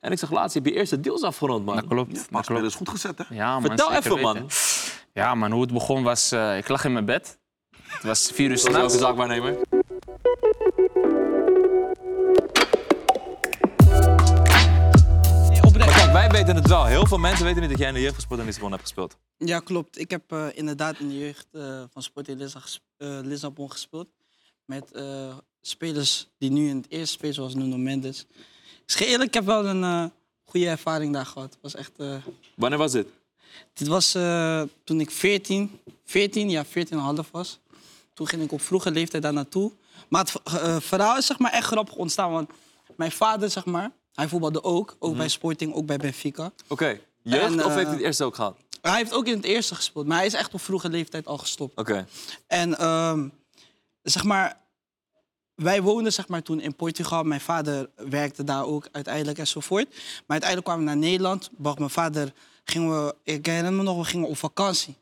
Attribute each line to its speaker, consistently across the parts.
Speaker 1: En ik zag laatst, heb je eerst het deels afgerond, man.
Speaker 2: Dat klopt. dat
Speaker 3: Maar
Speaker 2: klopt.
Speaker 3: spelen is goed gezet, hè?
Speaker 2: Ja, man,
Speaker 1: Vertel
Speaker 2: zeker
Speaker 1: even, man.
Speaker 2: weten. Ja, man, hoe het begon was... eh, ik lag in mijn bed. Het was vier uur
Speaker 1: Dat is elke
Speaker 2: s'nachts.
Speaker 1: zaakwaarnemer. Maar kijk, wij weten het wel. Heel veel mensen weten niet dat jij in de jeugd gespeeld en Lissabon hebt gespeeld.
Speaker 4: Ja, klopt. Ik heb eh, inderdaad in de jeugd eh, van Sporting Lissa ges- eh, Lissabon gespeeld. Met eh, spelers die nu in het eerste spelen, zoals Nuno Mendes. Ik zeg je eerlijk, ik heb wel een eh, goede ervaring daar gehad. Het was echt, eh,
Speaker 1: Wanneer was dit?
Speaker 4: dit was eh, toen ik 14, 14, ja, 14,5 was. Toen ging ik op vroege leeftijd daar naartoe. Maar het v- eh, verhaal is zeg maar, echt grappig ontstaan. Want mijn vader, zeg maar, hij voetbalde ook. Ook bij Sporting, ook bij Benfica.
Speaker 1: Oké, jeugd
Speaker 4: En,
Speaker 1: of
Speaker 4: eh,
Speaker 1: heeft hij het eerst ook gehad?
Speaker 4: Hij heeft ook in het eerste gespeeld, maar hij is echt op vroege leeftijd al gestopt.
Speaker 1: Oké.
Speaker 4: En ehm, zeg maar, wij woonden zeg maar, toen in Portugal. Mijn vader werkte daar ook uiteindelijk enzovoort. Maar uiteindelijk kwamen we naar Nederland. Bracht mijn vader, gingen we, ik herinner me nog, we gingen op vakantie.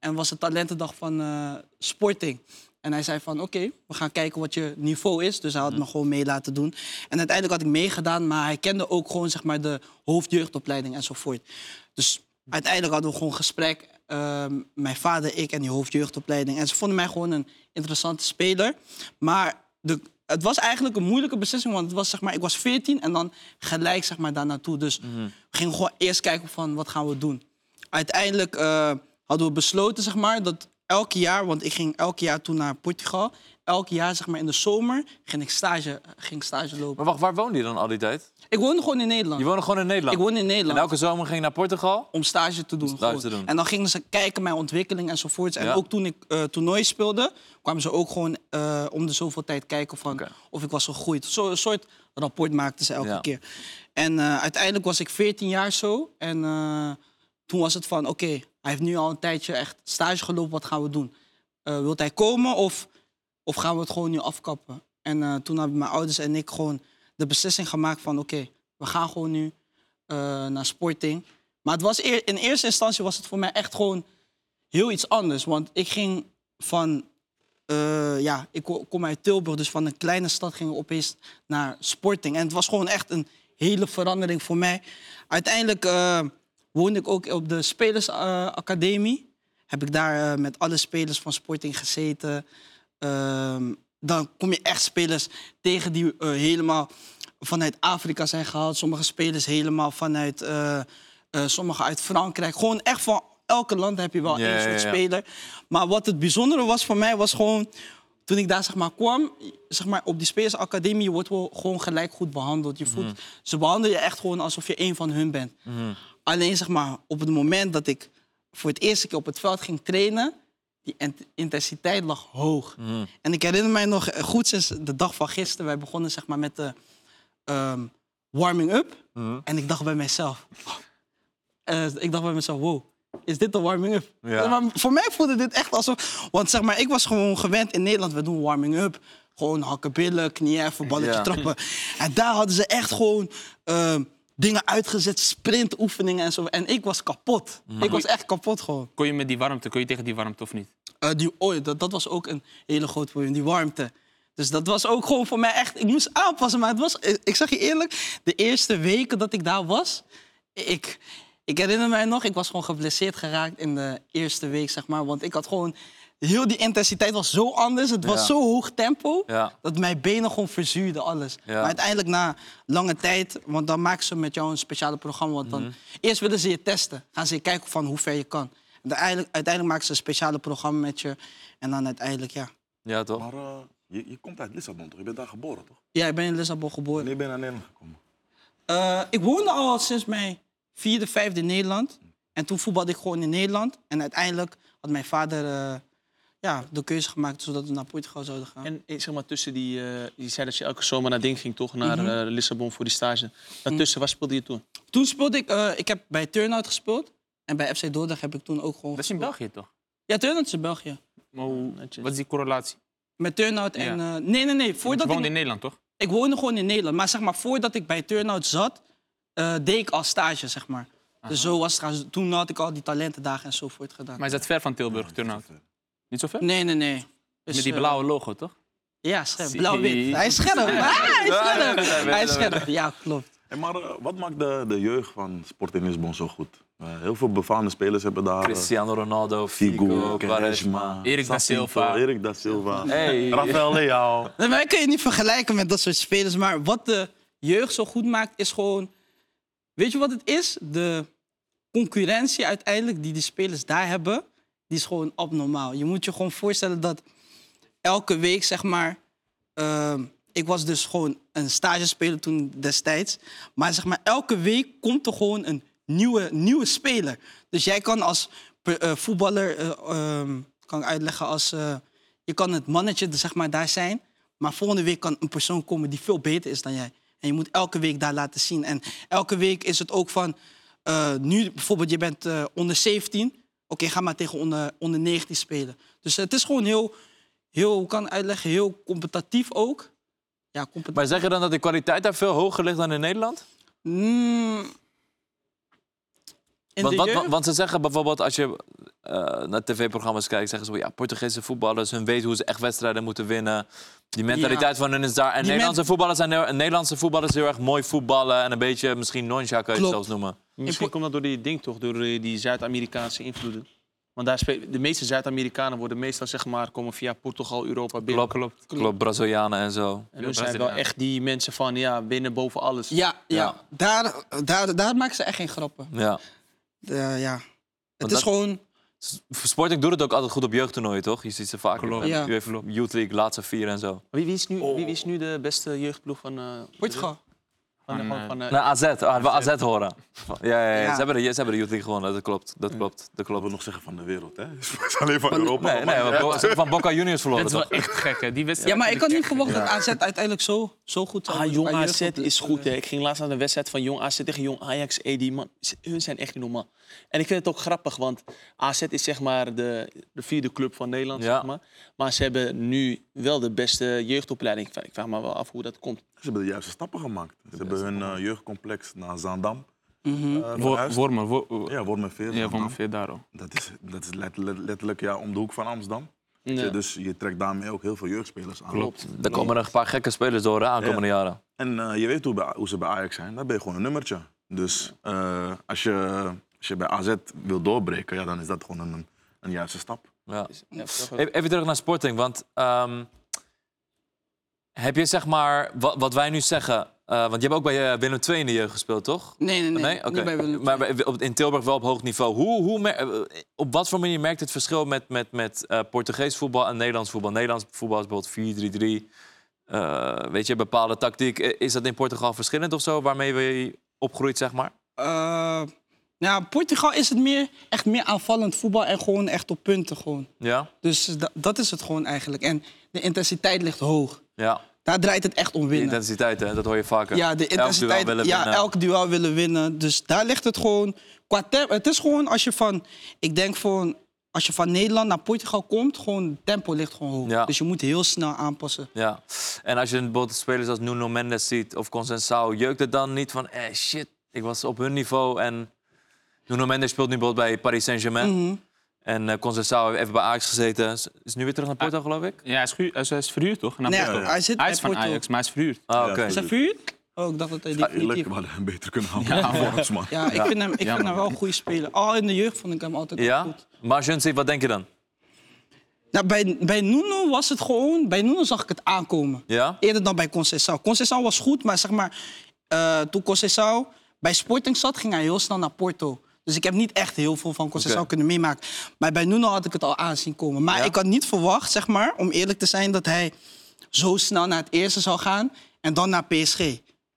Speaker 4: En was de talentendag van eh, Sporting. En hij zei van, oké, we gaan kijken wat je niveau is. Dus hij had me gewoon mee laten doen. En uiteindelijk had ik meegedaan, maar hij kende ook gewoon zeg maar, de hoofdjeugdopleiding enzovoort. Dus uiteindelijk hadden we gewoon gesprek. ehm, mijn vader, ik en die hoofdjeugdopleiding. En ze vonden mij gewoon een interessante speler. Maar de, het was eigenlijk een moeilijke beslissing, want het was, zeg maar, ik was 14 en dan gelijk zeg maar, daar naartoe. Dus we gingen gewoon eerst kijken van wat gaan we doen. Uiteindelijk eh, hadden we besloten zeg maar, dat elk jaar, want ik ging elk jaar toen naar Portugal, elk jaar zeg maar, in de zomer ging ik stage, ging ik stage lopen.
Speaker 1: Maar wacht, waar woonde je dan al die tijd?
Speaker 4: Ik woonde gewoon in Nederland.
Speaker 1: Je woonde gewoon in Nederland?
Speaker 4: Ik woonde in Nederland
Speaker 1: En elke zomer ging je naar Portugal?
Speaker 4: om stage te doen.
Speaker 1: stage
Speaker 4: gewoon.
Speaker 1: te doen.
Speaker 4: En dan gingen ze kijken mijn ontwikkeling enzovoorts. En
Speaker 1: Ja.
Speaker 4: ook toen ik eh toernooi speelde, kwamen ze ook gewoon eh, om de zoveel tijd kijken van
Speaker 1: Oké.
Speaker 4: of ik was gegroeid. Zo, een soort rapport maakten ze elke
Speaker 1: Ja.
Speaker 4: keer. En eh, uiteindelijk was ik 14 jaar zo. En eh, toen was het van, oké, hij heeft nu al een tijdje echt stage gelopen. Wat gaan we doen? Eh, wilt hij komen of, of gaan we het gewoon nu afkappen? En eh, toen hebben mijn ouders en ik gewoon de beslissing gemaakt van... oké, we gaan gewoon nu eh, naar Sporting. Maar het was eer- in eerste instantie was het voor mij echt gewoon heel iets anders. Want ik ging van... eh, ja, ik ko- kom uit Tilburg, dus van een kleine stad ging ik opeens naar Sporting. En het was gewoon echt een hele verandering voor mij. Uiteindelijk eh, woonde ik ook op de Spelersacademie. heb ik daar eh, met alle spelers van Sporting gezeten. Ehm, dan kom je echt spelers tegen die eh, helemaal vanuit Afrika zijn gehaald. Sommige spelers helemaal vanuit... eh, eh, sommige uit Frankrijk. Gewoon echt van elke land heb je wel
Speaker 1: Ja,
Speaker 4: één
Speaker 1: ja,
Speaker 4: soort
Speaker 1: ja.
Speaker 4: speler. Maar wat het bijzondere was voor mij, was gewoon... Toen ik daar zeg maar, kwam, zeg maar, op die spelersacademie... je wordt wel gewoon gelijk goed behandeld. Je
Speaker 1: Mhm.
Speaker 4: voelt, Ze behandelen je echt gewoon alsof je één van hun bent. Alleen zeg maar, op het moment dat ik voor het eerste keer op het veld ging trainen... die int- intensiteit lag hoog. En ik herinner mij nog eh, goed sinds de dag van gisteren... wij begonnen zeg maar, met de ehm, warming-up. En ik dacht bij mezelf... oh, Eh, ik dacht bij mezelf, wow, is dit de warming-up?
Speaker 1: Ja.
Speaker 4: Maar voor mij voelde dit echt alsof... Want zeg maar, ik was gewoon gewend in Nederland, we doen warming-up. Gewoon hakken billen, knieën even, balletje
Speaker 1: Ja.
Speaker 4: trappen. En daar hadden ze echt gewoon ehm, dingen uitgezet, sprintoefeningen en zo. En ik was kapot. Ik
Speaker 1: Mm-hmm.
Speaker 4: was echt kapot gewoon.
Speaker 2: Kon je met die warmte, kon je tegen die warmte of niet?
Speaker 4: Eh, die, oh, dat, dat was ook een hele groot probleem, die warmte. Dus dat was ook gewoon voor mij echt... Ik moest aanpassen, maar het was... eh, Ik ik zeg je eerlijk, de eerste weken dat ik daar was... Ik, ik herinner mij nog, ik was gewoon geblesseerd geraakt in de eerste week, zeg maar. Want ik had gewoon... Heel die intensiteit was zo anders. Het was
Speaker 1: Ja.
Speaker 4: zo hoog tempo
Speaker 1: Ja.
Speaker 4: dat mijn benen gewoon verzuurden, alles.
Speaker 1: Ja.
Speaker 4: Maar uiteindelijk na lange tijd, want dan maken ze met jou een speciale programma. Want dan, Eerst willen ze je testen. Gaan ze je kijken van hoe ver je kan. En uiteindelijk, uiteindelijk maken ze een speciale programma met je. En dan uiteindelijk, ja.
Speaker 1: Ja, toch?
Speaker 3: Maar eh, je, je komt uit Lissabon, toch? Je bent daar geboren, toch?
Speaker 4: Ja, ik ben in Lissabon geboren.
Speaker 3: Wanneer ben je naar Nederland gekomen?
Speaker 4: Eh, ik woonde al sinds mijn vierde, vijfde in Nederland. En toen voetbalde ik gewoon in Nederland. En uiteindelijk had mijn vader eh, ja, de keuze gemaakt zodat we naar Portugal zouden gaan.
Speaker 5: En eh, zeg maar tussen die, eh je zei dat je elke zomer naar ding ging toch, naar eh, Lissabon voor die stage. Daartussen, waar speelde je toen?
Speaker 4: Toen speelde ik, eh, ik heb bij Turnout gespeeld. En bij FC Dordrecht heb ik toen ook gewoon
Speaker 2: Dat is in
Speaker 4: gespeeld.
Speaker 2: België, toch?
Speaker 4: Ja, Turnout is in België.
Speaker 2: Maar hoe,
Speaker 5: Netjes.
Speaker 2: wat is die correlatie?
Speaker 4: Met Turnout en... eh, nee, nee, nee.
Speaker 2: Want je
Speaker 4: Voordat
Speaker 2: woonde
Speaker 4: ik,
Speaker 2: in Nederland, toch?
Speaker 4: ik woonde gewoon in Nederland. Maar zeg maar, voordat ik bij Turnout zat, eh, deed ik al stage, zeg maar. Dus zo was het gaan. Toen had ik al die talentendagen enzovoort gedaan.
Speaker 2: Maar is dat ver van Tilburg, Turnhout? Niet zo ver?
Speaker 4: Nee, nee, nee. Dus,
Speaker 2: Met die
Speaker 4: eh,
Speaker 2: blauwe logo, toch?
Speaker 4: ja, scherp.
Speaker 2: Zie-
Speaker 4: Blauw-wit. Hij is scherp. Ah, hij is scherp. Hij is scherp. Ja, klopt.
Speaker 3: Hey, maar eh, wat maakt de, de jeugd van Sport in Lisbon zo goed? Eh, heel veel befaamde spelers hebben daar... eh,
Speaker 1: Cristiano Ronaldo,
Speaker 3: Figo,
Speaker 1: Figo,
Speaker 3: Quaresma,
Speaker 1: Quaresma.
Speaker 2: Erik da
Speaker 3: Sapinto,
Speaker 2: Silva.
Speaker 3: Erik da Silva.
Speaker 1: Hey.
Speaker 3: Rafael Leao.
Speaker 4: Nee, Wij kun je niet vergelijken met dat soort spelers. Maar wat de jeugd zo goed maakt, is gewoon. Weet je wat het is? De concurrentie uiteindelijk die die spelers daar hebben, die is gewoon abnormaal. Je moet je gewoon voorstellen dat elke week, zeg maar. ehm, ik was dus gewoon een stagespeler toen destijds. Maar zeg maar, elke week komt er gewoon een nieuwe, nieuwe speler. Dus jij kan als pe- eh, voetballer, eh, ehm, kan ik uitleggen als. eh, je kan het mannetje zeg maar, daar zijn. Maar volgende week kan een persoon komen die veel beter is dan jij. En je moet elke week daar laten zien. En elke week is het ook van... eh, nu bijvoorbeeld, je bent eh, onder 17. Oké, ga maar tegen onder, onder 19 spelen. Dus het is gewoon heel... heel hoe kan ik uitleggen? Heel competitief ook. Ja, competitief.
Speaker 1: Maar zeg je dan dat de kwaliteit daar veel hoger ligt dan in Nederland?
Speaker 4: Mm. In
Speaker 1: Want,
Speaker 4: de
Speaker 1: wat-
Speaker 4: jeugd?
Speaker 1: want, want ze zeggen bijvoorbeeld als je eh, naar tv-programma's kijkt, zeggen ze wel, ja, Portugese voetballers, hun weten hoe ze echt wedstrijden moeten winnen. Die mentaliteit van hun is daar. En
Speaker 4: Die
Speaker 1: Nederlandse,
Speaker 4: men-
Speaker 1: voetballers zijn heel, Nederlandse voetballers heel erg mooi voetballen en een beetje misschien non-jacques kan je het
Speaker 4: Klopt.
Speaker 1: zelfs noemen.
Speaker 5: Misschien komt dat door die ding toch, door eh, die Zuid-Amerikaanse invloeden. Want daar spelen, de meeste Zuid-Amerikanen worden meestal, zeg maar, komen via Portugal, Europa binnen.
Speaker 1: Klopt, klopt. Klopt, Brazilianen en zo.
Speaker 5: En hun zijn wel
Speaker 2: Braziliaan.
Speaker 5: echt die mensen van, ja, binnen boven alles.
Speaker 4: Ja, ja.
Speaker 1: Ja.
Speaker 4: Daar, daar, daar maken ze echt geen grappen.
Speaker 1: Ja.
Speaker 4: Eh, ja. Het
Speaker 1: dat-
Speaker 4: is gewoon...
Speaker 1: Sporting doet het ook altijd goed op jeugdtoernooien, toch? Je ziet ze vaak
Speaker 2: Klopt.
Speaker 1: in de
Speaker 4: Ja.
Speaker 1: UEFA Youth League, laatste vier en zo.
Speaker 5: Wie, wie, is nu, wie, wie is nu de beste jeugdploeg van... eh,
Speaker 4: Portugal.
Speaker 5: Van,
Speaker 2: Van,
Speaker 5: van,
Speaker 2: eh,
Speaker 5: van, eh,
Speaker 1: Nou, AZ, ah, we AZ horen. Ja, ja, ja,
Speaker 4: Ja.
Speaker 1: Ze, hebben de, ze hebben de Youth League gewonnen, dat klopt. Dat klopt, dat
Speaker 3: Wat
Speaker 1: klopt.
Speaker 3: we nog zeggen van de wereld, hè? Het is alleen van Europa.
Speaker 1: Nee, nee, we- we- van Boca Juniors
Speaker 2: Dat
Speaker 1: verloren,
Speaker 2: is
Speaker 1: toch?
Speaker 2: wel echt gek, hè? Die wedstrijd.
Speaker 4: Ja, maar ik had niet verwacht dat AZ uiteindelijk zo, zo goed zou
Speaker 5: Ah,
Speaker 4: worden
Speaker 5: jong
Speaker 4: qua
Speaker 5: AZ
Speaker 4: jeugd.
Speaker 5: is
Speaker 1: eh.
Speaker 5: goed. Hè. Ik ging laatst naar de wedstrijd van jong AZ tegen jong Ajax. Hey, die man, ze- hun zijn echt niet normaal. En ik vind het ook grappig, want AZ is zeg maar de, de vierde club van Nederland.
Speaker 1: Ja.
Speaker 5: Zeg maar. maar ze hebben nu wel de beste jeugdopleiding. Ik vraag- Ik vraag me wel af hoe dat komt.
Speaker 3: Ze hebben de juiste stappen gemaakt. Ze hebben hun eh, jeugdcomplex naar Zaandam.
Speaker 4: Mhm.
Speaker 3: eh,
Speaker 2: Wor-
Speaker 3: verhuisd.
Speaker 2: Wormer. wor-
Speaker 3: Ja, Wormen Veer,
Speaker 2: Ja,
Speaker 3: Zaandam.
Speaker 2: ongeveer daarom.
Speaker 3: Dat is, dat is let- let- letterlijk ja, om de hoek van Amsterdam.
Speaker 5: Ja.
Speaker 3: Dus je trekt daarmee ook heel veel jeugdspelers aan.
Speaker 1: Er komen er een paar gekke spelers door de aankomende jaren.
Speaker 3: En eh, je weet hoe, bij- hoe ze bij Ajax zijn, dan ben je gewoon een nummertje. Dus eh, als, je, als je bij AZ wil doorbreken, ja, dan is dat gewoon een, een juiste stap.
Speaker 1: Ja.
Speaker 5: Ja, toch wel.
Speaker 1: Even, even terug naar Sporting, want ehm, heb je zeg maar wat, wat wij nu zeggen... eh, want je hebt ook bij eh, Willem II in de jeugd gespeeld, toch?
Speaker 4: Nee, nee, nee.
Speaker 1: Oké.
Speaker 4: Niet bij Willem
Speaker 1: Maar
Speaker 4: II.
Speaker 1: bij- op- in Tilburg wel op hoog niveau. Hoe, hoe mer- eh, op wat voor manier merkt het verschil met, met, met eh, Portugees voetbal en Nederlands voetbal? Nederlands voetbal is bijvoorbeeld 4-3-3. eh, weet je, bepaalde tactiek. Eh, Is dat in Portugal verschillend of zo, waarmee we opgroeit, zeg maar?
Speaker 4: Eh, nou, Portugal is het meer, echt meer aanvallend voetbal en gewoon echt op punten. Gewoon.
Speaker 1: Ja?
Speaker 4: Dus da- dat is het gewoon eigenlijk. En de intensiteit ligt hoog.
Speaker 1: Ja.
Speaker 4: Daar draait het echt om
Speaker 1: Die
Speaker 4: winnen.
Speaker 1: intensiteit, hè? dat hoor je vaker.
Speaker 4: Ja, de
Speaker 1: Elk duel
Speaker 4: intensiteit.
Speaker 1: willen
Speaker 4: ja,
Speaker 1: winnen.
Speaker 4: elk duel willen winnen. Dus daar ligt het gewoon. Qua tem- het is gewoon als je van. Ik denk van. Als je van Nederland naar Portugal komt, gewoon tempo ligt gewoon hoog.
Speaker 1: Ja.
Speaker 4: Dus je moet heel snel aanpassen.
Speaker 1: Ja. En als je bijvoorbeeld spelers als Nuno Mendes ziet of Consensao, jeukt het dan niet van, eh shit, ik was op hun niveau en Nuno Mendes speelt nu bijvoorbeeld bij Paris Saint-Germain.
Speaker 4: Mhm.
Speaker 1: En eh Consensao heeft even bij Ajax gezeten. Is- Is nu weer terug naar
Speaker 4: Ah.
Speaker 1: Porto, geloof ik?
Speaker 2: Ja, hij is, gehuurd- hij is- hij is verhuurd, toch? Naar
Speaker 4: Nee,
Speaker 2: Porto.
Speaker 4: hij
Speaker 2: hij
Speaker 4: zit bij
Speaker 2: is van
Speaker 4: Porto.
Speaker 2: Ajax, maar hij is verhuurd.
Speaker 1: Ah,
Speaker 3: Ja,
Speaker 1: oké.
Speaker 3: dat
Speaker 4: Is dat vuur? Oh, ik dacht dat hij
Speaker 3: Eerlijk,
Speaker 4: definitief...
Speaker 3: we hadden hem beter kunnen houden. Ja, ons, man.
Speaker 4: Ja, ik vind hem, ik vind
Speaker 2: Jammer.
Speaker 4: hem wel een goede speler. Al in de jeugd vond ik hem altijd wel
Speaker 1: Ja?
Speaker 4: goed.
Speaker 1: Maar Junsi, wat denk je dan?
Speaker 4: Nou, bij, bij Nuno was het gewoon... Bij Nuno zag ik het aankomen.
Speaker 1: Ja?
Speaker 4: Eerder dan bij Conceição. Conceição was goed, maar zeg maar... eh, toen Conceição bij Sporting zat, ging hij heel snel naar Porto. Dus ik heb niet echt heel veel van Conceição
Speaker 1: Oké.
Speaker 4: kunnen meemaken. Maar bij Nuno had ik het al aanzien komen. Maar
Speaker 1: Ja?
Speaker 4: ik had niet verwacht, zeg maar, om eerlijk te zijn... dat hij zo snel naar het eerste zou gaan en dan naar PSG.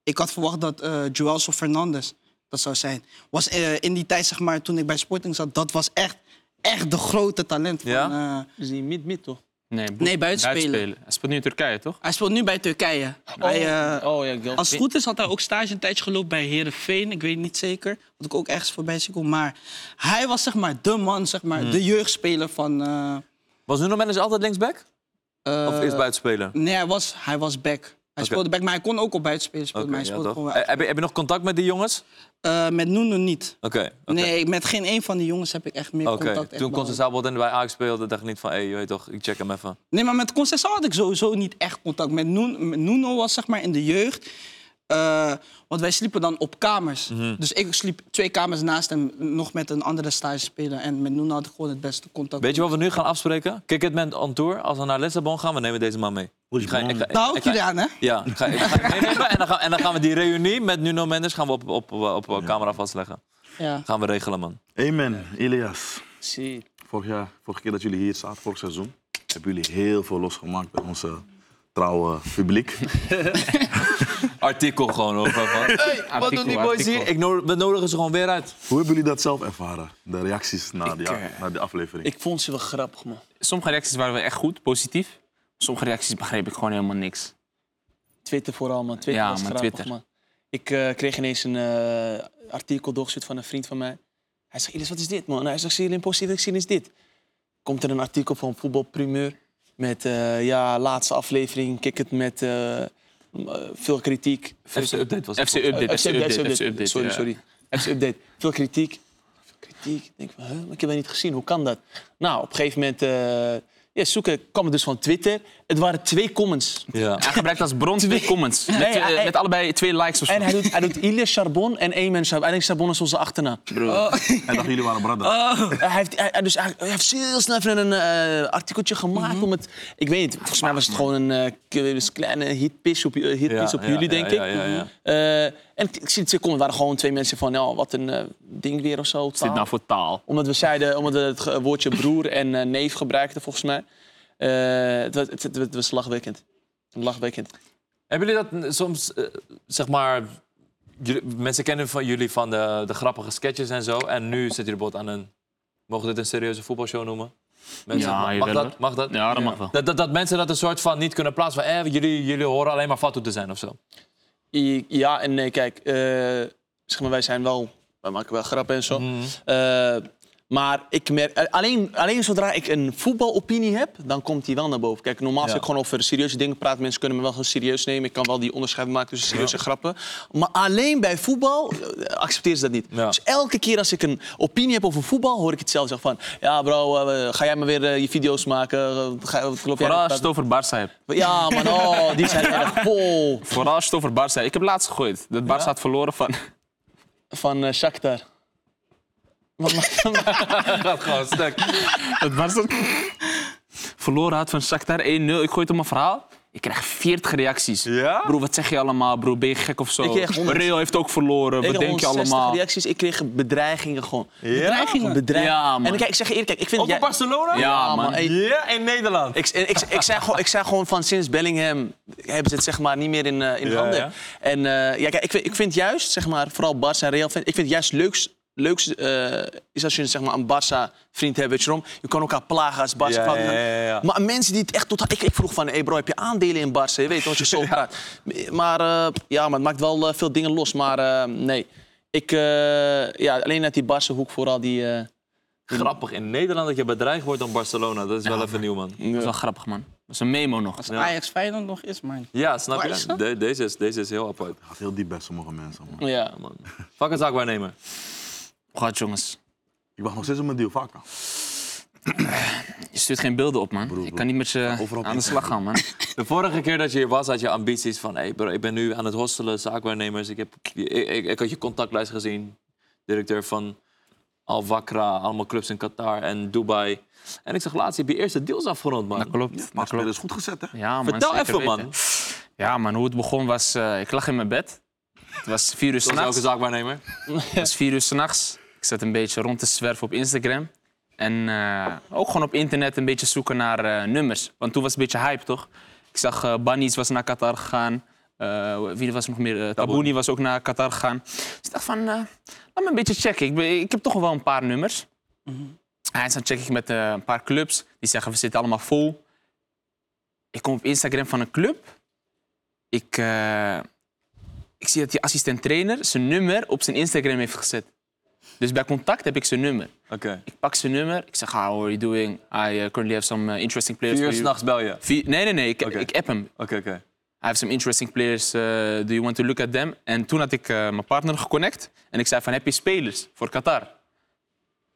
Speaker 4: Ik had verwacht dat eh Joelso Fernandes dat zou zijn. Was, eh, in die tijd, zeg maar, toen ik bij Sporting zat... dat was echt, echt de grote talent van...
Speaker 1: Ja?
Speaker 4: eh,
Speaker 5: Dus die mid-mid toch?
Speaker 2: Nee, bo-
Speaker 4: Nee, buitenspelen.
Speaker 2: Hij speelt nu in Turkije, toch?
Speaker 4: Hij speelt nu bij Turkije. Bij, eh,
Speaker 5: oh ja, Gel-
Speaker 4: als het goed is had hij ook stage een tijdje gelopen bij Herenveen. Ik weet het niet zeker. Wat ik ook ergens voorbij zie komen. Maar hij was zeg maar de man, zeg maar,
Speaker 1: Hmm.
Speaker 4: de jeugdspeler van. eh,
Speaker 1: Was Nuno Mendes altijd linksback?
Speaker 4: eh,
Speaker 1: Of eerst buitenspeler?
Speaker 4: Nee, hij was, hij was back. Hij speelde back, maar hij kon ook op buitenspelen spelen.
Speaker 1: Oké,
Speaker 4: maar hij
Speaker 1: ja,
Speaker 4: speelde
Speaker 1: toch?
Speaker 4: gewoon
Speaker 1: Eh, heb, je, heb je nog contact met die jongens?
Speaker 4: Eh, met Nuno niet.
Speaker 1: Oké. oké.
Speaker 4: Nee, met geen een van die jongens heb ik echt meer
Speaker 1: Oké,
Speaker 4: contact. echt
Speaker 1: toen
Speaker 4: behouden.
Speaker 1: Consensao bijvoorbeeld bij Ajax speelde, dacht ik niet van, hé, je weet toch, ik check hem even.
Speaker 4: Nee, maar met Conceição had ik sowieso niet echt contact. Met Nuno, met Nuno was zeg maar in de jeugd. eh, want wij sliepen dan op kamers.
Speaker 1: Mhm.
Speaker 4: Dus ik sliep twee kamers naast hem, nog met een andere stagespeler. En met Noen had ik gewoon het beste contact.
Speaker 1: Weet je wat we nu gaan afspreken? Kijk, het moment on tour. Als we naar Lissabon gaan, we nemen deze man mee. Ik ga, ik ga-
Speaker 4: Daar hou
Speaker 1: ik
Speaker 4: ik
Speaker 1: ga-
Speaker 4: jullie aan, Nou, hè?
Speaker 1: ja, ik ga, ik ga hem meenemen en dan, gaan, en dan gaan we die reunie met Nuno Mendes gaan we op, op, op, op camera vastleggen.
Speaker 4: Ja.
Speaker 1: Gaan we regelen, man.
Speaker 3: Amen, Ilias.
Speaker 5: Zie.
Speaker 3: Vorig jaar, vorige keer dat jullie hier zaten, vorig seizoen, hebben jullie heel veel losgemaakt bij onze trouwe publiek.
Speaker 1: Artikel gewoon over. man. wat doen die boys hier? Ik no- we nodigen ze gewoon weer uit.
Speaker 3: Hoe hebben jullie dat zelf ervaren? De reacties na, de, na de aflevering.
Speaker 5: Ik vond ze wel grappig, man.
Speaker 2: Sommige reacties waren wel echt goed, positief. Sommige reacties begreep ik gewoon helemaal niks.
Speaker 5: Twitter vooral, man. Twitter
Speaker 2: Ja,
Speaker 5: was
Speaker 2: man,
Speaker 5: grappig,
Speaker 2: Twitter.
Speaker 5: man. Ik eh, kreeg ineens een eh, artikel doorgestuurd van een vriend van mij. Hij zegt, Ilis, wat is dit, man? Hij zegt, zie je Limpost? Ik zie is dit. Komt er een artikel van Voetbalprimeur met, eh, ja, laatste aflevering, kick het met eh, m- eh, veel kritiek.
Speaker 1: FC Update was het.
Speaker 2: FC Update,
Speaker 5: Eh,
Speaker 2: FC Update, FC Update.
Speaker 5: Sorry,
Speaker 2: ja.
Speaker 5: sorry. FC Update. Veel kritiek. Veel kritiek. Ik denk van, huh, maar ik heb dat niet gezien. Hoe kan dat? Nou, op een gegeven moment... eh, ja, zoeken kwam het dus van Twitter. Het waren twee comments.
Speaker 1: Ja.
Speaker 2: Hij gebruikt als bron twee comments. Met,
Speaker 5: Nee,
Speaker 2: twee-
Speaker 5: hij-
Speaker 2: met allebei twee likes of zo.
Speaker 5: En hij doet, hij doet Ilias Charbon en Eamon Charbon. Hij denkt Charbon is onze achternaam.
Speaker 3: En dachten jullie waren braden.
Speaker 5: Hij, heeft, hij, hij- dus hij, hij heeft heel snel even een eh, artikeltje gemaakt
Speaker 1: Mhm.
Speaker 5: om het... Ik weet niet, volgens mij was het gewoon een eh, k- dus kleine hitpiss op, eh, hitpiss
Speaker 1: Ja,
Speaker 5: op
Speaker 1: ja,
Speaker 5: jullie,
Speaker 1: ja,
Speaker 5: denk
Speaker 1: ja,
Speaker 5: ik.
Speaker 1: ja, ja.
Speaker 5: Eh, en ik- ik zie het, er waren gewoon twee mensen van, ja, wat een eh, ding weer of zo.
Speaker 2: Wat is dit
Speaker 5: taal.
Speaker 2: nou voor taal?
Speaker 5: Omdat we zeiden, omdat we het ge- woordje broer en eh, neef gebruikten, volgens mij. Eh, het, was- het, het- het was lachwekkend. Lachwekkend.
Speaker 1: Hebben jullie dat n- soms, eh, zeg maar... jullie- mensen kennen van jullie van de, de grappige sketches en zo. En nu zitten jullie bijvoorbeeld aan een... Mogen we dit een serieuze voetbalshow noemen? Mensen,
Speaker 2: Ja,
Speaker 1: mag, mag
Speaker 2: jawel, hoor.
Speaker 1: dat? Mag dat?
Speaker 2: Ja, dat mag wel.
Speaker 1: Dat, dat, dat mensen dat een soort van niet kunnen plaatsen. Van, eh, jullie, jullie horen alleen maar Fatou te zijn of zo.
Speaker 5: I- Ja en nee, kijk, eh, zeg maar, wij zijn wel, wij maken wel grappen en
Speaker 1: Mhm.
Speaker 5: zo. Eh, maar ik merk, eh, alleen, alleen zodra ik een voetbalopinie heb, dan komt die wel naar boven. Kijk, normaal als
Speaker 1: Ja.
Speaker 5: ik gewoon over serieuze dingen praat, mensen kunnen me wel gewoon serieus nemen. Ik kan wel die onderscheid maken tussen serieus en grappen. Maar alleen bij voetbal eh, accepteer ze dat niet.
Speaker 1: Ja.
Speaker 5: Dus elke keer als ik een opinie heb over voetbal, hoor ik het zelf zeggen van... Ja bro, eh, ga jij maar weer eh, je video's maken? Eh, Ga, wat geloof jij
Speaker 2: Vooral
Speaker 5: dat-
Speaker 2: als je het over Barça hebt.
Speaker 5: Ja man, oh, die zijn echt vol
Speaker 2: Vooral als je het over Barça hebt. Ik heb laatst gegooid dat Barça had verloren van...
Speaker 5: van eh Shakhtar.
Speaker 1: Gaat gewoon stuk.
Speaker 2: Dat Barça verloren had van Shakhtar 1-0. Ik gooi het op mijn verhaal. Ik krijg 40 reacties.
Speaker 1: Ja?
Speaker 2: Bro, wat zeg je allemaal, bro? Ben je gek of zo?
Speaker 5: Ik kreeg 100.
Speaker 2: Real heeft ook verloren.
Speaker 5: Ik
Speaker 2: Wat
Speaker 5: kreeg
Speaker 2: denk je
Speaker 5: 160
Speaker 2: allemaal?
Speaker 5: reacties. Ik kreeg bedreigingen gewoon.
Speaker 4: Bedreigingen.
Speaker 5: Bedreigingen.
Speaker 2: Ja, man.
Speaker 5: En kijk, ik zeg je eerlijk, kijk, ik vind... jij-
Speaker 1: Barcelona?
Speaker 2: Ja, man.
Speaker 5: Hey,
Speaker 1: Ja, in Nederland.
Speaker 5: ik, ik, ik, ik zei gewoon, ik zei gewoon van sinds Bellingham hebben ze het zeg maar niet meer in, eh, in
Speaker 1: Ja,
Speaker 5: handen.
Speaker 1: ja.
Speaker 5: En eh, ja, kijk, ik vind, ik vind juist, zeg maar, vooral Barça en Real, vind, ik vind juist leuks, leuks eh, is als je zeg maar, een Barça vriend hebt, weet je waarom? Je kan elkaar plagen als Barça.
Speaker 1: Ja, ja, ja, ja.
Speaker 5: Maar mensen die het echt tot... Ik, ik vroeg van, hey bro, heb je aandelen in Barça? Je weet wat je zo praat. Maar eh, ja, maar het maakt wel eh, veel dingen los. Maar eh, nee, ik... eh, ja, alleen uit die Barça hoek vooral die... eh,
Speaker 1: Grappig, in Nederland dat je bedreigd wordt door Barcelona. Dat is wel even nieuw, man.
Speaker 2: Dat is wel grappig, man. Dat is een memo nog.
Speaker 4: Als Ajax Feyenoord nog is, man.
Speaker 1: Ja, snap
Speaker 4: Waar is
Speaker 1: je?
Speaker 4: dat?
Speaker 1: De- deze, is, deze is heel apart.
Speaker 3: Het gaat heel diep bij sommige mensen. Man.
Speaker 5: ja.
Speaker 1: Man. Fuck een zaak waarnemen.
Speaker 2: Gaat, jongens.
Speaker 3: Ik wacht nog steeds op mijn deal, vaak.
Speaker 2: Je stuurt geen beelden op, man. Ik kan niet met je
Speaker 3: Overal op
Speaker 2: aan de
Speaker 3: internet.
Speaker 2: slag gaan, man.
Speaker 1: De vorige keer dat je hier was, had je ambities van... Hey bro, ik ben nu aan het hostelen, zaakwaarnemers. Ik, heb, ik, ik, ik had je contactlijst gezien. Directeur van Al Wakra, allemaal clubs in Qatar en Dubai. En ik zag laatst, je hebt je eerste deals afgerond, man.
Speaker 2: Dat klopt.
Speaker 3: Maar
Speaker 2: Dat
Speaker 3: het
Speaker 2: klopt.
Speaker 3: is goed gezet, hè?
Speaker 2: Ja, man,
Speaker 1: Vertel
Speaker 2: zeker
Speaker 1: even, man.
Speaker 2: weten. Ja, man, hoe het begon was... eh, ik lag in mijn bed. Het was vier uur
Speaker 1: Zoals
Speaker 2: s'nachts.
Speaker 1: elke zaakwaarnemer.
Speaker 2: Het was vier uur s'nachts. Ik zat een beetje rond te zwerven op Instagram. En eh, ook gewoon op internet een beetje zoeken naar eh, nummers. Want toen was het een beetje hype, toch? Ik zag eh Bunnies was naar Qatar gegaan. Eh, wie was nog meer? Eh, Tabouni was ook naar Qatar gegaan. Dus ik dacht van, eh, laat me een beetje checken. Ik, ben- ik heb toch wel een paar nummers.
Speaker 1: Mhm.
Speaker 2: Eens dan check ik met eh, een paar clubs. Die zeggen, we zitten allemaal vol. Ik kom op Instagram van een club. Ik... eh, ik zie dat die assistent-trainer zijn nummer op zijn Instagram heeft gezet. Dus bij contact heb ik zijn nummer.
Speaker 1: Oké.
Speaker 2: Ik pak zijn nummer. Ik zeg, how are you doing? I eh, currently have some eh, interesting players
Speaker 1: Vier uur
Speaker 2: for you.
Speaker 1: s'nachts bel je. Oké,
Speaker 2: Vier- Nee, nee, nee. Ik,
Speaker 1: Oké.
Speaker 2: ik app hem.
Speaker 1: oké.
Speaker 2: I have some interesting players. eh, do you want to look at them? En toen had ik eh, mijn partner geconnect. En ik zei van, heb je spelers voor Qatar?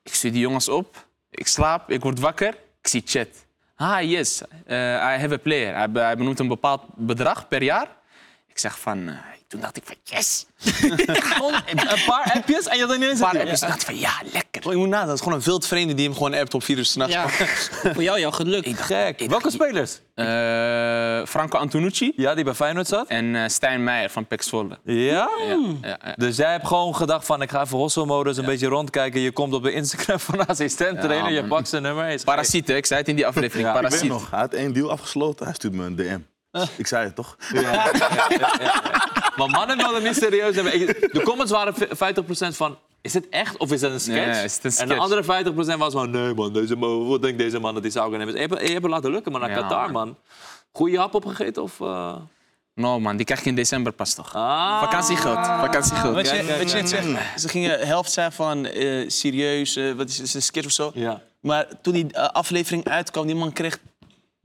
Speaker 2: Ik stuur die jongens op. Ik slaap. Ik word wakker. Ik zie chat. Ah, yes. eh, I have a player. Hij, be- hij benoemt een bepaald bedrag per jaar. Ik zeg van, eh, ik doe Toen dacht ik van yes!
Speaker 5: Gewoon een paar appjes en je had dan ineens...
Speaker 2: Een paar appjes. Toen dacht ik van ja, lekker.
Speaker 5: Gewoon, je moet nadenken, het is gewoon een wildvreemde die hem gewoon appt op 4 uur s'nachts.
Speaker 4: Ja, voor jou jouw geluk.
Speaker 1: Gek.
Speaker 2: ik-
Speaker 1: Welke spelers?
Speaker 2: Eh, Franco Antonucci
Speaker 1: Ja, die bij Feyenoord zat?
Speaker 2: en eh, Stijn Meijer van Pexvolle.
Speaker 1: Ja?
Speaker 2: Ja, ja.
Speaker 1: Dus jij hebt gewoon gedacht van, ik ga even hosselmodus een beetje rondkijken. Je komt op de Instagram van een assistent trainer,
Speaker 2: Ja,
Speaker 1: je
Speaker 2: man.
Speaker 1: pakt zijn nummer. je zegt,
Speaker 2: Parasiet, hè? ik zei het in die aflevering.
Speaker 1: Ja, ik
Speaker 3: Ik weet
Speaker 2: Parasiet.
Speaker 3: nog, hij had één deal afgesloten, hij stuurt me een DM.
Speaker 1: Eh.
Speaker 3: Ik zei het toch?
Speaker 1: hey. Maar mannen wilden het niet serieus hebben. Ik- De comments waren v- 50% van, is dit echt of is dat een sketch?
Speaker 2: Nee, is het een
Speaker 1: En
Speaker 2: sketch?
Speaker 1: de andere 50% was van, nee man, deze man wat denkt deze man dat hij zou kunnen hebben? Je hebt, je hebt het laten lukken, maar naar
Speaker 2: Ja,
Speaker 1: Qatar,
Speaker 2: man.
Speaker 1: man. Goeie hap opgegeten of... eh?
Speaker 2: No man, die krijg je in december pas toch?
Speaker 1: Ah.
Speaker 2: Vakantiegeld, vakantiegeld.
Speaker 5: Weet je, weet je wat ze zeggen? Ze gingen helft zijn van eh, serieus, eh, wat is, is het, een sketch of zo.
Speaker 1: Ja.
Speaker 5: Maar toen die eh, aflevering uitkwam, die man kreeg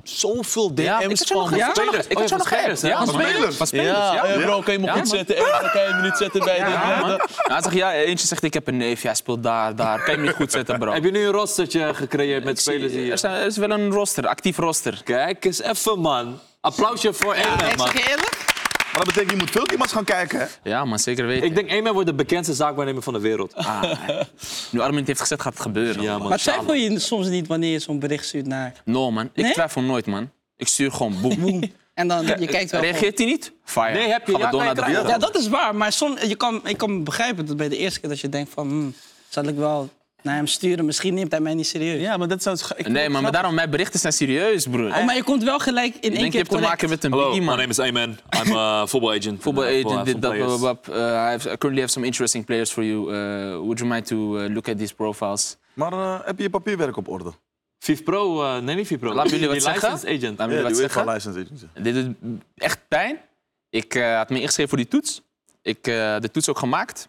Speaker 5: zoveel DM's
Speaker 2: Ja, ik had je nog
Speaker 5: van...
Speaker 2: ja?
Speaker 1: spelers.
Speaker 2: Ik
Speaker 1: Oh,
Speaker 2: had
Speaker 1: ja,
Speaker 2: je
Speaker 1: van
Speaker 2: nog geappt.
Speaker 1: spelers, hè?
Speaker 2: Ja,
Speaker 1: Van
Speaker 2: van spelers.
Speaker 3: spelers.
Speaker 2: Van spelers,
Speaker 5: Ja,
Speaker 2: ja.
Speaker 5: eh, bro, kan je me goed zetten? Eh, kan je me niet zetten bij dit?
Speaker 2: Ja, man. Hij zegt, ja, eentje zegt, ik heb een neef, ja, speelt daar, daar. Kan je me niet goed zetten, bro.
Speaker 1: Heb je nu een rostertje gecreëerd met spelers die...
Speaker 2: Er, zijn- er is wel een roster, actief roster.
Speaker 1: Kijk eens even, man. Applausje voor Emen, man.
Speaker 3: Maar dat betekent, je moet veel iemand gaan kijken, hè?
Speaker 2: Ja, man, zeker weten.
Speaker 1: Ik denk Emen wordt de bekendste zaakwaarnemer van de wereld.
Speaker 2: Ah. Nu Armin het heeft gezet, gaat het gebeuren.
Speaker 1: Ja, man.
Speaker 4: Maar twijfel je soms niet wanneer je zo'n bericht stuurt naar
Speaker 2: No, man. Ik
Speaker 4: Nee?
Speaker 2: twijfel nooit, man. Ik stuur gewoon, boem.
Speaker 4: Boom. En dan, je kijkt wel. gewoon.
Speaker 2: Reageert hij niet? Fire.
Speaker 1: Nee, heb je-
Speaker 2: Gaan we
Speaker 1: ja,
Speaker 2: door
Speaker 1: nee,
Speaker 2: naar de
Speaker 1: krijg je.
Speaker 2: volgende.
Speaker 4: Ja, dat is waar. Maar soms, je kan, ik kan begrijpen dat bij de eerste keer dat je denkt van... hmm, zal ik wel naar hem sturen? Misschien neemt hij mij niet serieus.
Speaker 5: Ja, maar dat zou... ik-
Speaker 2: Nee, man, maar daarom, mijn berichten zijn serieus, broer.
Speaker 4: Oh, maar je komt wel gelijk in
Speaker 2: Ik
Speaker 4: één
Speaker 2: denk, je
Speaker 4: keer
Speaker 2: hebt te maken
Speaker 4: correct.
Speaker 2: met een
Speaker 1: Hallo,
Speaker 2: biggie,
Speaker 1: my
Speaker 2: man.
Speaker 1: name is Emen. I'm a football agent.
Speaker 2: Football
Speaker 3: Nou,
Speaker 1: Uh, for- for
Speaker 2: agent, eh, dit, dat,
Speaker 1: players.
Speaker 2: blah, blah, blah. Uh, I have- I currently have some interesting players for you. Uh, would you mind to uh, look at these profiles?
Speaker 3: Maar eh, heb je je papierwerk op orde?
Speaker 1: Viv Pro, eh, nee niet Viv Pro.
Speaker 2: Laat jullie
Speaker 1: Die
Speaker 2: wat zeggen? Ah.
Speaker 1: licensed agent.
Speaker 2: Laat me
Speaker 3: Ja,
Speaker 2: wat
Speaker 3: die
Speaker 2: zeggen.
Speaker 3: UEFA license agency.
Speaker 2: Dit doet echt pijn. Ik eh, had me ingeschreven voor die toets. Ik eh, de toets ook gemaakt.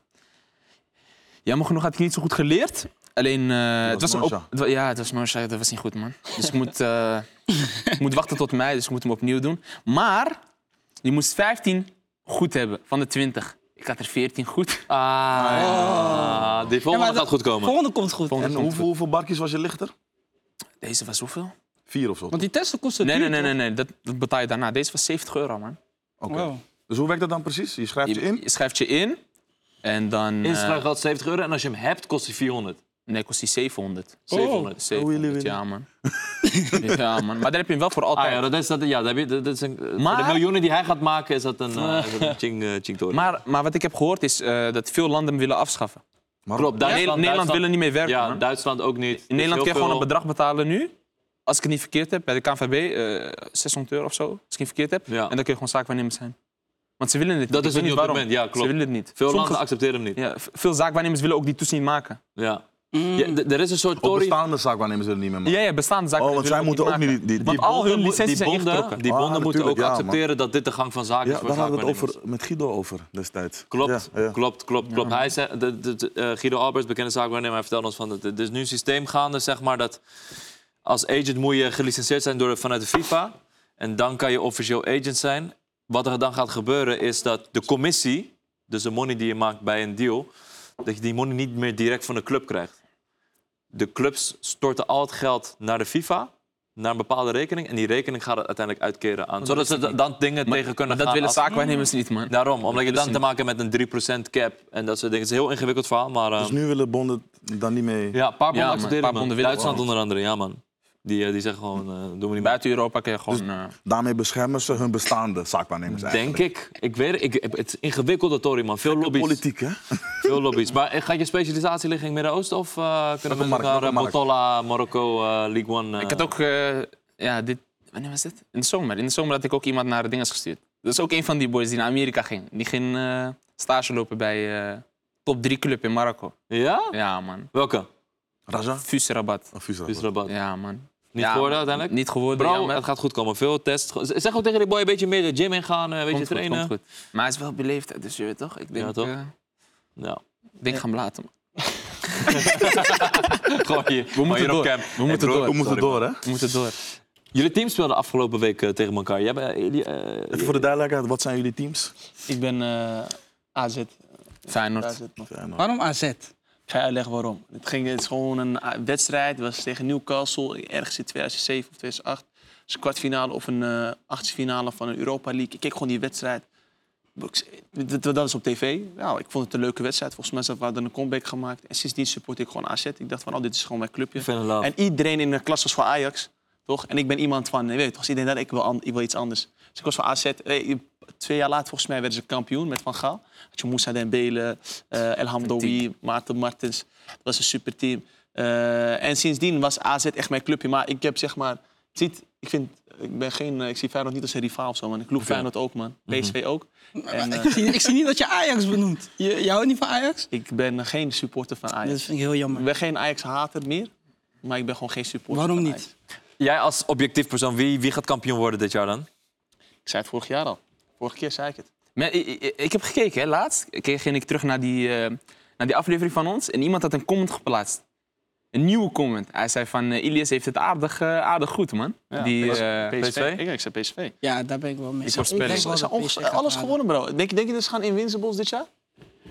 Speaker 2: Jammer genoeg had ik niet zo goed geleerd. Alleen, eh, het
Speaker 3: was
Speaker 2: was een
Speaker 3: Noorsha.
Speaker 2: op- het wa- Ja, het was Noorsha. Dat was niet goed, man. Dus ik moet, eh, ik moet wachten tot mei, dus ik moet hem opnieuw doen. Maar je moest 15 goed hebben van de 20. Ik had er 14 goed.
Speaker 1: Ah, ja. Ah, Die
Speaker 4: Ja,
Speaker 1: volgende
Speaker 4: maar
Speaker 1: gaat goed komen.
Speaker 4: Volgende komt goed.
Speaker 2: Volgende
Speaker 3: En
Speaker 2: komt
Speaker 3: hoeveel, hoeveel barkjes was je lichter?
Speaker 2: goed. Deze was hoeveel?
Speaker 3: Vier of zo.
Speaker 4: Want die testen kosten
Speaker 2: Nee,
Speaker 4: duur,
Speaker 2: nee, nee, nee, nee. Dat, dat betaal je daarna. Deze was 70 euro, man.
Speaker 3: Oké.
Speaker 4: toch? Wow.
Speaker 3: Dus hoe werkt dat dan precies? Je schrijft je
Speaker 2: Je,
Speaker 3: in.
Speaker 2: je schrijft je in en dan. eh,
Speaker 1: gaat 70 euro en als je hem hebt, kost hij Ah, 400.
Speaker 2: nee, kost die 700.
Speaker 1: Oh. 700.
Speaker 2: 700, ja man. ja man, maar daar heb je hem wel voor
Speaker 1: Ah
Speaker 2: altijd.
Speaker 1: ja, dat is, dat, ja, dat heb je- dat is een, eh,
Speaker 2: Maar-
Speaker 1: voor de miljoenen die hij gaat maken is dat een, eh, is dat een ching, eh, ching toren.
Speaker 2: maar, maar wat ik heb gehoord is eh, dat veel landen hem willen afschaffen.
Speaker 3: Maar
Speaker 1: Klopt,
Speaker 2: Ne-
Speaker 1: Duitsland,
Speaker 2: Nederland wil er
Speaker 1: Duitsland-
Speaker 2: niet mee werken.
Speaker 1: Ja,
Speaker 2: man.
Speaker 1: Duitsland ook niet.
Speaker 2: In Nederland kun je gewoon een bedrag betalen nu. Als ik het niet verkeerd heb, bij de KNVB, eh 600 euro of zo. Als ik het niet verkeerd heb.
Speaker 1: Ja.
Speaker 2: En dan kun je gewoon zaakwaarnemer zijn. Want ze willen het niet.
Speaker 1: Dat
Speaker 2: Ik
Speaker 1: is
Speaker 2: weet
Speaker 1: het
Speaker 2: niet
Speaker 1: nu op dit
Speaker 2: waarom.
Speaker 1: moment, ja, klopt.
Speaker 2: Ze willen het niet.
Speaker 1: Veel
Speaker 2: Sommige-
Speaker 1: landen accepteren hem niet.
Speaker 2: ja, v- veel zaakwaarnemers willen ook die toets niet maken.
Speaker 1: Ja. Ja, d- er is een soort
Speaker 3: Op
Speaker 1: tory
Speaker 3: bestaande zaakwaarnemers er niet meer mee.
Speaker 2: Ja, ja, bestaande
Speaker 3: Oh,
Speaker 2: zaakwaarnemers willen
Speaker 3: want zij moeten ook
Speaker 2: maken.
Speaker 3: niet... Die, die,
Speaker 2: Want
Speaker 3: die-
Speaker 2: al hun
Speaker 1: bonden-
Speaker 2: licenties
Speaker 1: die
Speaker 2: zijn
Speaker 1: bonden,
Speaker 2: ingetrokken.
Speaker 1: die bonden
Speaker 3: Ah,
Speaker 1: moeten ook
Speaker 3: natuurlijk, ja, man.
Speaker 1: accepteren dat dit de gang van zaken is
Speaker 3: ja,
Speaker 1: voor
Speaker 3: daar hadden we het
Speaker 1: zaakwaarnemers.
Speaker 3: over, met Guido over destijds.
Speaker 1: Klopt,
Speaker 3: Ja, ja.
Speaker 1: klopt, klopt, klopt. Hij zei, de, de- de- eh, Guido Albers, bekende zaakwaarnemer, hij vertelde ons van... dat Er is nu een systeem gaande, zeg maar, dat als agent moet je gelicenseerd zijn door, vanuit de FIFA. En dan kan je officieel agent zijn. Wat er dan gaat gebeuren is dat de commissie, dus de money die je maakt bij een deal... dat je die money niet meer direct van de club krijgt. De clubs storten al het geld naar de FIFA... Naar een bepaalde rekening en die rekening gaat het uiteindelijk uitkeren aan. Zodat ze da- dan dingen tegen kunnen
Speaker 2: Maar dat
Speaker 1: gaan.
Speaker 2: willen
Speaker 1: als-
Speaker 2: zaakwaarnemers niet, man.
Speaker 1: Daarom, omdat je dan
Speaker 2: is
Speaker 1: te maken hebt met een 3% cap en dat soort dingen. Het is een heel ingewikkeld verhaal, maar... eh,
Speaker 3: Dus nu willen bonden dan niet mee...
Speaker 1: ja, een paar bonden
Speaker 2: man,
Speaker 1: accepteren
Speaker 2: paar
Speaker 1: man.
Speaker 2: bonden willen
Speaker 1: Duitsland onder andere, ja man. Die, eh, die zeggen gewoon, eh, doen we niet meer.
Speaker 2: Buiten Europa kun je gewoon... eh,
Speaker 3: Daarmee beschermen ze hun bestaande zaakwaarnemers eigenlijk.
Speaker 1: Denk ik. Ik weet ik, het is ingewikkelde Tory man. Veel lobby's.
Speaker 3: Politiek, hè?
Speaker 1: Veel lobby's. Maar eh, gaat je specialisatie liggen in het Midden-Oosten of eh, kunnen we
Speaker 3: markt,
Speaker 1: naar
Speaker 3: welke
Speaker 1: eh,
Speaker 3: markt?
Speaker 1: Botola, Marokko, eh, League One? eh,
Speaker 2: Ik had ook, eh, ja, dit, wanneer was dit? In de zomer. In de zomer had ik ook iemand naar dingen gestuurd. Dat is ook een van die boys die naar Amerika ging. Die ging eh, stage lopen bij eh top 3 club in Marokko.
Speaker 1: eh, Ja?
Speaker 2: Ja, man.
Speaker 1: Welke?
Speaker 3: Raza?
Speaker 2: Fuserabat.
Speaker 3: Of Fusra?
Speaker 1: Dus Rabat.
Speaker 2: Ja, man.
Speaker 1: Niet
Speaker 2: Ja,
Speaker 1: geworden
Speaker 2: man.
Speaker 1: uiteindelijk?
Speaker 2: Niet geworden,
Speaker 1: Bro,
Speaker 2: jammer.
Speaker 1: het gaat goed komen. Veel tests. Ge- Zeg ook tegen die boy een beetje meer de gym ingaan, een beetje
Speaker 2: Komt goed,
Speaker 1: trainen.
Speaker 2: komt goed. Maar hij is wel beleefd, dus je weet toch? Ik denk,
Speaker 1: Ja, toch?
Speaker 2: eh,
Speaker 1: Ja.
Speaker 2: ik denk gaan laten. man.
Speaker 1: Gewoon hier. We
Speaker 2: moeten door. We moeten door.
Speaker 3: We moeten door, hè?
Speaker 2: We moeten door.
Speaker 1: Jullie team speelde afgelopen week eh, tegen elkaar. Jij, bent- eh, jullie, eh,
Speaker 3: Even voor de duidelijkheid, wat zijn jullie teams?
Speaker 5: Ik ben eh, AZ. AZ,
Speaker 2: Feyenoord.
Speaker 5: man.
Speaker 3: eh,
Speaker 4: Waarom AZ?
Speaker 5: Ik ga je uitleggen waarom. Het, ging, het is gewoon een eh, wedstrijd. Het was tegen Newcastle, ergens in 2007 of 2008. Het is een kwartfinale of een eh achtste finale van een Europa League. Ik keek gewoon die wedstrijd. ik- dat, dat was op tv. Nou, ik vond het een leuke wedstrijd. Volgens mij hadden we hadden een comeback gemaakt. En sindsdien support ik gewoon AZ. Ik dacht van, oh, dit is gewoon mijn clubje.
Speaker 1: Fan love.
Speaker 5: En iedereen in de klas was voor Ajax, toch? En ik ben iemand van, je weet toch, iedereen dat ik wil, an- ik wil iets anders. Dus ik was voor AZ. Eh, Twee jaar later, volgens mij, werden ze kampioen met Van Gaal. Had je Moussa Dembele, eh Elham Doui, Maarten Martens. Dat was een super team. Eh, en sindsdien was AZ echt mijn clubje. Maar ik heb zeg maar, ziet, ik vind, ik ben geen, eh, ik zie Feyenoord niet als een rivaal of zo, man. Ik loop Feyenoord ook, man.
Speaker 4: Mhm.
Speaker 5: PSV ook. En, eh,
Speaker 4: ik, zie, ik zie niet dat je Ajax benoemt. Je, jij houdt niet van Ajax?
Speaker 5: ik ben geen supporter van
Speaker 4: Dat
Speaker 5: Ajax.
Speaker 4: vind ik heel
Speaker 5: Ik
Speaker 4: jammer.
Speaker 5: ben geen Ajax-hater meer, maar ik ben gewoon geen supporter
Speaker 4: Waarom
Speaker 5: van
Speaker 4: niet?
Speaker 5: Ajax.
Speaker 1: Jij als objectief persoon, wie, wie gaat kampioen worden dit jaar dan?
Speaker 5: Ik zei het vorig jaar al. Vorige keer zei ik het.
Speaker 2: Maar i- i- ik, heb gekeken, hè, laatst keek- ging ik terug naar die, eh, naar die aflevering van ons. En iemand had een comment geplaatst. Een nieuwe comment. Hij zei van, eh, Ilias heeft het aardig, eh, aardig goed, man. die, eh,
Speaker 1: PSV?
Speaker 5: Ik, ik zei PSV. Ik
Speaker 4: Ja, daar ben ik wel mee.
Speaker 2: Die voorspelling.
Speaker 4: Ik denk wel
Speaker 5: zei
Speaker 4: dat
Speaker 5: onges-
Speaker 4: PSV gaat
Speaker 5: alles
Speaker 4: halen.
Speaker 5: gewonnen, bro. Denk, denk je dat ze gaan invincibles dit jaar?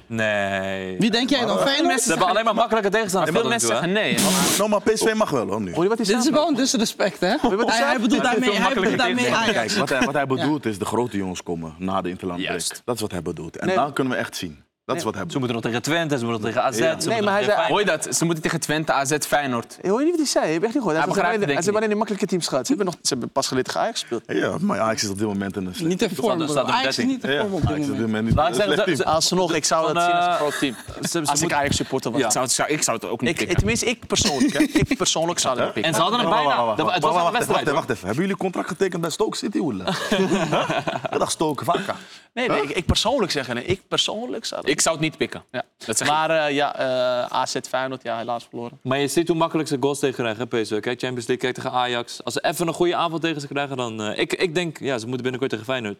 Speaker 1: Nee.
Speaker 4: Wie denk jij dan? Feyenoord?
Speaker 1: Ze hebben alleen maar makkelijke tegenstanders.
Speaker 2: veel mensen zeggen nee. hè.
Speaker 3: Nou, maar
Speaker 5: Oh.
Speaker 3: PSV mag wel hoor nu.
Speaker 5: Hoor je wat hij
Speaker 4: Dit
Speaker 5: zei?
Speaker 4: is wel een disrespect, hè?
Speaker 5: wat hij
Speaker 4: Hij, hij
Speaker 5: zei?
Speaker 4: bedoelt daarmee,
Speaker 2: veel
Speaker 4: hij bedoelt
Speaker 2: makkelijker
Speaker 4: daarmee Ajax.
Speaker 3: Kijk, wat hij, wat hij bedoelt is de grote jongens komen na de interland
Speaker 1: Juist.
Speaker 3: break. Dat is wat hij bedoelt. En
Speaker 5: Nee.
Speaker 3: dan kunnen we echt zien. Dat is wat hij
Speaker 1: Ze
Speaker 3: bedoelt.
Speaker 1: moeten nog tegen Twente, ze moeten nog tegen AZ. ze moeten
Speaker 5: maar
Speaker 1: nog
Speaker 5: hij
Speaker 1: tegen
Speaker 5: zei-
Speaker 2: Hoor je dat? Ze moeten tegen Twente, AZ, Feyenoord.
Speaker 5: Hoor je niet wat hij zei? Je hebt echt niet gehoord.
Speaker 2: Hij
Speaker 5: Hij, zei,
Speaker 2: begrijpt het,
Speaker 5: alleen-
Speaker 2: denk
Speaker 5: hij
Speaker 2: ik
Speaker 5: zei alleen de makkelijke teams gehad. Ze hebben, nog, ze hebben pas geleden tegen Ajax gespeeld.
Speaker 3: Ja, maar Ajax is op dit moment een slecht
Speaker 4: Niet in vorm,
Speaker 1: staat
Speaker 4: bro.
Speaker 1: op
Speaker 4: Ajax is
Speaker 1: 13.
Speaker 4: niet in
Speaker 3: Ja,
Speaker 4: vorm op dit
Speaker 3: Ajax is op dit
Speaker 4: moment.
Speaker 3: moment niet
Speaker 1: Laat
Speaker 3: een
Speaker 1: ik zeggen,
Speaker 3: slecht team.
Speaker 1: ze-
Speaker 5: Alsnog, ik zou
Speaker 1: Van,
Speaker 5: dat zien als een
Speaker 1: eh,
Speaker 5: groot team.
Speaker 1: Ze- ze
Speaker 5: Als ik
Speaker 1: moeten-
Speaker 5: Ajax supporter was.
Speaker 1: Ja.
Speaker 2: Ik, zou het, zou- ik zou het ook niet
Speaker 5: Ik,
Speaker 2: pikken.
Speaker 5: tenminste, ik persoonlijk. hè. ik persoonlijk zou dat pikken.
Speaker 1: En ze hadden hem
Speaker 3: Wacht,
Speaker 1: bijna.
Speaker 3: wacht, wacht,
Speaker 1: Het was
Speaker 3: wacht,
Speaker 1: al een
Speaker 3: wacht,
Speaker 1: wedstrijd.
Speaker 3: Wacht, wacht even. Hebben jullie contract getekend bij Stoke City, Oele? Huh? Dag Stoke, Vaca.
Speaker 5: Nee, nee, ik, ik persoonlijk zeggen. Nee, ik persoonlijk zou dat
Speaker 2: Ik zou het niet pikken.
Speaker 5: Ja.
Speaker 2: Dat zeg ik.
Speaker 5: Maar eh, ja, eh, AZ Feyenoord, ja, helaas verloren.
Speaker 1: hoor. Maar je ziet hoe makkelijk ze goals tegen krijgen, hè, PSV. Kijk, Champions League, kijk tegen Ajax. Als ze even een goede aanval tegen ze krijgen, dan... eh, ik, ik denk, ja, ze moeten binnenkort tegen Feyenoord.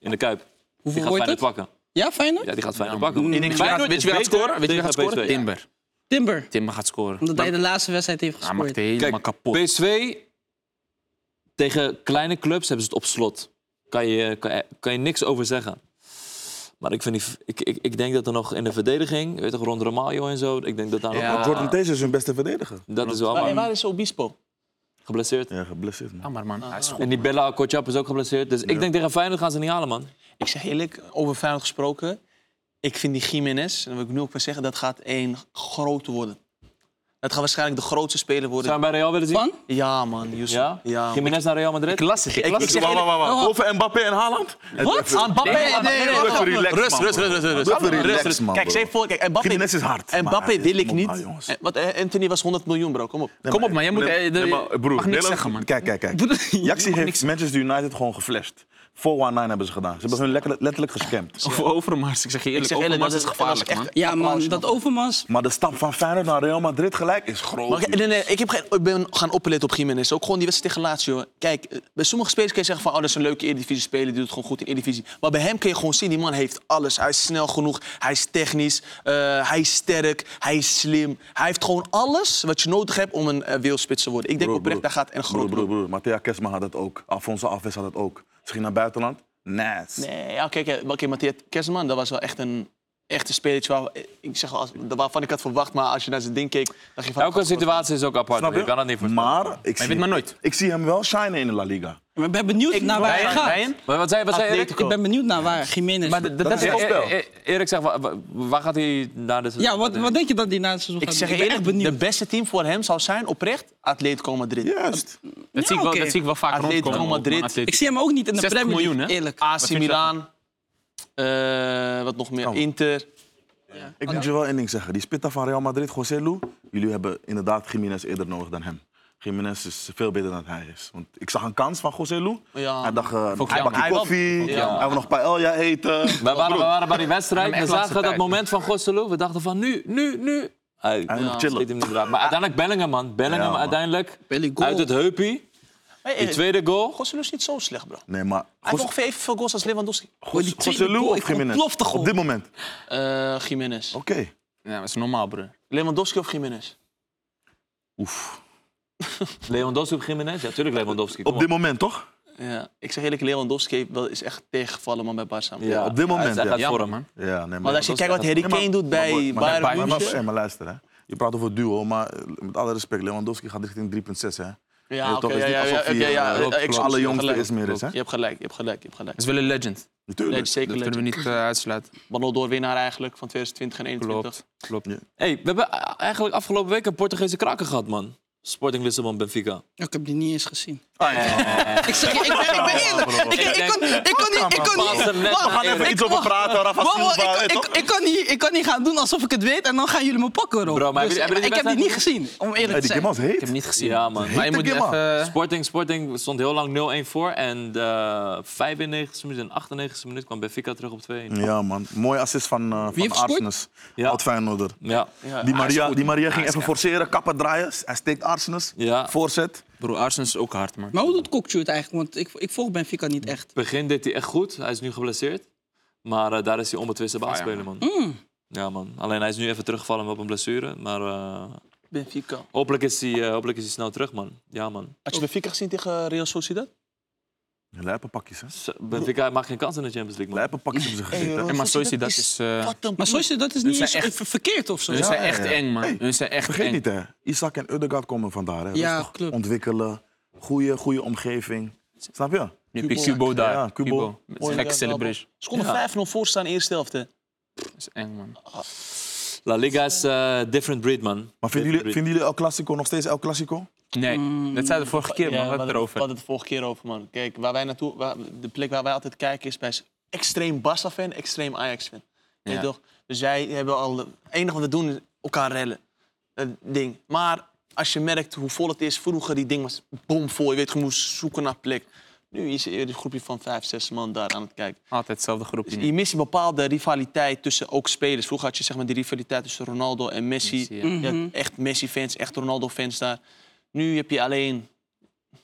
Speaker 1: In de Kuip. Die
Speaker 4: Hoeveel
Speaker 1: gaat
Speaker 4: wordt
Speaker 1: Feyenoord
Speaker 4: het?
Speaker 1: pakken.
Speaker 4: Ja, Feyenoord?
Speaker 1: Ja, die gaat Feyenoord pakken.
Speaker 2: Ik denk, weet je wie
Speaker 1: Feyenoord
Speaker 2: gaat- weet je wie
Speaker 1: is
Speaker 2: gaat scoren?
Speaker 1: beter
Speaker 2: Weet je wie gaat
Speaker 1: tegen
Speaker 2: scoren?
Speaker 1: PSV, ja.
Speaker 2: Timber.
Speaker 4: Timber.
Speaker 2: Timber gaat scoren.
Speaker 4: Omdat hij de laatste wedstrijd heeft
Speaker 2: Hij maakt
Speaker 4: gescoord.
Speaker 2: helemaal
Speaker 1: Kijk,
Speaker 2: kapot.
Speaker 1: PSV, tegen kleine clubs hebben ze het op slot. Kan je, kan, eh, kan je niks over zeggen. Maar ik, vind die, ik, ik, ik denk dat er nog in de verdediging, weet je, toch, rond Romaglio en zo, ik denk dat daar nog...
Speaker 2: Ja.
Speaker 3: Ah. Jordan Teese is hun beste verdediger.
Speaker 1: Dat is wel
Speaker 5: Maar, en
Speaker 1: maar
Speaker 5: waar is Obispo?
Speaker 1: geblesseerd.
Speaker 3: Ja, geblesseerd. man.
Speaker 2: Jammer, man. Hij is goed.
Speaker 1: En die Bella Kotjap is ook geblesseerd. Dus ik denk tegen Feyenoord gaan ze niet halen, man.
Speaker 5: Ik zeg eerlijk, over Feyenoord gesproken. Ik vind die Jiménez, en dat wil ik nu ook maar zeggen, dat gaat één grote worden. Dat gaat waarschijnlijk de grootste speler worden.
Speaker 1: Zou je hem bij Real willen zien?
Speaker 4: Van?
Speaker 5: Ja, man, Yusuf.
Speaker 1: Ja?
Speaker 5: ja man.
Speaker 1: Jiménez naar Real Madrid?
Speaker 2: Klassiek. Ik,
Speaker 5: ik zeg
Speaker 3: Wacht,
Speaker 5: eerlijk- Oh.
Speaker 3: wacht, wacht, wacht. Over Mbappé en Haaland?
Speaker 5: Wat? Aan Mbappé? Nee, nee, nee,
Speaker 3: Even
Speaker 5: wacht.
Speaker 3: relaxed, man,
Speaker 5: Rust, rust,
Speaker 3: bro.
Speaker 5: rust, rust, rust.
Speaker 3: Even
Speaker 5: Rust,
Speaker 3: relaxed,
Speaker 5: rust.
Speaker 3: man,
Speaker 5: Kijk,
Speaker 3: bro.
Speaker 5: zeg voor, kijk, Mbappé,
Speaker 3: Jiménez is hard, maar
Speaker 5: Mbappé
Speaker 3: hij
Speaker 5: wil
Speaker 3: is-
Speaker 5: ik
Speaker 3: kom
Speaker 5: niet.
Speaker 3: maar, jongens.
Speaker 5: Eh, Want eh, Anthony was 100 miljoen, bro. Kom op.
Speaker 2: Kom op, maar jij moet... eh, de-
Speaker 3: Nee, maar, broer,
Speaker 2: mag niks
Speaker 3: Nederland-
Speaker 2: zeggen, man.
Speaker 3: Kijk, kijk, kijk. Jaxi heeft Manchester United gewoon geflasht. 419 hebben ze gedaan. Ze hebben hun lekker- letterlijk gescampt.
Speaker 2: Over Overmars, ik zeg je
Speaker 5: Ik
Speaker 2: eerlijk,
Speaker 5: zeg eerlijk,
Speaker 2: Overmars
Speaker 5: dat
Speaker 2: is
Speaker 5: is-
Speaker 2: gevaarlijk,
Speaker 5: dat is
Speaker 2: man.
Speaker 5: echt-
Speaker 4: Ja, man.
Speaker 5: Applausje
Speaker 4: Dat
Speaker 5: nog.
Speaker 4: Overmans.
Speaker 3: Maar de stap van Feyenoord naar Real Madrid gelijk is
Speaker 5: Maar
Speaker 3: groot.
Speaker 5: ik- nee, nee, ik, heb geen, ik ben gaan opletten op Jiménez. Ook gewoon die wedstrijd tegen Lazio. Kijk, eh, bij sommige spelers kun je zeggen van... oh, dat is een leuke Eredivisie speler, die doet het gewoon goed in Eredivisie. Maar bij hem kun je gewoon zien, die man heeft alles. Hij is snel genoeg, hij is technisch, eh, hij is sterk, hij is slim. Hij heeft gewoon alles wat je nodig hebt om een eh, wereldspits te worden. Ik denk
Speaker 3: Broer,
Speaker 5: oprecht,
Speaker 3: broer.
Speaker 5: daar gaat een groot
Speaker 3: Broer, broer, broer. Matthea Kesma had dat ook. Alfonso Alves had dat ook. Ze ging naar buitenland. Nice.
Speaker 5: Nee, ja, kijk, eh, oké, Matthias Kerstman, dat was wel echt een echte spelertje waar, ik zeg wel, als- waarvan ik had verwacht. Maar als je naar zijn ding keek, dacht je van... "Oh,
Speaker 1: Elke situatie is ook apart.
Speaker 3: Snap
Speaker 1: Je kan dat niet voorspellen.
Speaker 3: Maar ik
Speaker 2: Maar je
Speaker 3: zie,
Speaker 2: weet maar nooit.
Speaker 3: ik zie hem wel shinen in de La Liga.
Speaker 4: Ik ben benieuwd naar waar hij
Speaker 2: Ryan,
Speaker 4: gaat.
Speaker 2: Ryan?
Speaker 1: Maar wat zei, wat zei Erik?
Speaker 5: Atletico.
Speaker 4: Ik ben benieuwd naar waar Jiménez
Speaker 1: Maar
Speaker 4: gaat.
Speaker 1: dat, dat,
Speaker 3: is
Speaker 1: is-
Speaker 3: het spel.
Speaker 1: E- E- Erik zegt, wa- wa- waar gaat hij naar dit
Speaker 4: Ja, wat, wat denk je dat hij na het seizoen
Speaker 5: Ik
Speaker 4: gaat
Speaker 5: zeg
Speaker 4: doen?
Speaker 5: je
Speaker 4: ben
Speaker 5: eerlijk,
Speaker 4: echt
Speaker 5: de
Speaker 4: benieuwd.
Speaker 5: beste team voor hem zou zijn, oprecht, Atletico Madrid.
Speaker 3: Juist.
Speaker 2: Dat,
Speaker 4: Ja,
Speaker 2: zie ik wel,
Speaker 4: oké.
Speaker 2: dat zie ik wel vaak
Speaker 5: Atletico
Speaker 2: rondkomen. ook, man.
Speaker 5: Madrid.
Speaker 2: Atletico.
Speaker 4: Ik zie hem ook niet in de
Speaker 2: 60
Speaker 4: Premier Leac,
Speaker 2: miljoen, hè?
Speaker 4: eerlijk.
Speaker 5: AC Milan, eh, wat nog meer,
Speaker 3: Oh.
Speaker 5: Inter.
Speaker 3: Ik moet je wel één ding zeggen. Die spitta van Real Madrid, José Lu, jullie hebben inderdaad Jiménez eerder nodig dan hem. Jiménez is veel beter dan hij is. Want ik zag een kans van José Lu.
Speaker 5: Ja.
Speaker 3: Hij dacht, eh,
Speaker 2: Vond ik
Speaker 3: hij
Speaker 2: jammer.
Speaker 3: pakt
Speaker 5: Hij
Speaker 3: die
Speaker 5: wel-
Speaker 3: koffie.
Speaker 5: Ja.
Speaker 3: Hij wil nog paella eten.
Speaker 1: We waren, we waren bij die wedstrijd.
Speaker 2: Maar
Speaker 1: We
Speaker 2: echt
Speaker 1: zagen
Speaker 2: laatste
Speaker 1: dat
Speaker 2: tijd.
Speaker 1: moment van Gosselo. We dachten van nu, nu, nu. Hij
Speaker 3: Hij wil nog
Speaker 1: schiet hem
Speaker 3: chillen.
Speaker 1: niet raak. Maar uiteindelijk Bellingham, man. Bellingham
Speaker 3: Ja, man.
Speaker 1: uiteindelijk
Speaker 4: Belly goal.
Speaker 1: uit het heupie.
Speaker 5: Hey,
Speaker 1: Die
Speaker 5: eh,
Speaker 1: tweede goal.
Speaker 5: Gosselu is niet zo slecht, bro. Hij
Speaker 3: Nee, maar
Speaker 5: heeft ongeveer evenveel goals als Lewandowski.
Speaker 4: Goh, die tweede
Speaker 3: José Lu
Speaker 4: goal,
Speaker 3: of
Speaker 4: ik
Speaker 3: Jiménez?
Speaker 4: ontplofte gewoon.
Speaker 3: Op dit moment.
Speaker 5: Eh Jiménez.
Speaker 3: Oké.
Speaker 2: Ja, maar dat is normaal, bro.
Speaker 5: Lewandowski of Jiménez?
Speaker 3: Oef.
Speaker 1: Lewandowski op Jiménez. Ja, tuurlijk Lewandowski. Kom
Speaker 3: Op dit moment, toch?
Speaker 5: Ja. Ik zeg eerlijk, Lewandowski heeft wel- is echt tegengevallen man, bij Barca.
Speaker 1: Ja,
Speaker 3: op dit moment,
Speaker 1: Hij is echt
Speaker 3: ja.
Speaker 1: uit
Speaker 2: Ja,
Speaker 1: vorm.
Speaker 2: man.
Speaker 3: Ja, nee,
Speaker 5: Want als je kijkt wat Harry
Speaker 3: Nee, maar-
Speaker 5: Kane doet
Speaker 3: maar-
Speaker 5: bij
Speaker 3: maar-
Speaker 5: Bayern
Speaker 2: Bayern
Speaker 3: Maar,
Speaker 5: München.
Speaker 3: hey, maar luister, hè. je praat over duo, maar eh, met alle respect, Lewandowski gaat richting 3,6. hè.
Speaker 5: Ja,
Speaker 3: Ja,
Speaker 5: oké,
Speaker 3: toch,
Speaker 5: ja,
Speaker 3: het is
Speaker 5: ja,
Speaker 3: niet
Speaker 5: ja,
Speaker 3: alsof
Speaker 5: ja,
Speaker 3: hij,
Speaker 5: ja,
Speaker 3: eh,
Speaker 5: ja, ja,
Speaker 3: de
Speaker 5: ik-
Speaker 3: allerjongste
Speaker 5: gelijk.
Speaker 3: is meer is, hè?
Speaker 5: Je hebt gelijk, je hebt gelijk, je hebt gelijk.
Speaker 2: Dat is wel een legend.
Speaker 3: Natuurlijk.
Speaker 5: Nee, zeker
Speaker 2: Dat kunnen
Speaker 5: weten.
Speaker 2: we niet eh, uitsluiten.
Speaker 5: Ballon-door-winnaar eigenlijk van 2020 en 2021.
Speaker 2: Klopt. klopt.
Speaker 1: hey, we hebben eh, eigenlijk afgelopen week een Portugese kraker gehad, man. Sporting Lissabon, Benfica.
Speaker 4: Ik heb die niet eens gezien.
Speaker 3: Ah, ja, ja, ja.
Speaker 4: Ik zeg je, ik ben, ik ben eerlijk. Ik, ik, kon, ik kon niet... Ik kon
Speaker 1: Pas
Speaker 4: niet
Speaker 1: er net
Speaker 4: Wacht,
Speaker 1: naar
Speaker 3: We gaan even
Speaker 1: Erik.
Speaker 3: iets over praten, Rafa
Speaker 4: wacht, wacht,
Speaker 3: Silva.
Speaker 4: ik,
Speaker 3: eh,
Speaker 4: ik,
Speaker 3: toch?
Speaker 4: ik, kan niet, ik kan niet gaan doen alsof ik het weet en dan gaan jullie me pakken, Rob. Dus
Speaker 1: Bro, maar heb je- heb je die
Speaker 4: ik heb die niet
Speaker 1: wedstrijd
Speaker 4: gezien, om
Speaker 3: Eh,
Speaker 4: eerlijk te
Speaker 3: Die
Speaker 4: zijn.
Speaker 3: Kim was heet.
Speaker 2: Ik heb hem niet gezien.
Speaker 1: Ja, man.
Speaker 2: Maar je
Speaker 3: Heet
Speaker 2: moet
Speaker 3: de Gimma.
Speaker 2: even...
Speaker 1: Sporting, Sporting stond heel lang 0-1 voor. En de 95e minuut en 98e minuut kwam Benfica terug op 2-1.
Speaker 3: Ja, man. Mooie assist van, eh
Speaker 4: heeft
Speaker 3: van
Speaker 4: gescoord?
Speaker 3: Arsenes.
Speaker 1: Ja.
Speaker 3: Oud Feyenoorder.
Speaker 1: Ja.
Speaker 3: Die Maria, die Maria ging even forceren, kappen draaien. Hij steekt Arsenes.
Speaker 1: Ja.
Speaker 3: Voorzet.
Speaker 2: Bro, Arsenal is ook hard, man.
Speaker 4: Maar hoe doet Kokchu het eigenlijk? Want ik, ik volg Benfica niet echt.
Speaker 1: Begin deed hij echt goed. Hij is nu geblesseerd. Maar eh, daar is hij onbetwiste baasspeler, man.
Speaker 4: Hmm.
Speaker 1: Ja, man. Alleen hij is nu even teruggevallen op een blessure. Maar eh,
Speaker 5: Benfica.
Speaker 1: hopelijk, is hij, eh, hopelijk is hij snel terug, man. Ja, man.
Speaker 5: Had je Benfica gezien tegen Real Sociedad?
Speaker 3: Lijpe pakjes, hè?
Speaker 1: S- Benfica maakt geen kans in de Champions League, man.
Speaker 3: Lijpe pakjes hebben ze gezeten.
Speaker 5: joh.
Speaker 3: hè?
Speaker 2: En maar Soisi, dat is... eh,
Speaker 5: Wat een
Speaker 4: Maar zoals je dat is niet
Speaker 2: zijn
Speaker 4: eens ver- verkeerd of zo.
Speaker 2: Hun
Speaker 4: Ja,
Speaker 2: zijn echt
Speaker 3: ja.
Speaker 2: eng, man.
Speaker 3: Hey,
Speaker 2: Hun zijn echt
Speaker 3: Vergeet
Speaker 2: eng.
Speaker 3: niet, hè. Isaac en Udegaard komen vandaar. Hè.
Speaker 4: Ja,
Speaker 3: Rustig
Speaker 4: klopt.
Speaker 3: Ontwikkelen. Goede, goede omgeving. Snap je?
Speaker 2: Nu heb je
Speaker 5: Kubo.
Speaker 2: Cubo daar.
Speaker 3: Ja, Kubo.
Speaker 2: Kubo. Met zijn gekke celebration.
Speaker 5: Ze konden 5-0 voor staan eerste helft. hè.
Speaker 2: Dat is eng, man.
Speaker 1: La Liga is eh different breed, man.
Speaker 3: Maar vinden jullie, vinden jullie El Clasico nog steeds El Clasico?
Speaker 2: Nee, dat zei de vorige keer, man.
Speaker 5: Ja,
Speaker 2: We hadden het
Speaker 5: we
Speaker 2: erover.
Speaker 5: hadden het de vorige keer over, man. Kijk, waar wij naartoe, waar- de plek waar wij altijd kijken is bij s- extreem Barca-fan, extreem Ajax-fan. Weet je
Speaker 2: Ja.
Speaker 5: toch? Dus wij hebben al... Het enige wat we doen is elkaar rellen. Dat ding. Maar als je merkt hoe vol het is... Vroeger die ding was bomvol. Je weet, je moest zoeken naar plek. Nu is er een groepje van vijf, zes man daar aan het kijken.
Speaker 2: Altijd hetzelfde groepje.
Speaker 5: Dus je mist een bepaalde rivaliteit tussen ook spelers. Vroeger had je zeg maar, die rivaliteit tussen Ronaldo en Messi.
Speaker 2: Messi, ja.
Speaker 5: Je had echt Messi-fans, echt Ronaldo-fans daar. Nu heb je alleen,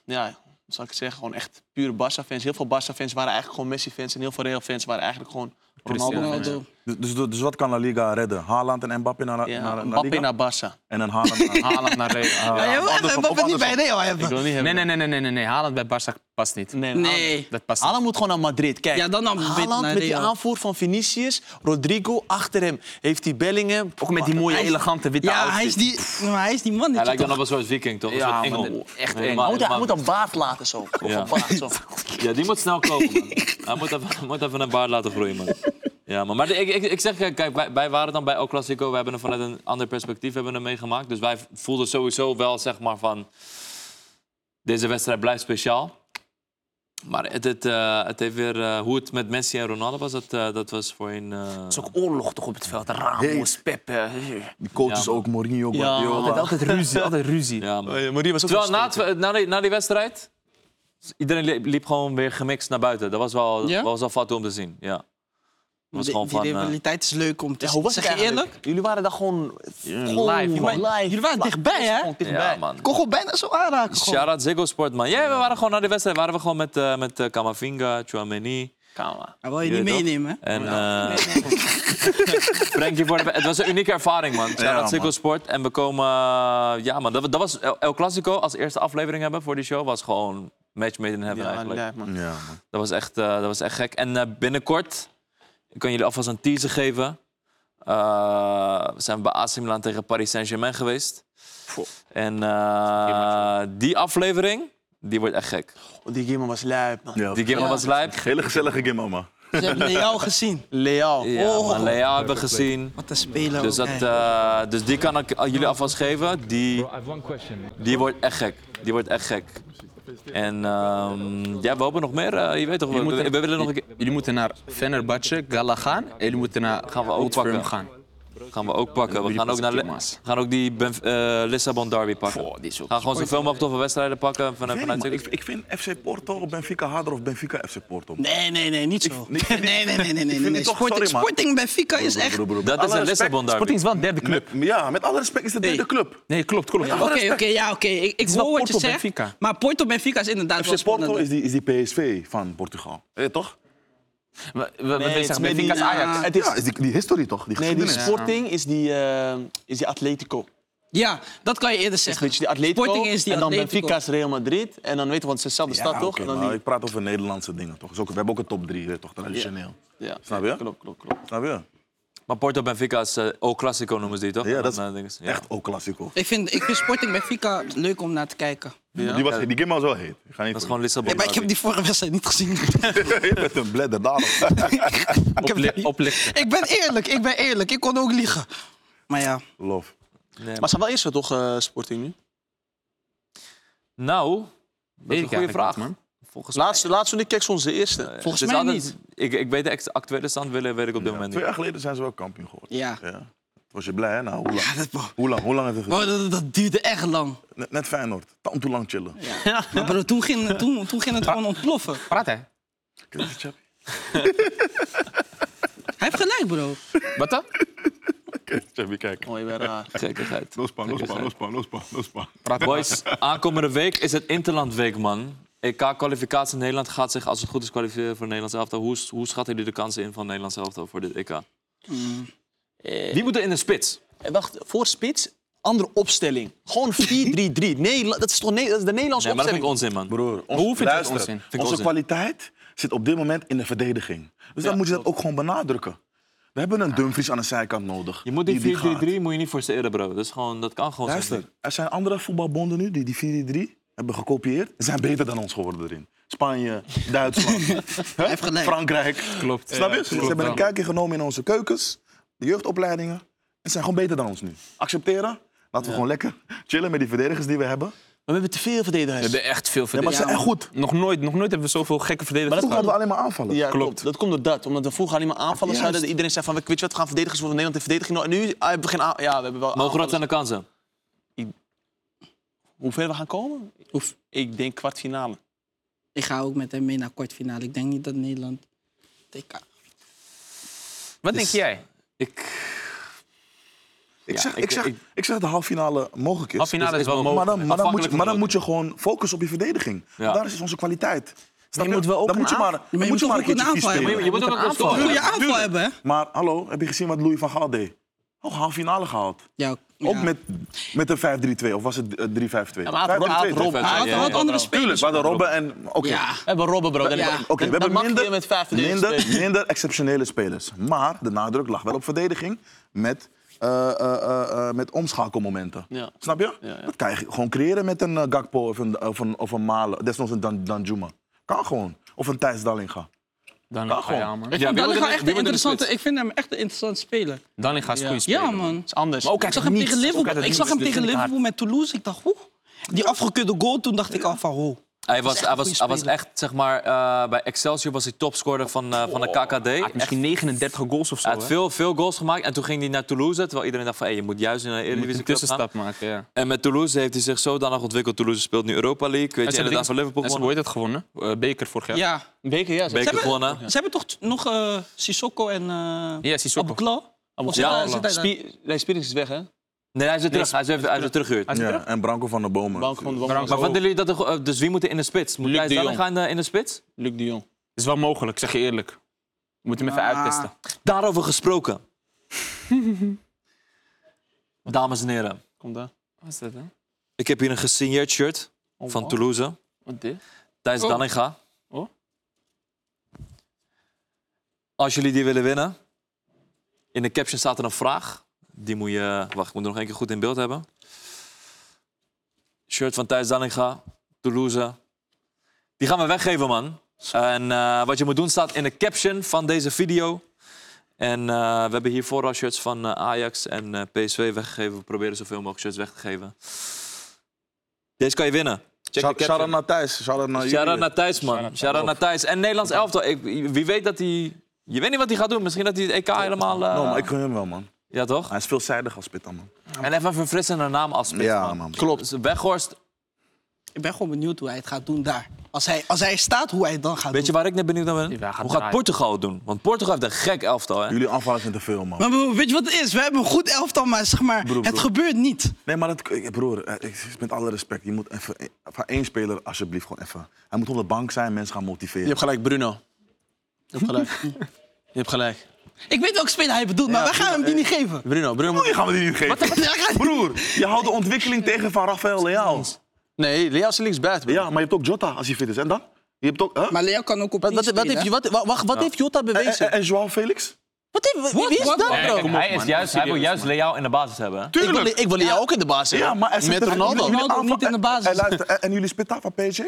Speaker 5: ja, hoe zal ik het zeggen, gewoon echt pure Barca-fans. Heel veel Barca-fans waren eigenlijk gewoon Messi-fans. En heel veel Real-fans waren eigenlijk gewoon Ronaldo-fans.
Speaker 4: Ronaldo.
Speaker 3: Dus, dus, dus wat kan La Liga redden? Haaland en Mbappé naar,
Speaker 5: Ja,
Speaker 3: naar, naar
Speaker 5: Mbappé
Speaker 3: Liga?
Speaker 5: naar Barca.
Speaker 3: En dan Haaland naar...
Speaker 2: Haaland naar Real.
Speaker 4: Ja,
Speaker 3: Ja,
Speaker 4: je wil echt
Speaker 3: andersom, of
Speaker 4: Mbappé niet bij
Speaker 3: andersom.
Speaker 4: Real
Speaker 5: Ik
Speaker 4: hebben.
Speaker 5: wil niet
Speaker 2: Nee,
Speaker 5: hebben.
Speaker 2: nee, nee, nee, nee, nee, nee. Haaland bij Barca past niet.
Speaker 5: nee.
Speaker 4: Nee.
Speaker 2: Dat past niet.
Speaker 5: Haaland moet gewoon naar Madrid. Kijk,
Speaker 4: Ja, dan naar-
Speaker 5: Haaland
Speaker 4: naar
Speaker 5: met die
Speaker 4: Real.
Speaker 5: aanvoer van Vinicius, Rodrigo achter hem. Heeft die Bellingham.
Speaker 2: Ook met die mooie, elegante witte
Speaker 4: Ja,
Speaker 2: outfit.
Speaker 4: hij is die, maar hij is die man.
Speaker 1: Hij
Speaker 4: Niet,
Speaker 1: lijkt dan op een soort viking, toch? Een
Speaker 2: Ja,
Speaker 1: soort
Speaker 2: man,
Speaker 1: engel.
Speaker 2: echt
Speaker 1: Nee,
Speaker 2: eng.
Speaker 1: maar-
Speaker 5: Hij moet, hij
Speaker 1: maar-
Speaker 5: moet een baard laten zo. Of
Speaker 1: Ja.
Speaker 5: een baard zo.
Speaker 1: Ja, die moet snel komen, man. Hij moet even, moet even een baard laten groeien, man. Ja, man. maar de- ik, ik, ik zeg, kijk, kijk, wij, wij waren dan bij El Clasico. We hebben hem vanuit een ander perspectief hebben we hem meegemaakt. Dus wij voelden sowieso wel, zeg maar, van... Deze wedstrijd blijft speciaal. Maar het, het, eh, het heeft weer, eh, hoe het met Messi en Ronaldo was, dat, eh, dat was voor een... eh,
Speaker 2: Het is ook oorlog toch op het veld. Ramos, Pepe.
Speaker 3: Die coaches
Speaker 1: Ja, man.
Speaker 3: ook, Mourinho,
Speaker 2: Altijd,
Speaker 3: Guardiola.
Speaker 2: altijd ruzie, altijd ruzie.
Speaker 1: ja, man.
Speaker 5: Marie was ook
Speaker 1: Terwijl na, het- na, die, na die wedstrijd, iedereen liep, liep gewoon weer gemixt naar buiten. Dat was wel,
Speaker 4: Ja?
Speaker 1: was wel fat om te zien, ja. Dat was gewoon
Speaker 4: die
Speaker 1: van... eh,
Speaker 4: rivaliteit is leuk om te
Speaker 5: Ja, hoe was het
Speaker 4: Zeg je
Speaker 5: eigenlijk?
Speaker 4: eerlijk?
Speaker 5: Jullie waren daar gewoon
Speaker 2: live, man.
Speaker 4: Jullie waren dichtbij, hè?
Speaker 5: Gewoon dichtbij.
Speaker 1: ja, man.
Speaker 4: Ik kon gewoon bijna zo aanraken. gewoon.
Speaker 1: Shout out Ziggo Sport, man. Ja, we waren gewoon naar de wedstrijd. Waren we gewoon met, eh met eh, Kamavinga, Chouameni.
Speaker 5: Kamer.
Speaker 4: Hij wil je niet
Speaker 1: Jullie toch?
Speaker 4: meenemen, hè?
Speaker 1: En eh Frankie voor de... Het was een unieke ervaring, man. Shout
Speaker 3: Ja,
Speaker 1: out Ziggo
Speaker 3: man.
Speaker 1: Sport. En we komen... eh, ja, man. Dat, dat was El, El Clasico als eerste aflevering hebben voor die show. Was gewoon match made in heaven,
Speaker 5: Ja,
Speaker 1: eigenlijk.
Speaker 5: live, man.
Speaker 3: Ja, man.
Speaker 1: Dat was echt, eh, dat was echt gek. En eh, binnenkort, ik kan jullie alvast een teaser geven. Eh, we zijn bij AC Milan tegen Paris Saint-Germain geweest. En eh, die aflevering, die wordt echt gek.
Speaker 5: Oh, die game was lijp, man.
Speaker 3: Ja.
Speaker 1: Die game was lijp.
Speaker 3: Hele gezellige game, man.
Speaker 4: Ze hebben jou gezien.
Speaker 5: Leao.
Speaker 1: Ja, maar Lea hebben we gezien.
Speaker 4: Wat een speler.
Speaker 1: Dus, dat,
Speaker 4: ook, hè.
Speaker 1: eh, dus die kan ik aan jullie alvast geven. Die, die wordt echt gek. Die wordt echt gek. En ehm, ja, we hopen nog meer. Eh, je weet toch, we,
Speaker 2: moet
Speaker 1: we-
Speaker 2: er-
Speaker 1: we willen nog een keer...
Speaker 2: Jullie moeten naar Fenerbahce, Gala gaan. En jullie moeten naar
Speaker 1: Gaan we ook
Speaker 2: Old Firm
Speaker 1: pakken.
Speaker 2: gaan.
Speaker 1: Gaan we ook pakken. We
Speaker 2: Jullie
Speaker 1: gaan ook, naar,
Speaker 2: pakken
Speaker 1: Le-
Speaker 2: Kima's.
Speaker 1: gaan ook die Benf- eh, Lissabon derby pakken.
Speaker 2: Oh, die is ook...
Speaker 1: Gaan gewoon zoveel mogelijk toffe wedstrijden pakken. Van,
Speaker 3: Nee,
Speaker 1: vanuit
Speaker 3: man. Ik, ik vind FC Porto Benfica harder of Benfica FC Porto. man.
Speaker 4: Nee, nee, nee, niet zo.
Speaker 3: Ik-
Speaker 4: Nee, nee, nee, nee, nee. nee, nee.
Speaker 3: het toch-
Speaker 4: Sporting,
Speaker 3: sorry, man.
Speaker 4: Sporting Benfica is echt...
Speaker 3: Broer,
Speaker 4: Oké,
Speaker 3: broer, broer.
Speaker 1: dat is
Speaker 3: Alle
Speaker 1: een
Speaker 3: respect-
Speaker 1: Lissabon derby.
Speaker 2: Sporting is wel een derde club.
Speaker 3: Met- ja, met alle respect is het
Speaker 4: Hey.
Speaker 3: de club.
Speaker 2: Nee, klopt, klopt.
Speaker 3: Ja.
Speaker 4: oké, ja, oké. Ik, ik
Speaker 2: is
Speaker 4: hoor
Speaker 2: wel
Speaker 4: wat je
Speaker 2: Porto
Speaker 4: zegt.
Speaker 2: Benfica.
Speaker 4: Maar Porto Benfica is inderdaad wel
Speaker 3: FC Porto
Speaker 4: spannender.
Speaker 3: is die, is die PSV van Portugal. Eh, toch?
Speaker 2: We, we, we
Speaker 5: Nee, het is
Speaker 2: zeggen
Speaker 5: meer die-
Speaker 2: Benfica's Ajax.
Speaker 5: Het
Speaker 3: Ja,
Speaker 5: is,
Speaker 3: is die, die historie toch? Die
Speaker 5: nee, die
Speaker 3: geschiedenis.
Speaker 5: Sporting is die, eh, is die Atletico. Het is
Speaker 4: Ja, dat kan je eerder
Speaker 5: een
Speaker 4: zeggen.
Speaker 5: beetje die Atletico.
Speaker 4: Sporting is die
Speaker 5: en dan
Speaker 4: Atletico.
Speaker 5: Benfica is Real Madrid. En dan weet je, want het is dezelfde
Speaker 3: Ja,
Speaker 5: stad, toch?
Speaker 3: oké,
Speaker 5: En dan
Speaker 3: maar
Speaker 5: die-
Speaker 3: Ik praat over Nederlandse dingen toch? Is ook- we hebben ook een top drie, eh, toch? Traditioneel.
Speaker 5: ja.
Speaker 3: Snap je?
Speaker 5: Klopt, klopt, klopt.
Speaker 3: Snap je?
Speaker 1: Maar Porto Benfica is eh, O Clasico noemen ze die, toch?
Speaker 3: Ja, dat is
Speaker 1: En dan, eh, dingen ze- ja.
Speaker 3: Echt ook klassico.
Speaker 4: Ik vind, ik vind Sporting Benfica leuk om naar te kijken.
Speaker 3: Die, was, die game was wel heet. Ik ga niet
Speaker 1: Dat is
Speaker 3: voor-
Speaker 1: gewoon Lissabon.
Speaker 4: Ja, maar ik heb die vorige wedstrijd niet gezien.
Speaker 3: Je bent een bledder daarom.
Speaker 4: ik, heb die-
Speaker 2: Oplichten.
Speaker 4: ik ben eerlijk, ik ben eerlijk. Ik kon ook liegen. Maar ja,
Speaker 3: Love.
Speaker 1: Nee,
Speaker 5: Maar ze zijn wel eerst toch, eh, Sporting nu?
Speaker 1: Nou, dat is een goede vraag.
Speaker 2: man.
Speaker 1: Volgens
Speaker 5: Laatste, laatste toen ik keek, soms de eerste.
Speaker 1: mij, eh,
Speaker 4: volgens
Speaker 1: het is
Speaker 4: mij
Speaker 1: altijd-
Speaker 4: niet.
Speaker 1: Ik, ik weet de ex- actuele stand willen, weet ik op dit moment
Speaker 3: Twee
Speaker 1: niet.
Speaker 3: jaar geleden zijn ze wel kampioen geworden.
Speaker 4: ja.
Speaker 3: Ja. eh, Was je blij, hè? Nou, hoe
Speaker 4: ja
Speaker 3: lang?
Speaker 4: dat, wow,
Speaker 3: Hoe lang, hoe lang heeft het geduurd?
Speaker 4: dat, dat duurde echt lang.
Speaker 3: Net, net Feyenoord. Tam toe lang chillen.
Speaker 4: Maar bro, toen ging, toen, toen ging het gewoon ontploffen.
Speaker 2: Praat hè?
Speaker 3: Kijk, die chap.
Speaker 4: Hij heeft gelijk, bro.
Speaker 2: Wat dan?
Speaker 3: Kijk, die chap, hier, kijk.
Speaker 5: Oh, je bent raar.
Speaker 1: Gekkigheid.
Speaker 3: Lospan, lospan, lospan, lospan, lospan.
Speaker 2: Praat
Speaker 1: Boys, aankomende week is het Interlandweek, man. E EK-kwalificatie Nederland gaat zich, als het goed is, kwalificeren voor Nederlands elftal. Hoe, hoe schatten jullie de kansen in van Nederlands elftal voor dit EK?
Speaker 5: Eh,
Speaker 1: Die moeten in de spits.
Speaker 5: eh, wacht, voor spits, andere opstelling. Gewoon 4-3-3. Nee, dat is toch nee, dat is de Nederlandse
Speaker 1: Nee, maar dat vind ik
Speaker 5: opstelling?
Speaker 1: onzin, man.
Speaker 3: Broer,
Speaker 2: hoe vind je dat
Speaker 3: luister,
Speaker 2: onzin?
Speaker 1: ik
Speaker 3: onze
Speaker 1: onzin.
Speaker 3: kwaliteit zit op dit moment in de verdediging. Dus dan moet je dat ook gewoon benadrukken. We hebben een Dumfries aan de zijkant nodig.
Speaker 1: Je moet die 4-3-3
Speaker 3: die gaat.
Speaker 1: moet je niet forceren, bro. Dat, is gewoon, dat kan gewoon
Speaker 3: Luister,
Speaker 1: zijn.
Speaker 3: er zijn andere voetbalbonden nu die die 4-3 hebben gekopieerd. Ze zijn beter dan ons geworden erin. Spanje, Duitsland, hè?
Speaker 4: heeft gelijk.
Speaker 3: Frankrijk.
Speaker 2: Klopt.
Speaker 3: Snap je? Ze hebben een
Speaker 2: wel.
Speaker 3: kijkje genomen in onze keukens, de jeugdopleidingen. En ze zijn gewoon beter dan ons nu. Accepteren. Laten we gewoon lekker chillen met die verdedigers die we hebben.
Speaker 5: Maar we hebben te veel verdedigers.
Speaker 2: We hebben echt veel
Speaker 3: Ja, maar ze
Speaker 2: verdedigers.
Speaker 3: zijn echt goed.
Speaker 2: Nog nooit, nog nooit hebben we zoveel gekke verdedigers
Speaker 3: Toen hadden we
Speaker 2: gehad.
Speaker 3: alleen maar aanvallen.
Speaker 5: Ja,
Speaker 2: Klopt.
Speaker 5: klopt. Dat komt door dat. Omdat we vroeger alleen maar aanvallers
Speaker 3: Juist.
Speaker 5: hadden. dat Iedereen zei van, weet je wat, we gaan verdedigers worden. Nederland heeft verdediging nodig. En nu ah, hebben we geen aan- Ja, we hebben wel
Speaker 1: Mogen dat
Speaker 5: aanvallers.
Speaker 1: aan de kansen?
Speaker 5: Hoe ver we gaan komen?
Speaker 4: Oef.
Speaker 5: Ik denk kwartfinale.
Speaker 4: Ik ga ook met hem mee naar kwartfinale. Ik denk niet dat Nederland... TK.
Speaker 2: Wat denk jij?
Speaker 1: Ik,
Speaker 3: Ik,
Speaker 1: Ja,
Speaker 3: zeg,
Speaker 1: ik-
Speaker 3: ik, zeg,
Speaker 1: ik-
Speaker 3: ik, zeg dat de halve finale mogelijk is. Dus
Speaker 2: Halffinale is
Speaker 1: is
Speaker 2: wel
Speaker 1: wel
Speaker 2: mogelijk.
Speaker 3: maar dan, maar dan, moet,
Speaker 1: afhankelijk
Speaker 3: je,
Speaker 1: van
Speaker 3: maar dan
Speaker 1: de
Speaker 3: moet je gewoon focussen op je verdediging.
Speaker 1: Ja.
Speaker 3: Daar is dus onze kwaliteit. Snap
Speaker 2: moet wel ook
Speaker 3: dan
Speaker 2: een
Speaker 3: moet je maar,
Speaker 2: aanval-
Speaker 4: je
Speaker 3: dan moet
Speaker 4: moet
Speaker 3: je maar een
Speaker 4: toch ook
Speaker 3: keertje
Speaker 4: een
Speaker 3: vies
Speaker 1: Nee,
Speaker 4: aanval
Speaker 3: spelen.
Speaker 1: maar je moet ook een
Speaker 4: Wil
Speaker 1: scoren.
Speaker 4: je aanval hebben, hè?
Speaker 3: Maar hallo, heb je gezien wat Louis van Gaal deed? Ook halve finale gehaald.
Speaker 4: Ja,
Speaker 3: Ook
Speaker 4: ja.
Speaker 3: met, met een 5-3-2, of was het eh, 3-5-2?
Speaker 5: Ja, maar hij had-
Speaker 3: 5-3-2,
Speaker 5: hij had
Speaker 3: toch?
Speaker 5: Robben.
Speaker 1: Ja,
Speaker 4: Hij had,
Speaker 1: ja,
Speaker 4: had
Speaker 1: ja,
Speaker 4: andere
Speaker 1: ja.
Speaker 4: spelers.
Speaker 3: Waar de Robben en... Oké,
Speaker 4: Ja.
Speaker 5: We hebben Robben, bro. Dan,
Speaker 4: Ja.
Speaker 5: dan-
Speaker 3: Oké, we
Speaker 5: dan
Speaker 3: hebben
Speaker 5: mag je
Speaker 3: minder,
Speaker 5: met vijf verdedigers
Speaker 3: minder,
Speaker 5: spelen.
Speaker 3: minder exceptionele spelers. Maar de nadruk lag wel op verdediging met, eh, eh, eh, eh, met omschakelmomenten.
Speaker 5: Ja.
Speaker 3: Snap je?
Speaker 5: Ja, ja.
Speaker 3: Dat kan je gewoon creëren met een eh, Gakpo of een, of een, of een Malen. Desnoods een Dan- Danjuma. Kan gewoon. Of een Thijs Dallinga.
Speaker 2: Dan ga ja, man.
Speaker 4: Ik vind
Speaker 1: wie
Speaker 4: Dallinga
Speaker 1: moet er-
Speaker 4: echt
Speaker 1: wie moet er in
Speaker 4: een
Speaker 1: de
Speaker 4: interessante,
Speaker 1: spits?
Speaker 4: ik vind hem echt een interessante speler.
Speaker 2: Dan ga je goede spelen.
Speaker 4: Ja, man.
Speaker 5: is anders.
Speaker 2: Maar ook
Speaker 4: Ik
Speaker 2: uit
Speaker 4: zag
Speaker 2: het
Speaker 4: hem
Speaker 2: niets.
Speaker 4: tegen
Speaker 2: Ook uit
Speaker 4: Liverpool,
Speaker 2: het
Speaker 4: ik zag hem
Speaker 2: niets. Dit
Speaker 4: tegen
Speaker 2: vind ik hard.
Speaker 4: Liverpool met Toulouse. Ik dacht, oeh. Die afgekeurde goal, toen dacht ik al van, wow.
Speaker 1: Hij was,
Speaker 4: echt
Speaker 1: hij
Speaker 4: een
Speaker 1: was,
Speaker 4: goede
Speaker 1: hij was
Speaker 4: speler.
Speaker 1: echt, zeg maar, eh, bij Excelsior was hij topscorer van, eh, van de KKD.
Speaker 2: Hij had
Speaker 1: Echt,
Speaker 2: misschien 39 goals of zo.
Speaker 1: hij had
Speaker 2: hè?
Speaker 1: veel, veel goals gemaakt en toen ging hij naar Toulouse. Terwijl iedereen dacht van, hey, je moet juist naar de
Speaker 2: Je moet
Speaker 1: Eredivisie
Speaker 2: een
Speaker 1: club gaan.
Speaker 2: tussenstap maken, ja.
Speaker 1: En met Toulouse heeft hij zich zodanig ontwikkeld. Toulouse speelt nu Europa League. Weet je, inderdaad van Liverpool
Speaker 2: En ze hebben,
Speaker 1: gewonnen.
Speaker 2: hoe heet dat gewonnen? Eh, beker vorig jaar.
Speaker 4: Ja.
Speaker 5: Beker, ja.
Speaker 1: Beker
Speaker 4: hebben-
Speaker 1: gewonnen.
Speaker 4: Ze hebben toch t- nog eh Sissoko en eh
Speaker 2: Ja, Sissoko.
Speaker 4: Abukla? Of zit
Speaker 1: Ja,
Speaker 4: hij- zit hij daar?
Speaker 5: Spie- nee, Spierings is weg, hè?
Speaker 1: Nee, hij is weer terug. Hij is weer, hij is weer teruggehuurd.
Speaker 2: Hij is terug.
Speaker 3: Ja, en Branco van der Bomen.
Speaker 5: Bank van de
Speaker 2: Branco.
Speaker 1: Maar
Speaker 5: Bank.
Speaker 2: Oh.
Speaker 1: vinden jullie dat er, eh, dus wie moet er in de spits? Moet
Speaker 5: Luc
Speaker 1: Thijs
Speaker 5: de Jong.
Speaker 1: Dallinga in de, eh, in de spits?
Speaker 5: Luc de Jong.
Speaker 2: Is wel mogelijk, zeg je eerlijk. We moeten hem even
Speaker 4: Ah.
Speaker 2: uittesten.
Speaker 1: Daarover gesproken. Dames en heren,
Speaker 5: Kom daar.
Speaker 2: Wat is dat dan?
Speaker 1: ik heb hier een gesigneerd shirt
Speaker 5: Oh,
Speaker 1: van
Speaker 5: wow.
Speaker 1: Toulouse.
Speaker 5: Wat dit?
Speaker 1: Thijs
Speaker 4: Oh.
Speaker 1: Dallinga.
Speaker 2: Oh.
Speaker 1: Als jullie die willen winnen, in de caption staat er een vraag. Die moet je... Wacht, ik moet er nog één keer goed in beeld hebben. Shirt van Thijs Dallinga, Toulouse. Die gaan we weggeven, man. En eh, wat je moet doen staat in de caption van deze video. En eh, we hebben hiervoor al shirts van eh, Ajax en eh, PSV weggegeven. We proberen zoveel mogelijk shirts weg te geven. Deze kan je winnen. Check de
Speaker 3: Shout-
Speaker 1: caption.
Speaker 3: Shout-out naar Thijs. Shout-out naar jullie.
Speaker 1: Shout-out naar Thijs, man. Shout-out naar Thijs. En Nederlands elftal. Ik, wie weet dat hij... Je weet niet wat hij gaat doen. Misschien dat hij het EK helemaal... eh,
Speaker 3: No, Oh, maar ik gun hem wel, man.
Speaker 1: Ja, toch?
Speaker 3: Hij is veelzijdig als Pitta, man.
Speaker 1: En even een verfrissende naam als spits,
Speaker 3: Ja,
Speaker 1: man.
Speaker 3: man.
Speaker 1: Klopt. Dus Weghorst.
Speaker 4: Ik ben gewoon benieuwd hoe hij het gaat doen daar. Als hij, als hij staat, hoe hij het dan gaat
Speaker 1: Weet je
Speaker 4: doen.
Speaker 1: waar ik net benieuwd naar ben?
Speaker 2: Die wij gaan
Speaker 1: Hoe gaat
Speaker 2: draaien.
Speaker 1: Portugal het doen? Want Portugal heeft een gek elftal, hè?
Speaker 3: Jullie aanvallen zijn te veel, man.
Speaker 4: Maar broer, weet je wat het is? We hebben een goed elftal, maar, zeg maar
Speaker 3: Broer,
Speaker 4: het
Speaker 3: broer.
Speaker 4: gebeurt niet.
Speaker 3: Nee, maar dat, eh, broer, eh, ik- met alle respect, je moet even, eh, van één speler alsjeblieft gewoon even. Hij moet op de bank zijn, mensen gaan motiveren.
Speaker 5: Je hebt gelijk, Bruno. Je hebt gelijk. Je hebt gelijk.
Speaker 4: Ik weet welke speler hij bedoelt, maar wij gaan hem die niet geven.
Speaker 5: Bruno, Bruno. moet-
Speaker 3: Broer, die gaan we die niet geven.
Speaker 4: Wat- hij gaat-
Speaker 3: Broer, je houdt de ontwikkeling tegen van Rafael Leao.
Speaker 5: Nee, Leo is links buiten.
Speaker 3: Ja, maar je hebt ook Jota als hij fit is. En dan? Je hebt ook, hè?
Speaker 4: Maar Leo kan ook op
Speaker 5: Wat, wat, wat,
Speaker 4: spelen,
Speaker 5: heeft,
Speaker 4: hè?
Speaker 5: wat, wat, wat, wat heeft Jota
Speaker 3: En, en,
Speaker 5: bewezen?
Speaker 3: en Joao Felix?
Speaker 5: Wat is, wie- wie is
Speaker 4: Wat?
Speaker 5: dat,
Speaker 4: Nee,
Speaker 5: bro?
Speaker 2: kom op,
Speaker 1: hij, is
Speaker 2: man.
Speaker 1: juist, hij wil
Speaker 2: Serieus,
Speaker 1: juist Leao in de basis hebben. hè?
Speaker 5: Ik wil,
Speaker 3: Tuurlijk!
Speaker 5: ik wil jou ook in de baas hebben.
Speaker 3: ja, maar hij zit
Speaker 5: Met
Speaker 3: er-
Speaker 5: Ronaldo.
Speaker 3: jullie
Speaker 4: Ronaldo
Speaker 3: aanvallen-
Speaker 4: niet in de basis.
Speaker 3: En, luister, en- en jullie spitten af van PSG?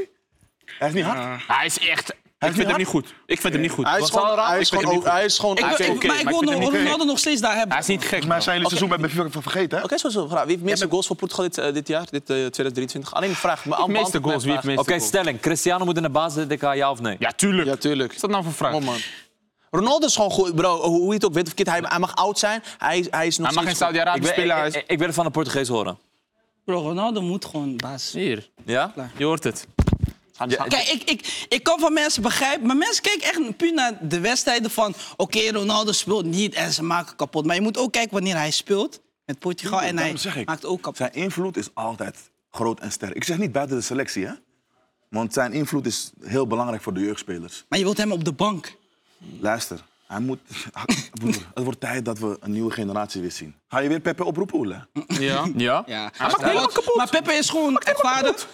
Speaker 3: Hij is niet hard.
Speaker 2: Hij is echt... ik vind
Speaker 3: hard?
Speaker 2: hem niet goed. Ik vind hem niet goed.
Speaker 5: Hij is
Speaker 2: Wat
Speaker 5: gewoon...
Speaker 2: zal er aan?
Speaker 5: Hij
Speaker 2: Ik
Speaker 5: is
Speaker 2: vind hem
Speaker 5: gewoon...
Speaker 2: niet goed.
Speaker 5: Hij is gewoon...
Speaker 2: Ik-
Speaker 5: Oké,
Speaker 2: vind
Speaker 4: Ik-
Speaker 2: het oké,
Speaker 4: maar ik
Speaker 2: maar
Speaker 4: wil
Speaker 2: ik vind
Speaker 4: nog-
Speaker 2: het niet
Speaker 4: Ronaldo nog steeds daar hebben.
Speaker 2: Hij is niet gek,
Speaker 3: Maar
Speaker 2: man.
Speaker 3: zijn jullie seizoen met Benfica vergeten, hè?
Speaker 5: Oké, zo, zo. Vraag. Wie heeft meeste goals voor Portugal dit, eh, dit jaar, dit eh, 2023? Alleen een vraag. maar
Speaker 2: De meeste
Speaker 5: beantwoord
Speaker 2: goals, wie
Speaker 5: mijn
Speaker 2: heeft
Speaker 5: vraag.
Speaker 2: meeste
Speaker 1: Oké,
Speaker 2: goals?
Speaker 1: stelling. Cristiano moet in de basis, DK, ja of nee?
Speaker 2: Ja, tuurlijk.
Speaker 5: Ja,
Speaker 2: Wat
Speaker 5: tuurlijk.
Speaker 2: is dat nou voor vraag?
Speaker 5: Kom op, man. Ronaldo is gewoon goed, bro. Hoe je het ook weet of kid, hij, hij mag oud zijn. Hij, hij is nog
Speaker 2: Hij mag in
Speaker 5: steeds
Speaker 1: Ik,
Speaker 2: Saudi-Arabië
Speaker 1: wil-
Speaker 2: spelen. hij
Speaker 1: ik,
Speaker 2: is-
Speaker 1: ik, ik wil het van de Portugees horen.
Speaker 4: Bro, Ronaldo moet gewoon baas.
Speaker 2: Hier,
Speaker 1: Ja?
Speaker 2: je hoort het.
Speaker 4: Kijk, ik, ik, ik kan van mensen begrijpen, maar mensen kijken echt puur naar de wedstrijden van... Oké, Ronaldo speelt niet en ze maken kapot. Maar je moet ook kijken wanneer hij speelt met Portugal Oh, en hij
Speaker 3: Daarom zeg ik,
Speaker 4: maakt ook kapot.
Speaker 3: Zijn invloed is altijd groot en sterk. Ik zeg niet buiten de selectie, hè? Want zijn invloed is heel belangrijk voor de jeugdspelers.
Speaker 4: Maar je wilt hem op de bank.
Speaker 3: Luister, hij moet, broer, het wordt tijd dat we een nieuwe generatie weer zien. Ga je weer Pepe oproepen, Oele?
Speaker 2: Ja. Ja?
Speaker 4: Ja.
Speaker 2: Hij maakt helemaal kapot.
Speaker 4: Maar Pepe is gewoon echt vader.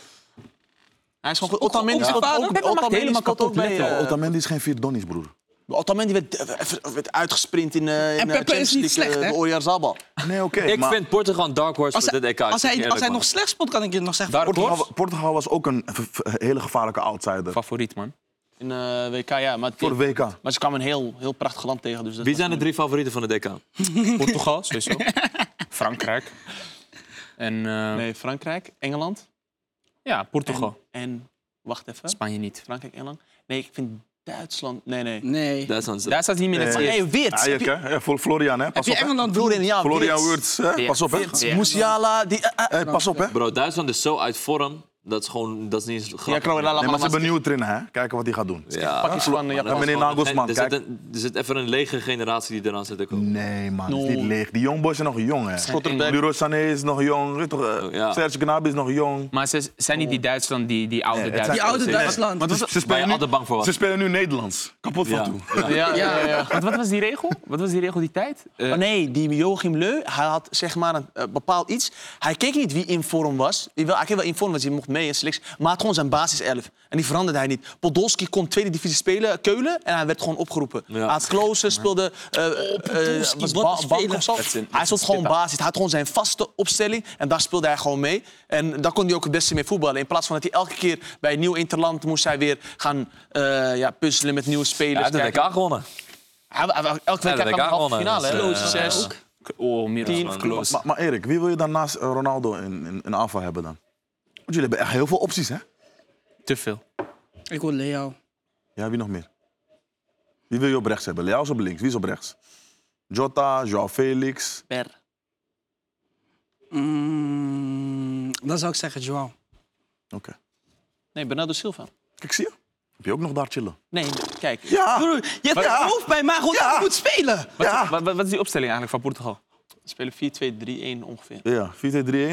Speaker 5: Hij is gewoon goed. Otamendi
Speaker 4: Ook zijn
Speaker 5: speelt
Speaker 4: vader.
Speaker 5: ook,
Speaker 4: Pepe
Speaker 2: maakt
Speaker 5: Otamendi
Speaker 2: helemaal
Speaker 5: speelt ook
Speaker 2: kapot,
Speaker 5: bij...
Speaker 2: let
Speaker 5: eh,
Speaker 3: Oh, Otamendi is geen vier donnies, broer.
Speaker 5: Otamendi werd, eh, werd- werd uitgesprint in, eh in
Speaker 4: En Pepe is
Speaker 5: eh, Champions
Speaker 4: niet
Speaker 5: League,
Speaker 4: slecht,
Speaker 5: eh,
Speaker 4: hè?
Speaker 5: de Oyarzabal.
Speaker 3: Nee, oké.
Speaker 1: Ik
Speaker 3: maar
Speaker 1: vind Portugal een dark horse
Speaker 4: Als
Speaker 1: voor E de
Speaker 4: hij,
Speaker 1: DK.
Speaker 4: als hij,
Speaker 1: eerlijk,
Speaker 4: als hij
Speaker 1: man.
Speaker 4: nog slecht speelt, kan ik je nog zeggen...
Speaker 2: Dark horse?
Speaker 3: Portugal, Portugal was ook een v- v- hele gevaarlijke outsider
Speaker 2: Favoriet, man.
Speaker 5: In eh, WK, ja. Maar,
Speaker 3: voor de WK.
Speaker 5: maar ze kwamen een heel, heel prachtig land tegen. Dus dat
Speaker 1: Wie zijn de drie favorieten van de DK?
Speaker 2: Portugal, sowieso. Frankrijk. En eh,
Speaker 5: Nee, Frankrijk, Engeland.
Speaker 2: ja, Portugal.
Speaker 5: En, wacht even.
Speaker 2: Spanje niet.
Speaker 5: Frankrijk, Engeland. Nee, ik vind Duitsland... Nee, nee.
Speaker 4: Nee.
Speaker 1: Duitsland.
Speaker 2: Daar staat hij niet meer in
Speaker 5: Maar,
Speaker 2: het
Speaker 5: hey, Wits.
Speaker 3: Ajax, hè? Ja, voor Florian, hè?
Speaker 4: Heb
Speaker 3: Pas
Speaker 4: je
Speaker 3: op, hè?
Speaker 4: Engeland broer
Speaker 5: Florian,
Speaker 4: in?
Speaker 5: ja,
Speaker 3: Florian
Speaker 5: Wits.
Speaker 3: Wurts, hè?
Speaker 2: Ja.
Speaker 3: Pas op, hè?
Speaker 2: Ja.
Speaker 5: Musiala, die... eh, eh,
Speaker 3: Hey, pas op, hè?
Speaker 1: Bro, Duitsland is zo uit vorm. Dat is gewoon, dat is niet eens
Speaker 5: Ja,
Speaker 1: grappig.
Speaker 5: Kroela,
Speaker 3: Nee, maar ze hebben een nieuwe trainer, hè? Kijken wat hij gaat doen.
Speaker 1: Ja.
Speaker 5: pakjes van eh,
Speaker 3: Ja,
Speaker 5: Japan.
Speaker 3: meneer
Speaker 1: Er-
Speaker 3: Nagelsman,
Speaker 1: er, zit
Speaker 3: kijk.
Speaker 1: een, er zit even een lege generatie die eraan zit te komen.
Speaker 3: Nee, man, het is niet leeg. Die jongboys zijn nog jong, hè?
Speaker 5: Schlotterbeck.
Speaker 3: Leroy Sané is nog jong. weet je toch, eh,
Speaker 1: Oh, ja.
Speaker 3: Serge Gnabry is nog jong.
Speaker 2: Maar ze zijn niet die
Speaker 5: Oh.
Speaker 2: Duitsland, die, die oude
Speaker 3: het
Speaker 2: Duitsland.
Speaker 4: Die oude Duitsland.
Speaker 3: ze, ze
Speaker 1: Waar je
Speaker 3: spelen nu,
Speaker 1: altijd bang voor was.
Speaker 3: ze spelen nu Nederlands. Kapot van
Speaker 1: Ja.
Speaker 3: toe.
Speaker 5: Ja, ja, ja.
Speaker 2: Wat, wat was die regel? Wat was die regel die tijd? Eh,
Speaker 5: Oh, nee, die Joachim Leu, hij had zeg maar een eh, bepaald iets. Hij keek niet wie in vorm was. Hij wel- hij keek wel in vorm, want hij mocht mee in selectie. Maar hij had gewoon zijn basis 11. En die veranderde hij niet. Podolski kon tweede divisie spelen, Keulen, en hij werd gewoon opgeroepen.
Speaker 1: Ja.
Speaker 5: Hij had Klose, speelde... eh, eh,
Speaker 4: Podolski,
Speaker 5: was
Speaker 4: wat
Speaker 5: ba-
Speaker 4: een speler.
Speaker 5: bank of zo.
Speaker 2: is een- dat
Speaker 5: Hij
Speaker 2: is een
Speaker 5: stond gewoon
Speaker 2: skipper.
Speaker 5: basis. Hij had gewoon zijn vaste opstelling. En daar speelde hij gewoon mee. En daar kon hij ook het beste mee voetballen. In plaats van dat hij elke keer bij een nieuw interland moest hij weer gaan eh, ja, puzzelen met nieuwe
Speaker 1: Hij
Speaker 5: spelers.
Speaker 1: heeft de
Speaker 5: Kijken.
Speaker 1: WK gewonnen.
Speaker 5: Hij- hij- hij- Elke
Speaker 1: Ja,
Speaker 5: week
Speaker 1: de
Speaker 5: kwam hij
Speaker 1: WK
Speaker 5: halve
Speaker 1: gewonnen.
Speaker 5: finale. hè?
Speaker 1: Dat is, eh,
Speaker 5: Zes.
Speaker 1: ook.
Speaker 2: oh, meer dan
Speaker 1: man.
Speaker 2: close.
Speaker 3: Maar, maar Erik, wie wil je dan naast eh, Ronaldo in, in, in aanval hebben dan? Want jullie hebben echt heel veel opties, hè?
Speaker 2: Te veel.
Speaker 4: Ik wil Leo.
Speaker 3: Ja, wie nog meer? Wie wil je op rechts hebben? Leao is op links. Wie is op rechts? Jota, Joao Felix.
Speaker 5: Per.
Speaker 4: Mm, dan zou ik zeggen Joao.
Speaker 3: Oké.
Speaker 5: Nee, Bernardo Silva.
Speaker 3: Kijk, zie je? Heb je ook nog daar chillen?
Speaker 5: Nee, kijk.
Speaker 3: Ja!
Speaker 4: Broer, je hebt een hoofd bij mij gewoon
Speaker 3: Ja.
Speaker 4: goed spelen.
Speaker 5: Ah.
Speaker 2: Wat,
Speaker 3: Ja!
Speaker 2: wat, wat is die opstelling eigenlijk van Portugal?
Speaker 5: We spelen 4-2-3-1 ongeveer.
Speaker 3: Ja,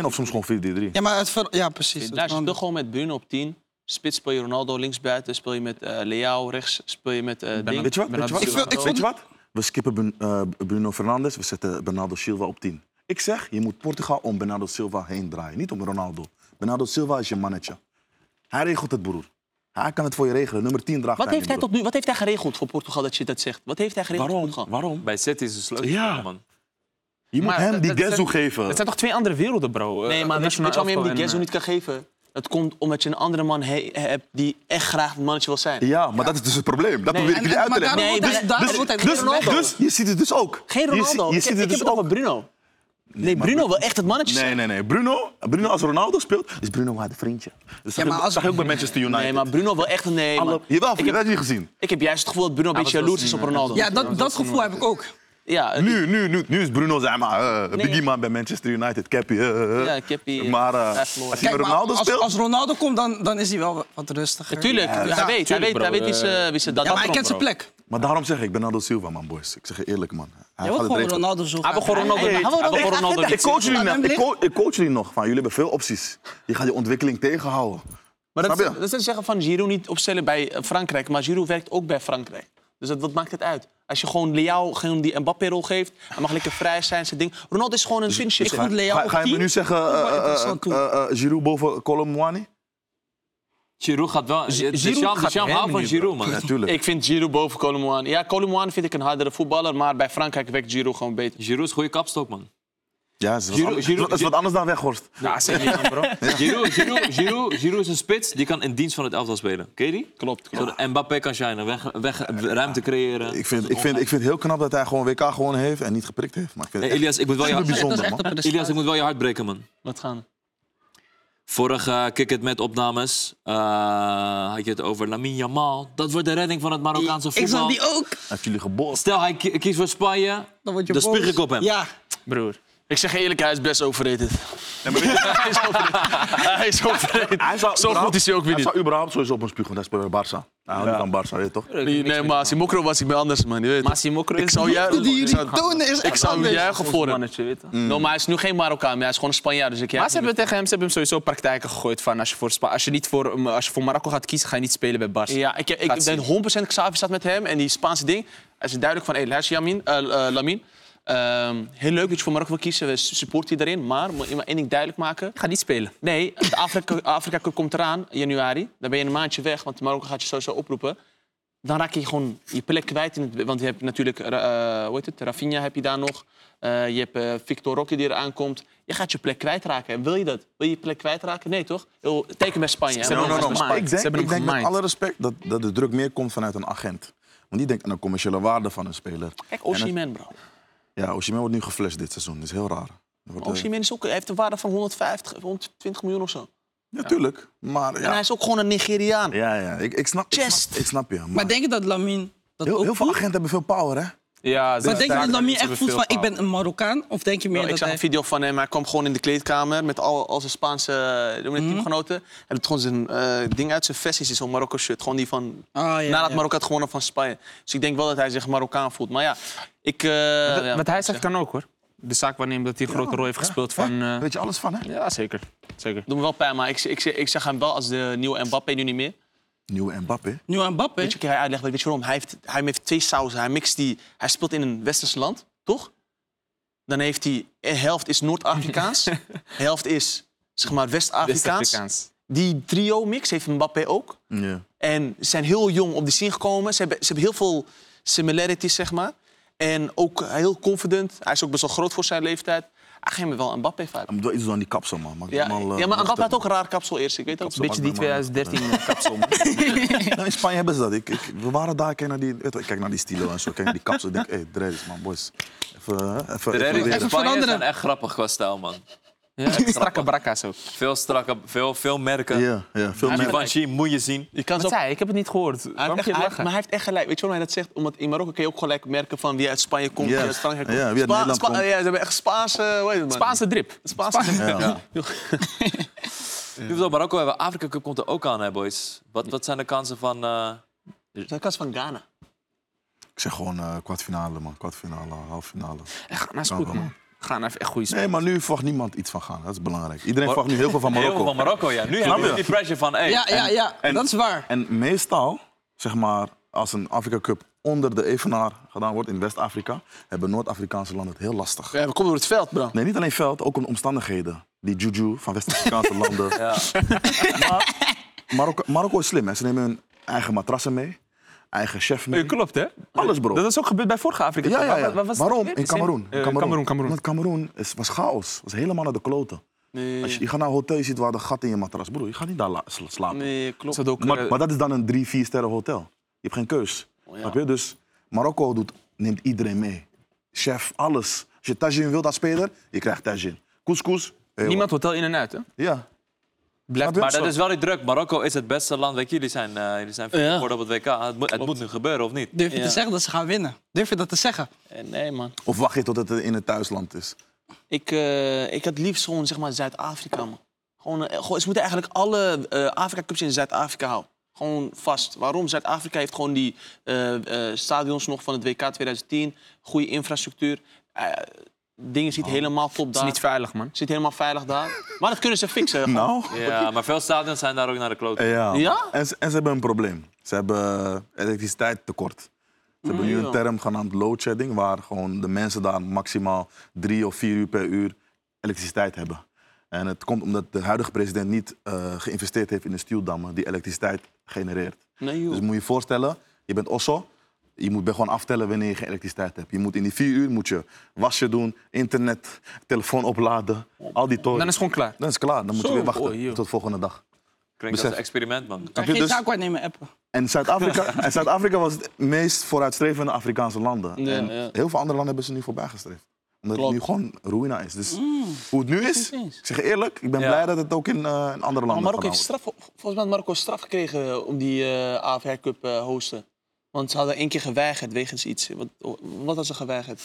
Speaker 3: 4-2-3-1 of soms gewoon 4-3-3.
Speaker 4: Ja, maar het ver- ja, precies.
Speaker 5: Daar zit
Speaker 4: Het
Speaker 5: toch gewoon met Bruno op 10. Spits speel je Ronaldo linksbuiten, speel je met eh Leao rechts, speel je met eh Ding.
Speaker 3: Weet je wat? Weet
Speaker 2: Bernardo
Speaker 3: je wat?
Speaker 2: Silva.
Speaker 4: Ik vind- ik
Speaker 3: Weet
Speaker 4: vind-
Speaker 3: je wat? We skippen Brun- eh, Bruno Fernandes, we zetten Bernardo Silva op 10. Ik zeg, je moet Portugal om Bernardo Silva heen draaien, niet om Ronaldo. Bernardo Silva is je mannetje. Hij regelt het, broer. Hij kan het voor je regelen. Nummer 10 draagt
Speaker 5: Wat
Speaker 3: hij
Speaker 5: heeft hij
Speaker 3: in, broer.
Speaker 5: tot nu? Wat heeft hij geregeld voor Portugal dat je dat zegt? Wat heeft hij geregeld voor Portugal?
Speaker 3: Waarom?
Speaker 1: Bij City is een sleutel.
Speaker 3: Ja.
Speaker 1: man.
Speaker 3: Je moet
Speaker 2: Maar
Speaker 3: hem
Speaker 2: dat-
Speaker 3: die
Speaker 2: dat zijn-
Speaker 3: Gezu geven.
Speaker 2: Het zijn toch twee andere werelden, bro? Eh,
Speaker 5: Nee, maar weet je, weet
Speaker 2: nationaal
Speaker 5: je waarom je hem
Speaker 2: elftal
Speaker 5: die Gezo
Speaker 2: en,
Speaker 5: niet kan
Speaker 3: eh,
Speaker 5: geven? Dat komt omdat je een andere man he- hebt die echt graag het mannetje wil zijn.
Speaker 3: Ja, maar dat is dus het probleem. Dat probeer ik jullie uit te
Speaker 4: maar
Speaker 3: leggen.
Speaker 4: daarom
Speaker 5: Nee,
Speaker 4: wordt hij-
Speaker 5: dus-
Speaker 4: daarom
Speaker 5: dus-
Speaker 4: wordt hij
Speaker 5: dus-
Speaker 4: Ronaldo.
Speaker 5: daarom-
Speaker 3: Dus je ziet het dus ook.
Speaker 5: Geen
Speaker 3: Je zie-
Speaker 5: Ronaldo.
Speaker 3: Je,
Speaker 5: Ik
Speaker 3: ziet
Speaker 5: heb-
Speaker 3: het dus
Speaker 5: ik heb het
Speaker 3: ook.
Speaker 5: over Bruno. Nee, Bruno wil echt het mannetje zijn.
Speaker 3: Nee, nee, nee. Bruno, Bruno als Ronaldo speelt, is Bruno maar een vriendje. Dus Dat zag,
Speaker 4: maar
Speaker 3: ik-
Speaker 4: als-
Speaker 3: zag ik ook bij Manchester United.
Speaker 5: Nee, maar Bruno wil echt een... Nee,
Speaker 3: Alle,
Speaker 5: man.
Speaker 3: jawel,
Speaker 5: Ik
Speaker 3: dat
Speaker 5: heb,
Speaker 3: heb je gezien.
Speaker 5: ik heb juist het gevoel dat Bruno een beetje jaloers is op Ronaldo.
Speaker 4: Ja, dat, dat gevoel heb ik ook.
Speaker 5: ja het-
Speaker 3: Nu, nu, nu, nu is Bruno zeg maar, eh,
Speaker 5: Nee.
Speaker 3: biggie man bij Manchester United, Cappy. eh, eh.
Speaker 5: Ja, Cappy, eh,
Speaker 3: Maar eh,
Speaker 5: hij
Speaker 3: als
Speaker 5: verloor.
Speaker 3: hij
Speaker 4: Kijk,
Speaker 3: met
Speaker 4: maar
Speaker 3: Ronaldo
Speaker 4: als,
Speaker 3: speelt,
Speaker 4: als Ronaldo komt, dan, dan is hij wel wat rustiger.
Speaker 5: Tuurlijk,
Speaker 4: Ja,
Speaker 5: hij weet, hij
Speaker 2: tuurlijk,
Speaker 5: weet,
Speaker 2: bro.
Speaker 5: hij weet wie ze, wie ze dat
Speaker 4: Ja, maar hij
Speaker 5: dat
Speaker 4: kent zijn
Speaker 5: bro.
Speaker 4: plek.
Speaker 3: maar daarom zeg ik, Bernardo Silva, man, boys. Ik zeg je eerlijk, man. Hij
Speaker 4: Jij
Speaker 3: gaat
Speaker 4: wil
Speaker 3: het
Speaker 4: gewoon
Speaker 3: regelen.
Speaker 4: Ronaldo zo
Speaker 2: Hij wil gewoon Ronaldo.
Speaker 5: Hey,
Speaker 2: Hij wil
Speaker 5: hey, hey,
Speaker 2: Ronaldo.
Speaker 5: hey,
Speaker 3: Ik coach, jullie
Speaker 4: Laat
Speaker 3: nog,
Speaker 4: hem
Speaker 3: ik,
Speaker 4: liggen.
Speaker 3: coach, ik coach jullie nog, van jullie hebben veel opties. Je gaat je ontwikkeling tegenhouden.
Speaker 5: Maar dat,
Speaker 3: Snap
Speaker 5: dat
Speaker 3: je?
Speaker 5: is het zeggen van Giroud niet opstellen bij eh, Frankrijk. Maar Giroud werkt ook bij Frankrijk. Dus dat, wat maakt het uit? Als je gewoon Leao gewoon die Mbappé-rol geeft, hij mag lekker vrij zijn, zijn ding. Ronaldo is gewoon een kunstje.
Speaker 4: ik vond Leao
Speaker 3: Ga, ga je me nu zeggen, eh,
Speaker 4: maar
Speaker 3: eh,
Speaker 4: interessant
Speaker 3: eh, eh, eh, Giroud boven Colomwani?
Speaker 1: Giroud gaat wel...
Speaker 2: Gi-
Speaker 1: de
Speaker 2: Giroud
Speaker 1: Sjaal- de
Speaker 2: gaat
Speaker 1: Sjaal
Speaker 2: hem
Speaker 1: houdt van
Speaker 2: nu,
Speaker 1: Giroud, man.
Speaker 3: Natuurlijk.
Speaker 5: Ik vind Giroud boven Colomouane. Ja, Colomouane vind ik een hardere voetballer, maar bij Frankrijk wekt Giroud gewoon beter.
Speaker 1: Giroud is een goede kapstok, man.
Speaker 3: Ja, het is wat,
Speaker 1: Giroud-
Speaker 3: anders-
Speaker 1: Giroud-
Speaker 3: het is wat anders dan Weghorst.
Speaker 2: Ja, zeker Milan, bro.
Speaker 1: Giroud, Giroud, Giroud, Giroud is een spits die kan in dienst van het elftal spelen. Ken je die?
Speaker 5: Klopt.
Speaker 1: Zo, de Mbappé kan shinen, weg, weg, ruimte creëren.
Speaker 3: Ik vind, ik, vind, ik vind het heel knap dat hij gewoon WK gewoon heeft en niet geprikt heeft. Maar ik vind
Speaker 1: Hey,
Speaker 3: het echt
Speaker 1: Elias, ik moet wel je
Speaker 3: super
Speaker 1: hart,
Speaker 3: bijzonder,
Speaker 4: echt
Speaker 3: man.
Speaker 4: een prestatie.
Speaker 1: Elias, ik moet wel je hart breken, man.
Speaker 5: Wat gaan we?
Speaker 1: Vorige eh, Kick It Met opnames eh, had je het over Lamine Yamal. Dat wordt de redding van het Marokkaanse
Speaker 4: Ik zag
Speaker 1: voetbal.
Speaker 4: die ook.
Speaker 3: Heeft jullie geboren.
Speaker 1: Stel, hij ki- kiest voor Spanje.
Speaker 4: Dan word je
Speaker 1: Dan
Speaker 4: boos.
Speaker 1: spuug ik op hem.
Speaker 4: Ja,
Speaker 2: Broer.
Speaker 5: Ik zeg eerlijk, hij is best overrated. hij is overrated. Hij is overrated.
Speaker 3: Hij zou
Speaker 5: Zo goed
Speaker 3: überhaupt-
Speaker 5: is hij ook weer
Speaker 3: Hij
Speaker 5: niet.
Speaker 3: zou überhaupt sowieso op een spuug, want hij speelt bij Barça. Nou, niet aan Barça, weet je toch?
Speaker 5: Nee, maar als hij mokro was, ik ben anders, man. Je weet het.
Speaker 2: eh, Massimo Kroos.
Speaker 5: Ik zou
Speaker 4: hoe die
Speaker 5: juichen.
Speaker 4: jullie tonen is
Speaker 5: Ik
Speaker 4: echt
Speaker 5: zou
Speaker 4: anders.
Speaker 5: juichen voor hem.
Speaker 2: Mannetje, weet je.
Speaker 5: No, maar hij is nu geen Marokkaan meer, hij is gewoon een Spanjaard. Dus ik juich
Speaker 2: Maar ze
Speaker 5: niet
Speaker 2: hebben tegen hem, ze hebben hem sowieso praktijken gegooid van als je voor, Spa- als je niet voor, mm, als je voor Marokko gaat kiezen, ga je niet spelen bij Barca.
Speaker 5: Ja, ik, ik
Speaker 2: Gaat
Speaker 5: ben 100% Xavi staat met hem en die Spaanse ding. Hij is duidelijk van, hé, hey, luister Jamin, eh, eh, Lamin. Ehm, heel leuk dat je voor Marokko wil kiezen, we supporten je daarin. Maar moet je maar één ding duidelijk maken.
Speaker 2: Ik ga niet spelen.
Speaker 5: Nee, de Afrika, Afrika Cup komt eraan, januari. Dan ben je een maandje weg, want Marokko gaat je sowieso oproepen. Dan raak je gewoon je plek kwijt. In het, want je hebt natuurlijk, eh, hoe heet het, Rafinha heb je daar nog. Eh, je hebt eh, Victor Roque die eraan komt. Je gaat je plek kwijtraken. En wil je dat? Wil je je plek kwijtraken? Nee, toch? Yo, Teken bij Spanje. hè?
Speaker 2: hebben
Speaker 3: No,
Speaker 2: hem
Speaker 3: no, no,
Speaker 2: gemaakt.
Speaker 3: maar Ik
Speaker 2: Ze
Speaker 3: denk,
Speaker 2: hebben
Speaker 3: ik
Speaker 2: hem
Speaker 3: denk met
Speaker 2: gemaakt.
Speaker 3: alle respect dat, dat de druk meer komt vanuit een agent. Want die denkt aan de commerciële waarde van een speler.
Speaker 5: Kijk, Osimhen, bro.
Speaker 3: Ja, Osimhen wordt nu geflasht dit seizoen. Dat is heel raar. Er Wordt, eh,
Speaker 5: Osimhen is ook, hij heeft een waarde van 150, 120 miljoen of zo.
Speaker 3: ja, tuurlijk. Maar
Speaker 5: En hij
Speaker 3: ja,
Speaker 5: is ook gewoon een Nigeriaan.
Speaker 3: ja, ja. Ik, ik, snap, ik,
Speaker 5: Chest.
Speaker 3: snap, ik snap je. Maar,
Speaker 4: Maar denk je dat Lamine dat
Speaker 3: heel,
Speaker 4: ook
Speaker 3: heel veel
Speaker 4: voelt?
Speaker 3: agenten hebben veel power, hè?
Speaker 2: Ja,
Speaker 4: Maar denk je dat Lamine echt voelt van ik ben een Marokkaan? Of denk je meer
Speaker 5: Nou, ik
Speaker 4: dat
Speaker 5: zag
Speaker 4: hij...
Speaker 5: een video van hem. Hij kwam gewoon in de kleedkamer met al, al zijn Spaanse eh, noem je
Speaker 4: Mhm.
Speaker 5: het, teamgenoten. Hij doet gewoon zijn eh, ding uit. Zijn vest is zo'n Marokko shirt. Gewoon die van...
Speaker 4: Ah, ja,
Speaker 5: nadat
Speaker 4: ja.
Speaker 5: Marokko had gewonnen van Spanje. Dus ik denk wel dat hij zich Marokkaan voelt. Maar ja, ik... eh, ja,
Speaker 2: Wat hij zegt kan ook hoor. De zaak waarnemen dat hij een grote rol heeft gespeeld van... eh,
Speaker 3: Weet je alles van, hè?
Speaker 2: ja, zeker. Zeker.
Speaker 5: doet me wel pijn, maar ik, ik, ik, zeg hem wel als de nieuwe Mbappé nu niet meer.
Speaker 3: Nieuwe Mbappé.
Speaker 4: Nu aan Mbappé?
Speaker 5: Weet je, ik hij uitlegt, weet je waarom? Hij heeft, hij heeft twee sausen. Hij mixt die. Hij speelt in een westers land, toch? Dan heeft hij de helft is Noord-Afrikaans, de helft is zeg maar West-Afrikaans.
Speaker 2: West-Afrikaans.
Speaker 5: Die trio mix heeft Mbappé ook.
Speaker 3: Ja.
Speaker 5: En ze zijn heel jong op de scene gekomen. Ze hebben, ze hebben heel veel similarities, zeg maar. En ook heel confident. Hij is ook best wel groot voor zijn leeftijd. Hij geeft me wel een Mbappé-vibe.
Speaker 3: Hij moet wel iets doen aan die kapsel, man. Maakt
Speaker 5: Ja,
Speaker 3: allemaal, eh,
Speaker 5: ja, maar Mbappé
Speaker 3: lucht op.
Speaker 5: had ook een raar kapsel eerst. Ik weet ook
Speaker 2: Beetje die 2013 kapsel.
Speaker 3: Nou, in Spanje hebben ze dat. Ik, ik, we waren daar, kijk naar die, weet je, ik kijk naar die stilo en zo. Kijk naar die kapsel. Ik denk, hé, hey, dreads, man, boys. Even, eh, even, even
Speaker 1: De redding
Speaker 3: leren.
Speaker 1: van Spanje
Speaker 4: Even veranderen.
Speaker 1: zijn echt grappig qua stijl, man.
Speaker 3: eh,
Speaker 2: Ja, strakke brakka's ook.
Speaker 1: Veel strakke, veel, veel merken.
Speaker 3: Ja, ja, veel
Speaker 1: Die
Speaker 3: meer.
Speaker 1: van Xi moet je zien.
Speaker 5: Je kan
Speaker 2: Wat
Speaker 5: zo
Speaker 2: zei hij? Ik heb het niet gehoord.
Speaker 5: Hij
Speaker 2: Waarom
Speaker 5: heeft
Speaker 2: heb je
Speaker 5: echt,
Speaker 2: het
Speaker 5: hij-
Speaker 2: lachen?
Speaker 5: maar hij heeft echt gelijk. Weet je waarom hij dat zegt? Omdat in Marokko kun je ook gelijk merken van wie uit Spanje komt,
Speaker 3: Ja.
Speaker 5: wie uit Frankrijk komt.
Speaker 3: Ja, wie uit
Speaker 5: Spa-
Speaker 3: Nederland
Speaker 5: Spa-
Speaker 3: komt.
Speaker 5: Ja, ze hebben echt Spaanse... Hoe heet het, man?
Speaker 2: Spaanse drip.
Speaker 5: Spaanse...
Speaker 3: Ja.
Speaker 1: Nu we het over Marokko hebben, Afrika Cup komt er ook aan, hè, boys. Wat, wat zijn de kansen van... eh,
Speaker 5: Dat is van Ghana.
Speaker 3: Ik zeg gewoon eh, kwartfinale, man. Kwartfinale, halffinale.
Speaker 2: Echt, nou is
Speaker 3: Kan
Speaker 2: goed
Speaker 3: wel.
Speaker 2: man. Gaan even echt goede
Speaker 3: Nee, maar nu verwacht niemand iets van gaan. Dat is belangrijk. Iedereen verwacht nu heel veel van
Speaker 1: Heel veel
Speaker 3: Marokko.
Speaker 1: van Marokko, ja. Nu hebben
Speaker 3: je?
Speaker 1: we die pressure van... Hey,
Speaker 4: Ja, ja, ja.
Speaker 3: en-
Speaker 4: dat is waar.
Speaker 3: En meestal, zeg maar, als een Afrika Cup onder de evenaar gedaan wordt in West-Afrika, hebben Noord-Afrikaanse landen het heel lastig.
Speaker 5: Ja, we komen door het veld, bro.
Speaker 3: Nee, niet alleen veld, ook in omstandigheden. Die juju van West-Afrikaanse landen. Maar Marokko, Marokko is slim, hè. Ze nemen hun eigen matrassen mee, eigen chef mee.
Speaker 2: Klopt hè?
Speaker 3: Alles, bro.
Speaker 2: Dat was ook gebeurd bij vorige Afrika.
Speaker 3: Ja,
Speaker 2: Cup.
Speaker 3: ja,
Speaker 2: Waar-
Speaker 3: ja.
Speaker 2: waar was het
Speaker 3: Waarom?
Speaker 2: weer?
Speaker 3: In Cameroen.
Speaker 2: Eh,
Speaker 3: Cameroen.
Speaker 2: Cameroen, Cameroen.
Speaker 3: Want Cameroen is, was chaos. was helemaal naar de kloten.
Speaker 5: Nee,
Speaker 3: Als je, je gaat naar een hotel, je ziet waar de gat in je matras. Broer, je gaat niet daar la- sla- slapen.
Speaker 5: nee, klopt.
Speaker 2: Is dat ook,
Speaker 3: Maar,
Speaker 2: eh, Oh,
Speaker 3: maar dat is dan een drie, vier sterren hotel. Je hebt geen keus.
Speaker 5: ja.
Speaker 3: Snap je? Dus Marokko doet, neemt iedereen mee. Chef, alles. Als je Tajin wilt als speler, je krijgt Tajin. Couscous. eh,
Speaker 2: Niemand hotel in en uit hè?
Speaker 3: Ja.
Speaker 2: Blijft
Speaker 3: je?
Speaker 1: Maar
Speaker 2: zo.
Speaker 1: dat is wel die druk. Marokko is het beste land. Weet je, jullie zijn, eh jullie zijn
Speaker 5: Ja.
Speaker 1: geworden op het WK. Het, moet- het moet nu gebeuren, of niet?
Speaker 4: Durf je
Speaker 5: Ja.
Speaker 4: te zeggen dat ze gaan winnen? Durf je dat te zeggen?
Speaker 5: Eh, Nee, man.
Speaker 3: Of wacht je tot het in het thuisland is.
Speaker 5: Ik, eh, ik had liefst gewoon zeg maar Zuid-Afrika, man. Gewoon, eh, gewoon, ze moeten eigenlijk alle eh, Afrika-cups in Zuid-Afrika houden. Gewoon vast. Waarom? Zuid-Afrika heeft gewoon die eh, eh, stadions nog van het WK 2010. Goede infrastructuur. Eh, dingen zit helemaal
Speaker 2: Het
Speaker 5: top daar.
Speaker 2: is Oh. niet veilig man.
Speaker 5: Zit helemaal veilig daar. Maar dat kunnen ze fixen. gewoon.
Speaker 3: Nou?
Speaker 1: Ja, maar veel stadions zijn daar ook naar de klote.
Speaker 3: Ja.
Speaker 5: Ja?
Speaker 3: En, ze, en ze hebben een probleem. Ze hebben elektriciteitstekort. Ze hebben
Speaker 1: Mm,
Speaker 3: nu een term genaamd load shedding, waar gewoon de mensen daar maximaal drie of vier uur per uur elektriciteit hebben. En het komt omdat de huidige president niet eh, geïnvesteerd heeft in de stuwdammen die elektriciteit genereert.
Speaker 5: Nee, joh.
Speaker 3: Dus moet je je voorstellen, je bent osso. Je moet bij gewoon aftellen wanneer je geen elektriciteit hebt. Je moet in die vier uur moet je wasje doen, internet, telefoon opladen, al die toren.
Speaker 2: Dan is het gewoon klaar.
Speaker 3: Dan is het klaar. Dan moet
Speaker 2: Zo,
Speaker 3: je weer wachten
Speaker 2: oei, joh.
Speaker 3: tot volgende dag.
Speaker 1: Klinkt
Speaker 3: Besef.
Speaker 1: als een experiment, man.
Speaker 4: Kan
Speaker 3: je
Speaker 4: geen
Speaker 3: dus-
Speaker 4: zaakwaarnemer appen.
Speaker 3: En Zuid-Afrika en Zuid-Afrika was het meest vooruitstrevende Afrikaanse landen.
Speaker 5: Ja,
Speaker 3: en
Speaker 5: ja.
Speaker 3: heel veel andere landen hebben ze nu voorbijgestreefd. Omdat
Speaker 5: Klopt.
Speaker 3: het nu gewoon ruïna is. Dus hoe het nu is,
Speaker 4: Precies.
Speaker 3: ik zeg je eerlijk, ik ben
Speaker 1: Ja.
Speaker 3: blij dat het ook in, eh, in andere
Speaker 5: Maar
Speaker 3: landen
Speaker 5: Marokko heeft
Speaker 3: gehouden
Speaker 5: straf, vol- volgens mij had Marokko straf gekregen om die eh AFR Cup eh hosten. Want ze hadden één keer geweigerd wegens iets. Wat, wat hadden ze geweigerd?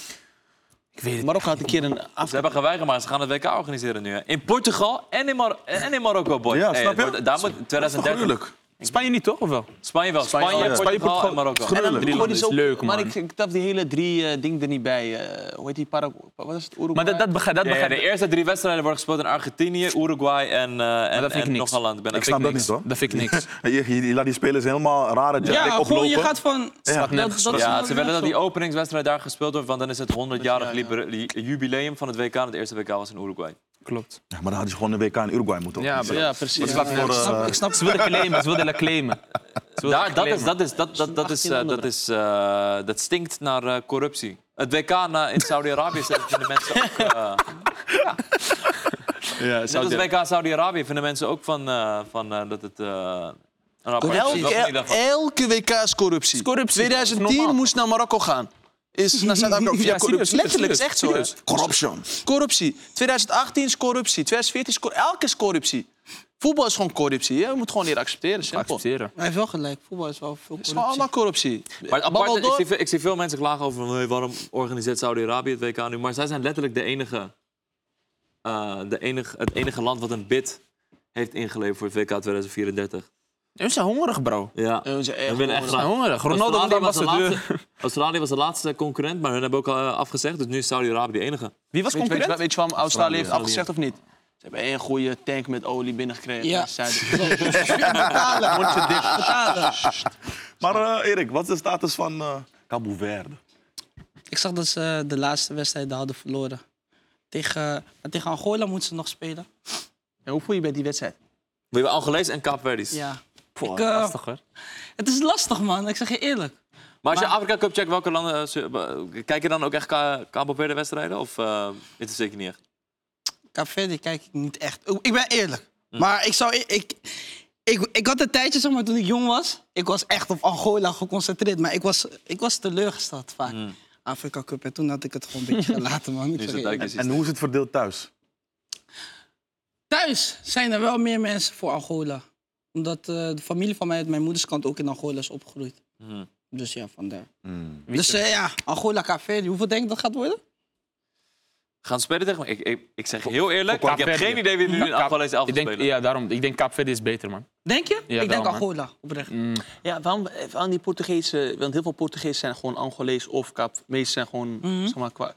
Speaker 2: Ik weet het.
Speaker 5: Marokko had een keer een
Speaker 1: Ze
Speaker 5: af.
Speaker 1: hebben geweigerd, maar ze gaan het WK organiseren nu. hè. In Portugal en in, Mar- en in Marokko, boy.
Speaker 3: Ja,
Speaker 1: Hey,
Speaker 3: snap je?
Speaker 1: het wordt- Daar moet 2030.
Speaker 3: Gruwelijk.
Speaker 2: Spanje niet toch, of wel?
Speaker 1: Spanje wel. Spanje,
Speaker 3: Spanje, ja.
Speaker 1: Portugal,
Speaker 2: Portugal.
Speaker 1: en Marokko.
Speaker 3: Gruwelijk.
Speaker 1: En dan drie
Speaker 5: Marokko
Speaker 1: landen.
Speaker 5: is
Speaker 2: is
Speaker 5: ook-
Speaker 2: leuk,
Speaker 5: Maar
Speaker 2: man.
Speaker 5: ik, ik taf die hele drie eh dingen er niet bij. eh, hoe heet die Paraguay? Wat is het? Uruguay?
Speaker 2: Maar dat, dat begrijp, dat
Speaker 1: Ja, ja,
Speaker 2: begrijp
Speaker 1: de eerste drie wedstrijden worden gespeeld in Argentinië, Uruguay en, eh en,
Speaker 2: dat vind ik
Speaker 1: en
Speaker 2: niks.
Speaker 1: nog een land. Ik ben
Speaker 3: Ik
Speaker 1: even-
Speaker 3: snap dat
Speaker 2: niks.
Speaker 3: niet hoor.
Speaker 2: Dat vind ik niks.
Speaker 3: Je, je- je laat die spelers helemaal rare jet
Speaker 4: Ja, gewoon,
Speaker 3: oplopen.
Speaker 4: je gaat van...
Speaker 3: Ja.
Speaker 4: Dat- dat is wel
Speaker 1: Ja, ze
Speaker 4: weer
Speaker 1: willen dat
Speaker 4: zo.
Speaker 1: die openingswedstrijd daar gespeeld wordt, want dan is het 100-jarig
Speaker 5: Ja, ja.
Speaker 1: liber- li- jubileum van het WK. En het eerste WK was in Uruguay.
Speaker 2: Klopt.
Speaker 3: Ja, maar dan had je gewoon een WK in Uruguay moeten
Speaker 2: Ja,
Speaker 3: organiseren.
Speaker 5: Ja, precies.
Speaker 3: Wat is dat voor, eh,
Speaker 4: Ik snap
Speaker 2: Ze willen claimen, ze willen claimen. Ze willen
Speaker 1: Daar, dat, is, dat, is, dat, dat, dat, is,
Speaker 5: 18
Speaker 1: eh, dat,
Speaker 5: anderen.
Speaker 1: is, eh, dat stinkt naar eh, corruptie. Het WK na- in Saudi-Arabië zelf vinden mensen ook. eh
Speaker 2: Ja,
Speaker 1: net als het WK Saudi-Arabië vinden mensen ook van, eh, van eh, dat het. eh, een apart
Speaker 5: Elke,
Speaker 2: eh,
Speaker 1: Dat is niet dat-
Speaker 5: elke WK is corruptie.
Speaker 2: Is corruptie.
Speaker 5: 2010
Speaker 2: Normaal.
Speaker 5: moest naar Marokko gaan. Is naar Zuid-Afrika. Ja,
Speaker 2: serieus,
Speaker 5: corruptie.
Speaker 2: serieus,
Speaker 5: Letterlijk, is echt zo. hè.
Speaker 2: serieus.
Speaker 3: Corruption.
Speaker 5: Corruptie. 2018 is corruptie. 2014 is corruptie. Elke is corruptie. Voetbal is gewoon corruptie. Je moet gewoon leren accepteren. Simpel. Het
Speaker 2: Accepteren.
Speaker 4: Hij heeft wel gelijk. Voetbal is wel veel
Speaker 5: is gewoon allemaal corruptie.
Speaker 1: Maar het
Speaker 5: Babbel
Speaker 1: aparte, ik,
Speaker 5: door.
Speaker 1: zie, veel- ik zie veel mensen klagen over van, "Hey, waarom organiseert Saudi-Arabië het WK nu. Maar zij zijn letterlijk de enige, eh, de enige, het enige land wat een bid heeft ingeleverd voor het WK 2034.
Speaker 2: Ze zijn hongerig, bro.
Speaker 1: Ja.
Speaker 5: Ja, we zijn echt
Speaker 1: We willen echt
Speaker 2: Ze zijn
Speaker 1: graag.
Speaker 2: hongerig. Ronaldo was de ambassadeur.
Speaker 1: laatste, Australië was de laatste concurrent, maar hun hebben ook eh, afgezegd. Dus nu is Saudi-Arabië de enige.
Speaker 2: Wie was
Speaker 5: Weet je, weet, je,
Speaker 2: concurrent?
Speaker 5: weet je waarom Australië heeft
Speaker 1: Australië.
Speaker 5: afgezegd of niet? Ze hebben één goede tank met olie binnengekregen.
Speaker 4: Ja.
Speaker 5: Ze zeiden,
Speaker 4: betalen. Moet je dit betalen.
Speaker 3: Maar eh, Erik, wat is de status van eh Cabo Verde?
Speaker 4: Ik zag dat ze eh, de laatste wedstrijden hadden verloren. Tegen, maar tegen Angola moeten ze nog spelen.
Speaker 5: En hoe voel je bij die wedstrijd?
Speaker 1: We hebben Angolees en Oh, Kaapverdi's.
Speaker 4: Ja.
Speaker 2: Poh,
Speaker 4: Ik, eh,
Speaker 2: lastig, hoor.
Speaker 4: Het is lastig, man. Ik zeg je eerlijk.
Speaker 1: Maar als je
Speaker 4: Maar-
Speaker 1: Afrika Cup checkt, welke landen... eh, ze- eh, kijk je dan ook echt Ka- Cabo Verde wedstrijden? Of eh is het zeker niet echt?
Speaker 4: Café, kijk ik niet echt. Ik ben eerlijk.
Speaker 1: Hm.
Speaker 4: Maar ik zou... Ik, ik, ik, ik had een tijdje, zeg maar, toen ik jong was... Ik was echt op Angola geconcentreerd. Maar ik was, ik was teleurgesteld vaak. Afrika Cup. En toen had ik het gewoon een beetje gelaten, man. Ik
Speaker 1: Hm. Nu is
Speaker 4: zeg
Speaker 1: het
Speaker 4: je eerlijk.
Speaker 1: eigenlijk
Speaker 3: En hoe is het verdeeld thuis?
Speaker 4: Thuis zijn er wel meer mensen voor Angola. Omdat eh, de familie van mij uit mijn moeders kant ook in Angola is opgegroeid.
Speaker 1: Hmm.
Speaker 4: Dus ja, vandaar.
Speaker 2: Wie
Speaker 4: Dus eh, ja, Angola Café, hoeveel denk je dat gaat worden?
Speaker 1: Gaan ze spelen tegen me? Ik, ik, ik zeg heel eerlijk, ik
Speaker 2: Kaapverdië.
Speaker 1: heb geen idee wie nu in
Speaker 2: Kaap-
Speaker 1: Angolees elftal
Speaker 2: ik denk,
Speaker 1: spelen.
Speaker 2: Ja, daarom. Ik denk Kaapverdi is beter, man.
Speaker 4: Denk je?
Speaker 2: Ja,
Speaker 4: ik
Speaker 2: wel,
Speaker 4: denk
Speaker 2: man.
Speaker 4: Angola, oprecht.
Speaker 5: Ja, waarom aan die Portugezen? Want heel veel Portugezen zijn gewoon Angolees of Kap. Meesten zijn gewoon,
Speaker 4: Mhm.
Speaker 5: zeg maar, qua,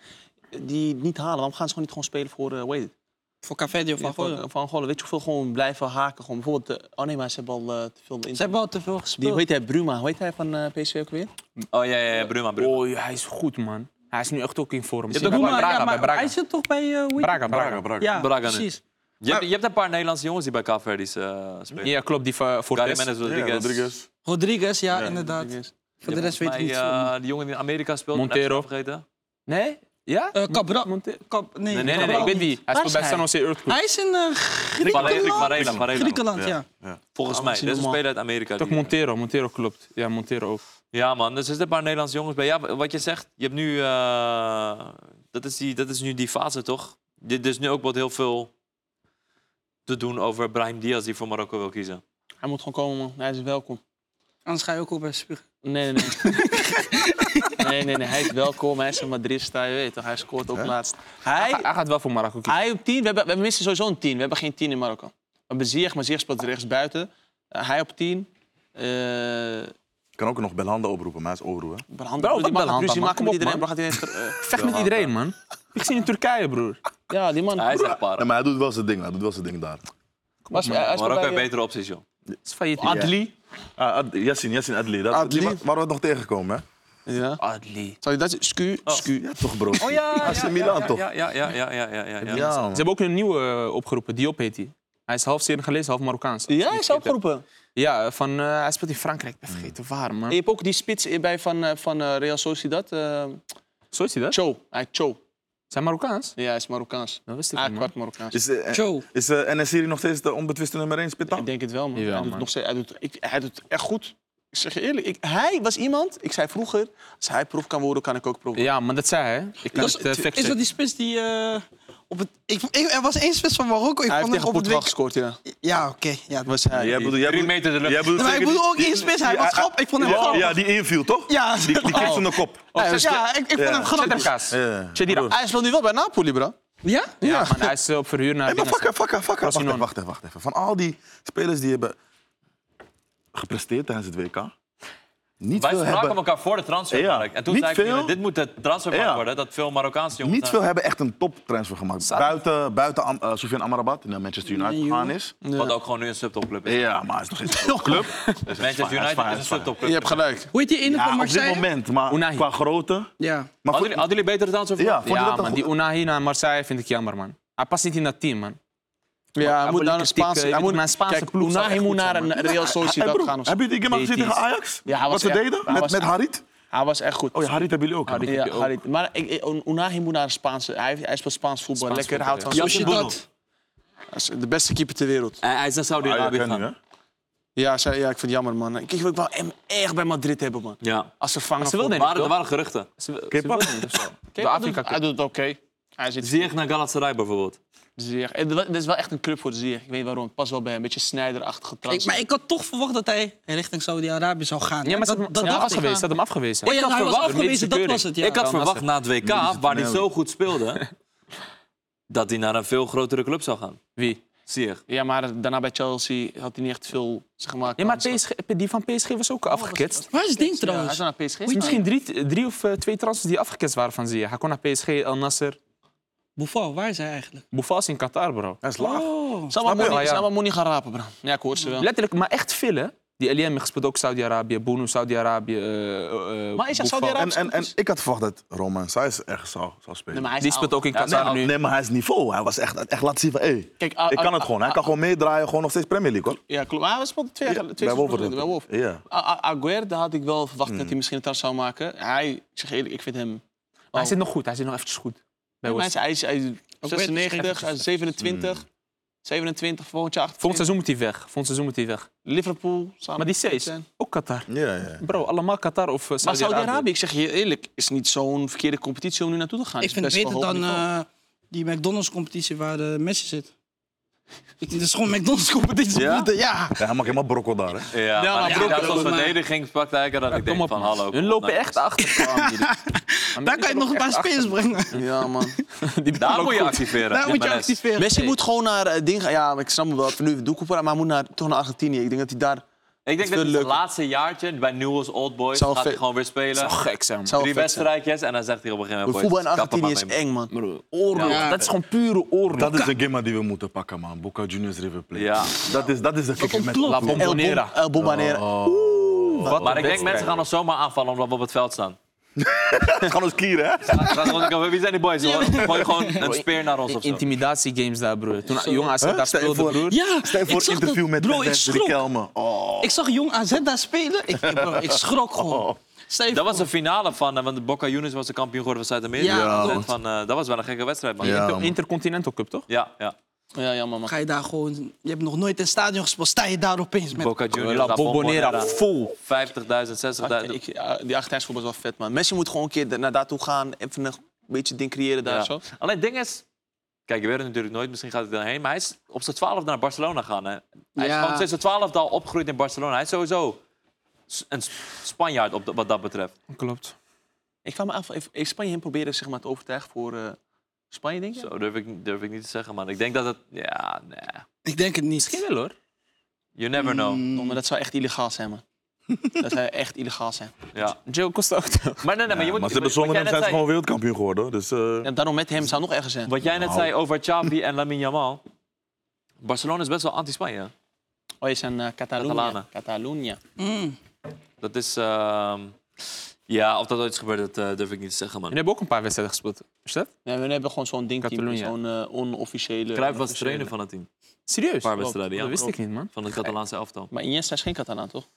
Speaker 5: die het niet halen. Waarom gaan ze gewoon niet gewoon spelen voor, eh hoe heet het?
Speaker 4: Voor Café of
Speaker 5: Voor-
Speaker 4: Angola.
Speaker 5: Voor, Angola. Weet je hoeveel gewoon blijven haken? Gewoon bijvoorbeeld, eh, oh nee, maar ze hebben al eh, te veel in.
Speaker 4: Ze hebben al te veel
Speaker 5: Die,
Speaker 4: gespeeld.
Speaker 5: hoe heet hij? Bruma. Hoe heet hij van eh PSV ook weer?
Speaker 1: Oh ja, ja, ja Bruma, Bruma.
Speaker 2: Oh, ja, hij is goed, man. Hij is nu echt ook in vorm.
Speaker 1: hebt ook
Speaker 2: bij
Speaker 4: maar,
Speaker 2: Braga,
Speaker 4: ja,
Speaker 2: bij
Speaker 4: maar
Speaker 2: Braga.
Speaker 4: hij zit toch bij... eh, hoe heet-
Speaker 2: Braga, Braga.
Speaker 4: Ja,
Speaker 1: Braga nu.
Speaker 4: precies.
Speaker 1: Je, hebt, je hebt een paar Nederlandse jongens die bij Kaapverdi's eh spelen.
Speaker 2: Ja, klopt. Die voor
Speaker 1: Gary
Speaker 2: Fortes.
Speaker 1: Mendes, Rodriguez.
Speaker 3: Rodriguez.
Speaker 4: Rodriguez, ja, inderdaad.
Speaker 5: Rodriguez.
Speaker 4: Voor de rest weet ik niet.
Speaker 1: Volgens mij, eh, die jongen die in Amerika speelt. mijn
Speaker 2: Montero.
Speaker 1: naam vergeten.
Speaker 2: Nee? Ja?
Speaker 4: Eh, Cabra...
Speaker 2: Monte-
Speaker 4: Cab- nee,
Speaker 1: Nee,
Speaker 2: Nee, nee, nee.
Speaker 4: Cabral
Speaker 2: Ik weet
Speaker 4: niet.
Speaker 2: wie. Hij
Speaker 4: Waar
Speaker 2: speelt bij
Speaker 4: is
Speaker 2: San Jose Earthquake.
Speaker 4: Hij is in eh, Griekenland.
Speaker 1: Varela, Varela.
Speaker 4: Griekenland, ja.
Speaker 1: Volgens mij.
Speaker 5: Ah, misschien
Speaker 1: Dat is een
Speaker 5: wel.
Speaker 1: speler uit Amerika.
Speaker 2: Toch
Speaker 1: die-
Speaker 2: Montero. Montero klopt. Ja, Montero ook.
Speaker 1: Ja, man. Dus er zitten een paar Nederlandse jongens bij. Ja, wat je zegt, je hebt nu. eh, dat, is die, dat is nu die fase, toch? Dit is nu ook wat heel veel te doen over Brahim Diaz die voor Marokko wil kiezen.
Speaker 5: Hij moet gewoon komen, man. Hij is welkom.
Speaker 4: Anders ga je ook op bij spugen.
Speaker 5: Nee, nee, nee. nee, nee, nee. Hij is welkom. Hij is een Madrista, je weet toch. Hij scoort ook laatst.
Speaker 2: Hij,
Speaker 5: Hij,
Speaker 2: hij gaat wel voor Marokko kiezen.
Speaker 5: Hij op 10. We, hebben, we missen sowieso een 10. We hebben geen 10 in Marokko. We hebben Ziyech, maar Ziyech speelt rechts buiten. Eh, hij op 10. Uh,
Speaker 3: Ik kan ook nog Belhanda oproepen, maar hij is overroe. hè.
Speaker 5: Belhanda.
Speaker 2: Bro, wat
Speaker 5: die man gaat
Speaker 2: Belhanda,
Speaker 5: ruzie
Speaker 2: man?
Speaker 5: maken
Speaker 2: Kom
Speaker 5: met
Speaker 2: op,
Speaker 5: iedereen.
Speaker 2: man.
Speaker 5: Bro, gaat iedereen ter- eh,
Speaker 2: Vecht met iedereen, man. Ik zie in Turkije, broer.
Speaker 5: ja, die man.
Speaker 1: Hij is echt
Speaker 3: Nee,
Speaker 1: para.
Speaker 3: maar hij doet wel zijn ding, hij doet wel zijn ding daar.
Speaker 5: was, hij is
Speaker 1: Marokko
Speaker 5: bij,
Speaker 1: heeft
Speaker 5: eh,
Speaker 1: betere opties, joh.
Speaker 2: Het is failliet.
Speaker 5: Adli.
Speaker 3: Ah, Ad- Yassin, Yassin Adli. Dat,
Speaker 5: Adli.
Speaker 3: Waar we het nog tegenkomen, hè?
Speaker 5: Ja.
Speaker 1: Ah. Adli.
Speaker 5: Zou je dat Scu, Scu.
Speaker 3: Ja, toch, bro.
Speaker 1: Oh ja,
Speaker 3: AC
Speaker 1: ja,
Speaker 3: Milan,
Speaker 1: ja,
Speaker 3: toch?
Speaker 1: Ja, ja, ja, ja, ja, ja, ja, ja.
Speaker 3: Ja, man.
Speaker 2: Ze hebben ook een nieuwe eh, opgeroepen, Diop heet hij. Hij is half Senegalees, half Marokkaans.
Speaker 5: Ja, hij is opgeroepen.
Speaker 2: Ja, van, eh, hij speelt in Frankrijk, ik ben vergeten waar,
Speaker 5: En je
Speaker 2: man.
Speaker 5: hebt ook die spits bij van, eh, van eh, Real Sociedad. eh
Speaker 2: Zo is hij dat?
Speaker 5: Cho. Hij heet Cho.
Speaker 2: Zijn Marokkaans?
Speaker 5: Ja, hij is Marokkaans.
Speaker 2: Dat wist ik
Speaker 5: Hij
Speaker 2: niet,
Speaker 5: is
Speaker 2: man.
Speaker 5: kwart Marokkaans.
Speaker 3: Is, eh,
Speaker 4: Zo.
Speaker 3: is eh, NS-serie nog steeds de onbetwiste nummer 1 spit
Speaker 5: Ik denk het wel, man.
Speaker 2: Jawel,
Speaker 5: hij, doet
Speaker 2: man.
Speaker 5: Nog steeds, hij, doet, ik, hij doet echt goed. Ik zeg je eerlijk, ik, hij was iemand, ik zei vroeger, als hij prof kan worden, kan ik ook prof worden.
Speaker 2: Ja, maar dat zei hij. hè. Ik kan
Speaker 4: Was-
Speaker 2: het eh, factchecken.
Speaker 4: is dat die spits die... eh, op het, ik, ik- er was één spits van Marokko. Ik
Speaker 5: Hij heeft
Speaker 4: vond hem
Speaker 5: tegen
Speaker 4: op het
Speaker 5: Portugal
Speaker 4: week...
Speaker 5: gescoord, ja.
Speaker 4: Ja, oké. ja.
Speaker 5: Was hij.
Speaker 3: Jij bedoelt, jij
Speaker 1: Drie
Speaker 3: bedoelt,
Speaker 1: meter de lucht.
Speaker 3: jij bedoelt
Speaker 4: Maar ik
Speaker 3: zeker
Speaker 4: bedoel ook
Speaker 3: die-
Speaker 4: één spits. Hij was
Speaker 3: Ja,
Speaker 4: grappig. Ik vond hem
Speaker 3: Ja,
Speaker 4: grappig.
Speaker 3: ja, die inviel, toch?
Speaker 4: Ja,
Speaker 3: Die, die kreeg zijn kop.
Speaker 5: Oh.
Speaker 4: ja, ik, ik vond
Speaker 3: Ja.
Speaker 4: hem grappig.
Speaker 2: Kaas.
Speaker 3: Ja.
Speaker 2: Chedira.
Speaker 5: Hij speelt nu wel bij Napoli, bro.
Speaker 4: Ja?
Speaker 2: Ja, man, hij is eh, op verhuur naar
Speaker 3: Hey, maar
Speaker 2: dinges.
Speaker 3: fuck, fuck, fuck. Wacht
Speaker 2: Frosinone.
Speaker 3: even, wacht even, wacht even. Van al die spelers die hebben gepresteerd tijdens het WK, niet
Speaker 1: Wij
Speaker 3: veel
Speaker 1: spraken
Speaker 3: hebben,
Speaker 1: elkaar voor de transfermarkt.
Speaker 3: Ja,
Speaker 1: en toen
Speaker 3: niet
Speaker 1: zei ik,
Speaker 3: veel.
Speaker 1: dit moet de transfermarkt
Speaker 3: Ja.
Speaker 1: worden, dat veel Marokkaanse jongens...
Speaker 3: niet veel hebben echt een toptransfer gemaakt. Buiten, buiten Am- eh, Soufiane Amrabat, die naar Manchester United gegaan is.
Speaker 1: Wat ook gewoon nu een subtopclub is.
Speaker 3: Ja, maar hij is nog steeds een club.
Speaker 1: Manchester United is een
Speaker 5: Je
Speaker 1: subtopclub.
Speaker 5: hebt gelijk.
Speaker 4: Hoe heet die ene van
Speaker 3: Ja, op dit
Speaker 4: Marseille?
Speaker 3: moment, maar
Speaker 2: Unai.
Speaker 3: qua grootte.
Speaker 4: Ja.
Speaker 3: Maar
Speaker 1: Hadden jullie-
Speaker 3: voor,
Speaker 1: hadden jullie betere transfer
Speaker 3: ja, vond je
Speaker 2: Ja,
Speaker 3: dat een
Speaker 2: man, die
Speaker 3: goed-
Speaker 2: Unahi naar Marseille vind ik jammer, man. Hij past niet in dat team, man.
Speaker 5: Ja, hij moet
Speaker 2: moet
Speaker 5: naar een
Speaker 2: lekker
Speaker 5: Spaanse,
Speaker 2: tikken,
Speaker 5: hij moet
Speaker 2: naar een Spaanse
Speaker 5: kijk,
Speaker 2: ploeg zou
Speaker 5: Unai
Speaker 2: echt
Speaker 5: moet
Speaker 2: goed
Speaker 5: naar
Speaker 2: zijn,
Speaker 5: een
Speaker 2: man.
Speaker 5: Real
Speaker 3: Hey,
Speaker 5: Sociedad
Speaker 3: Eh, broer,
Speaker 5: gaan. of zo.
Speaker 3: Heb je die game gezien tegen
Speaker 2: Betis.
Speaker 3: Ajax?
Speaker 5: Ja, hij was
Speaker 3: Wat ze
Speaker 5: echt-
Speaker 3: deden?
Speaker 5: hij
Speaker 3: Met,
Speaker 5: was
Speaker 3: met
Speaker 5: echt-
Speaker 3: Harit?
Speaker 5: Hij was echt goed.
Speaker 3: Oh ja, Harit hebben jullie ook. hè?
Speaker 5: ja, Harit. Maar ik, ik- Unai moet naar een Spaanse. Hij, hij speelt Spaans voetbal.
Speaker 2: Spaans
Speaker 5: lekker
Speaker 2: voetbal,
Speaker 5: houdt van
Speaker 4: Als je dat...
Speaker 5: Hij is De beste keeper ter wereld.
Speaker 1: Hij is naar
Speaker 3: Ah,
Speaker 1: Saudi-Arabië
Speaker 3: ja, kan nu, hè?
Speaker 1: gaan.
Speaker 5: Ja, zei- ja, ik vind het jammer, man. Ik, ik wil hem echt bij Madrid hebben, man.
Speaker 1: Ja.
Speaker 5: Als ze vangen.
Speaker 2: Ze wilden
Speaker 1: Er
Speaker 2: hem
Speaker 1: waren-
Speaker 2: niet,
Speaker 1: er
Speaker 2: toch?
Speaker 1: waren geruchten.
Speaker 2: Ze wil-
Speaker 3: je
Speaker 2: ze wilden hem niet, of zo. De Afrika
Speaker 5: Hij
Speaker 2: Cup.
Speaker 5: doet het oké. Hij zit
Speaker 1: Zie je naar Galatasaray bijvoorbeeld?
Speaker 5: Zeer. Eh, Dit is wel echt een club voor de zeer. Ik weet waarom. Pas wel bij een beetje snijderachtige
Speaker 4: Ik,
Speaker 5: transfer.
Speaker 4: maar ik had toch verwacht dat hij richting Saudi-Arabië zou gaan.
Speaker 2: Ja, maar ze
Speaker 4: dat,
Speaker 2: hadden
Speaker 4: dat
Speaker 2: hem
Speaker 4: dacht ik.
Speaker 2: afgewezen. Ze hadden hem afgewezen.
Speaker 4: Oh ja, hij was
Speaker 1: verwacht-
Speaker 4: afgewezen, dat was het. Ja.
Speaker 1: ik had
Speaker 2: dan
Speaker 1: verwacht
Speaker 2: was
Speaker 1: na het WK,
Speaker 3: Medische
Speaker 1: waar hij
Speaker 3: toneel.
Speaker 1: zo goed speelde, dat hij naar een veel grotere club zou gaan.
Speaker 2: Wie?
Speaker 1: Zie je.
Speaker 5: Ja, maar daarna bij Chelsea had hij niet echt veel, zeg maar...
Speaker 2: Ja, maar
Speaker 5: kansen.
Speaker 2: PSG, die van PSG was ook afgeketst.
Speaker 4: Waar is het ding
Speaker 5: Ja, hij
Speaker 4: trouwens?
Speaker 5: is naar PSG.
Speaker 2: Er zijn misschien drie, drie of eh, twee transfers die afgeketst waren van Ziyech. Hij kon naar PSG, El Nasser.
Speaker 4: Buffon, waar is hij eigenlijk?
Speaker 2: Buffal is in Qatar, bro.
Speaker 3: Hij is laag.
Speaker 4: Oh.
Speaker 5: Zal
Speaker 2: Snap je?
Speaker 5: maar Moni-
Speaker 2: Ah, ja.
Speaker 5: zal maar Moni gaan rapen, bro. Ja, ik hoor ze wel.
Speaker 2: Letterlijk, maar echt veel, hè? Die Eliam heeft gespeeld ook Saudi-Arabië, Bono Saudi-Arabië. eh, eh,
Speaker 5: Maar is dat
Speaker 2: Buffal.
Speaker 5: Saudi-Arabië?
Speaker 3: En, en, en ik had verwacht dat Roman Saïs echt zou, zou spelen.
Speaker 5: Nee, maar hij is
Speaker 2: Die speelt
Speaker 5: oud.
Speaker 2: ook in
Speaker 3: Ja,
Speaker 2: Qatar
Speaker 3: nee,
Speaker 2: nu.
Speaker 3: nee, maar hij is niveau. Hij was echt, echt laten zien van, hé,
Speaker 5: Kijk,
Speaker 3: ik
Speaker 5: ah, ah,
Speaker 3: kan het
Speaker 5: ah,
Speaker 3: gewoon. Hij kan gewoon meedraaien, gewoon nog steeds Premier League, hoor.
Speaker 5: Ja, klopt. Maar hij speelde twee jaar
Speaker 3: Ja,
Speaker 5: geleden. twee
Speaker 3: bij
Speaker 5: seizoenen geleden,
Speaker 3: Wolverhampton.
Speaker 5: bij Wolf.
Speaker 3: Ja.
Speaker 5: A- A- Aguerd, daar had ik wel verwacht
Speaker 3: Hmm.
Speaker 5: dat hij misschien een trans zou maken. Hij, ik zeg eerlijk, ik vind hem...
Speaker 2: Maar Hij zit nog goed, hij zit nog eventjes goed. Bij
Speaker 5: Hij
Speaker 2: West
Speaker 5: is, hij is, hij is 96, hij is 27. 27 volgend jaar.
Speaker 2: Hmm. Volgend
Speaker 5: 28.
Speaker 2: seizoen moet hij weg. Volgend seizoen moet hij weg.
Speaker 5: Liverpool. samen
Speaker 2: Maar die
Speaker 5: met
Speaker 2: C's,
Speaker 5: zijn.
Speaker 2: ook Qatar.
Speaker 3: Ja, ja.
Speaker 2: Bro, allemaal Qatar of eh,
Speaker 5: Maar
Speaker 2: Saudi-Arabië.
Speaker 5: Saudi-Arabië, ik zeg je eerlijk, is niet zo'n verkeerde competitie om nu naartoe te gaan.
Speaker 4: Ik vind
Speaker 5: Het
Speaker 4: het
Speaker 5: is best
Speaker 4: beter
Speaker 5: wel
Speaker 4: dan
Speaker 5: hoog niveau.
Speaker 4: eh, die McDonald's-competitie waar eh, Messi zit. Het is gewoon McDonald's-competitie.
Speaker 3: Ja?
Speaker 4: broeder, ja.
Speaker 3: Ja, hij maakt helemaal brokkel daar, hè.
Speaker 1: Ja, maar,
Speaker 4: maar
Speaker 1: ik
Speaker 4: Brokkel-
Speaker 1: inderdaad, als
Speaker 4: maar-
Speaker 1: verdedigingspraktijker, dat ik
Speaker 2: Kom
Speaker 1: denk
Speaker 2: op,
Speaker 1: van
Speaker 2: man.
Speaker 1: hallo.
Speaker 2: Hun
Speaker 1: kom op
Speaker 2: lopen
Speaker 1: nou,
Speaker 2: echt achter.
Speaker 4: Daar kan je nog een paar spelers brengen.
Speaker 5: Ja, man.
Speaker 1: Daar moet je activeren.
Speaker 4: Daar Nou moet je
Speaker 1: Jimenez.
Speaker 4: activeren.
Speaker 5: Messi moet gewoon naar eh, ding gaan. Ja, maar ik snap hem wel. Voor nu doe ik maar hij moet naar, toch naar Argentinië. Ik denk dat hij daar...
Speaker 1: Ik denk
Speaker 5: veel
Speaker 1: dat het
Speaker 5: leuker.
Speaker 1: laatste jaartje bij Newell's Old Boys
Speaker 5: Zou
Speaker 1: gaat hij
Speaker 5: vet-
Speaker 1: gewoon weer spelen.
Speaker 2: Zo gek zijn, man.
Speaker 5: Zou
Speaker 1: Drie
Speaker 5: vet zijn.
Speaker 1: wedstrijdjes en dan zegt hij op een gegeven
Speaker 5: Maar
Speaker 1: moment...
Speaker 5: Voetbal in
Speaker 1: boys, kap er
Speaker 5: Argentinië
Speaker 1: maar
Speaker 5: is
Speaker 1: mee,
Speaker 5: eng, man.
Speaker 2: Oorlog.
Speaker 4: Ja.
Speaker 2: Dat is gewoon pure oorlog.
Speaker 3: Dat is de game die we moeten pakken, man. Boca Juniors River Plate.
Speaker 1: Ja.
Speaker 3: Dat is, dat is de kikker met
Speaker 2: La
Speaker 3: voetbal.
Speaker 5: El, Bom,
Speaker 2: Bombonera.
Speaker 5: El Bombonera.
Speaker 2: Wat
Speaker 1: Maar
Speaker 2: een
Speaker 1: ik denk, mensen
Speaker 2: wedstrijd.
Speaker 1: gaan ons zomaar aanvallen omdat we op het veld staan.
Speaker 3: Het gaan ons kieren, hè.
Speaker 1: Dan denk ik, Wie zijn die boys? hoor? Gooi gewoon een speer naar ons of zo.
Speaker 2: Intimidatiegames daar, broer. Toen jong AZ
Speaker 3: Huh?
Speaker 2: daar
Speaker 3: Stel je
Speaker 2: speelde,
Speaker 3: voor-
Speaker 2: broer.
Speaker 4: Ja,
Speaker 3: Stel je
Speaker 4: ik
Speaker 3: voor
Speaker 4: zag
Speaker 3: interview
Speaker 4: dat,
Speaker 3: met
Speaker 4: bro, ik
Speaker 3: Drie
Speaker 4: schrok.
Speaker 3: Kelmen. Oh.
Speaker 4: Ik zag jong AZ daar spelen. Ik, bro, ik schrok gewoon. Stel je
Speaker 1: Dat was
Speaker 4: voor.
Speaker 1: de finale van, eh, want de Boca Juniors was de kampioen geworden van Zuid-Amerika.
Speaker 4: Ja,
Speaker 1: Dat
Speaker 4: klopt.
Speaker 1: van, eh, dat was wel een gekke wedstrijd, man. Ja,
Speaker 3: Ja,
Speaker 2: Inter-
Speaker 3: man.
Speaker 2: Intercontinental Cup, toch?
Speaker 1: ja. ja.
Speaker 5: Ja, jammer, man.
Speaker 4: Ga je daar gewoon... Je hebt nog nooit in het stadion gespeeld. Sta je daar opeens met...
Speaker 1: Boca Juniors,
Speaker 2: La
Speaker 1: La Bombonera.
Speaker 2: Bombonera, vol.
Speaker 1: 50.000, 60.000.
Speaker 5: Ik, ja, die achterhuisvoetbal is wel vet, man. Messi moet gewoon een keer naar daartoe gaan. Even een beetje ding creëren daar.
Speaker 1: Ja.
Speaker 5: Zo.
Speaker 1: Alleen het ding is... Kijk, je weet het natuurlijk nooit. Misschien gaat hij daarheen. Maar hij is op zijn twaalfde naar Barcelona gaan. Hè. Hij is
Speaker 4: Ja.
Speaker 1: gewoon sinds zijn twaalfde al opgegroeid in Barcelona. Hij is sowieso s- een S- Spanjaard op de- wat dat betreft.
Speaker 2: Klopt.
Speaker 5: Ik kwam me af, heeft heeft Spanje hem proberen zeg maar, te overtuigen voor eh, Spanje, denk je?
Speaker 1: Zo durf ik, durf ik niet te zeggen, man. Ik denk dat het... Ja, nee.
Speaker 4: Ik denk het niet.
Speaker 2: Misschien wel, hoor.
Speaker 1: You never know.
Speaker 4: Mm.
Speaker 5: Oh, maar dat zou echt illegaal zijn, man. dat zou echt illegaal zijn.
Speaker 1: Ja.
Speaker 2: Joe Costa ook toch?
Speaker 1: Maar nee, nee, maar je moet...
Speaker 3: Maar ze hebben
Speaker 1: wat
Speaker 3: zonder
Speaker 1: jij
Speaker 3: hem
Speaker 1: net
Speaker 3: zijn ze
Speaker 1: zei-
Speaker 3: gewoon wereldkampioen geworden, hoor. Dus, eh,
Speaker 5: En daarom met hem zou nog ergens zijn. Oh,
Speaker 1: Wat jij net
Speaker 3: Nou.
Speaker 1: zei over Xavi en Lamine Yamal. Barcelona is best wel anti-Spanje. hè?
Speaker 5: Oh, je zijn eh Catalonië.
Speaker 1: Catalanen.
Speaker 5: Catalonia.
Speaker 4: Mm.
Speaker 1: Dat is... ehm, Ja, of dat ooit is gebeurd, dat eh, durf ik niet te zeggen, man.
Speaker 2: Jullie hebben ook een paar wedstrijden gespeeld. Is dat?
Speaker 5: Nee, we hebben gewoon zo'n ding,
Speaker 2: Catalonia.
Speaker 5: zo'n eh, onofficiële...
Speaker 1: Cruijff was de
Speaker 5: onofficiële.
Speaker 1: trainer van het team.
Speaker 2: Serieus?
Speaker 1: Een paar
Speaker 2: Wow,
Speaker 1: wedstrijden, ja.
Speaker 2: Dat wist ik
Speaker 1: Klopt.
Speaker 2: niet, man.
Speaker 1: Van het Catalaanse elftal.
Speaker 5: Maar Iniesta is geen Catalaan, toch?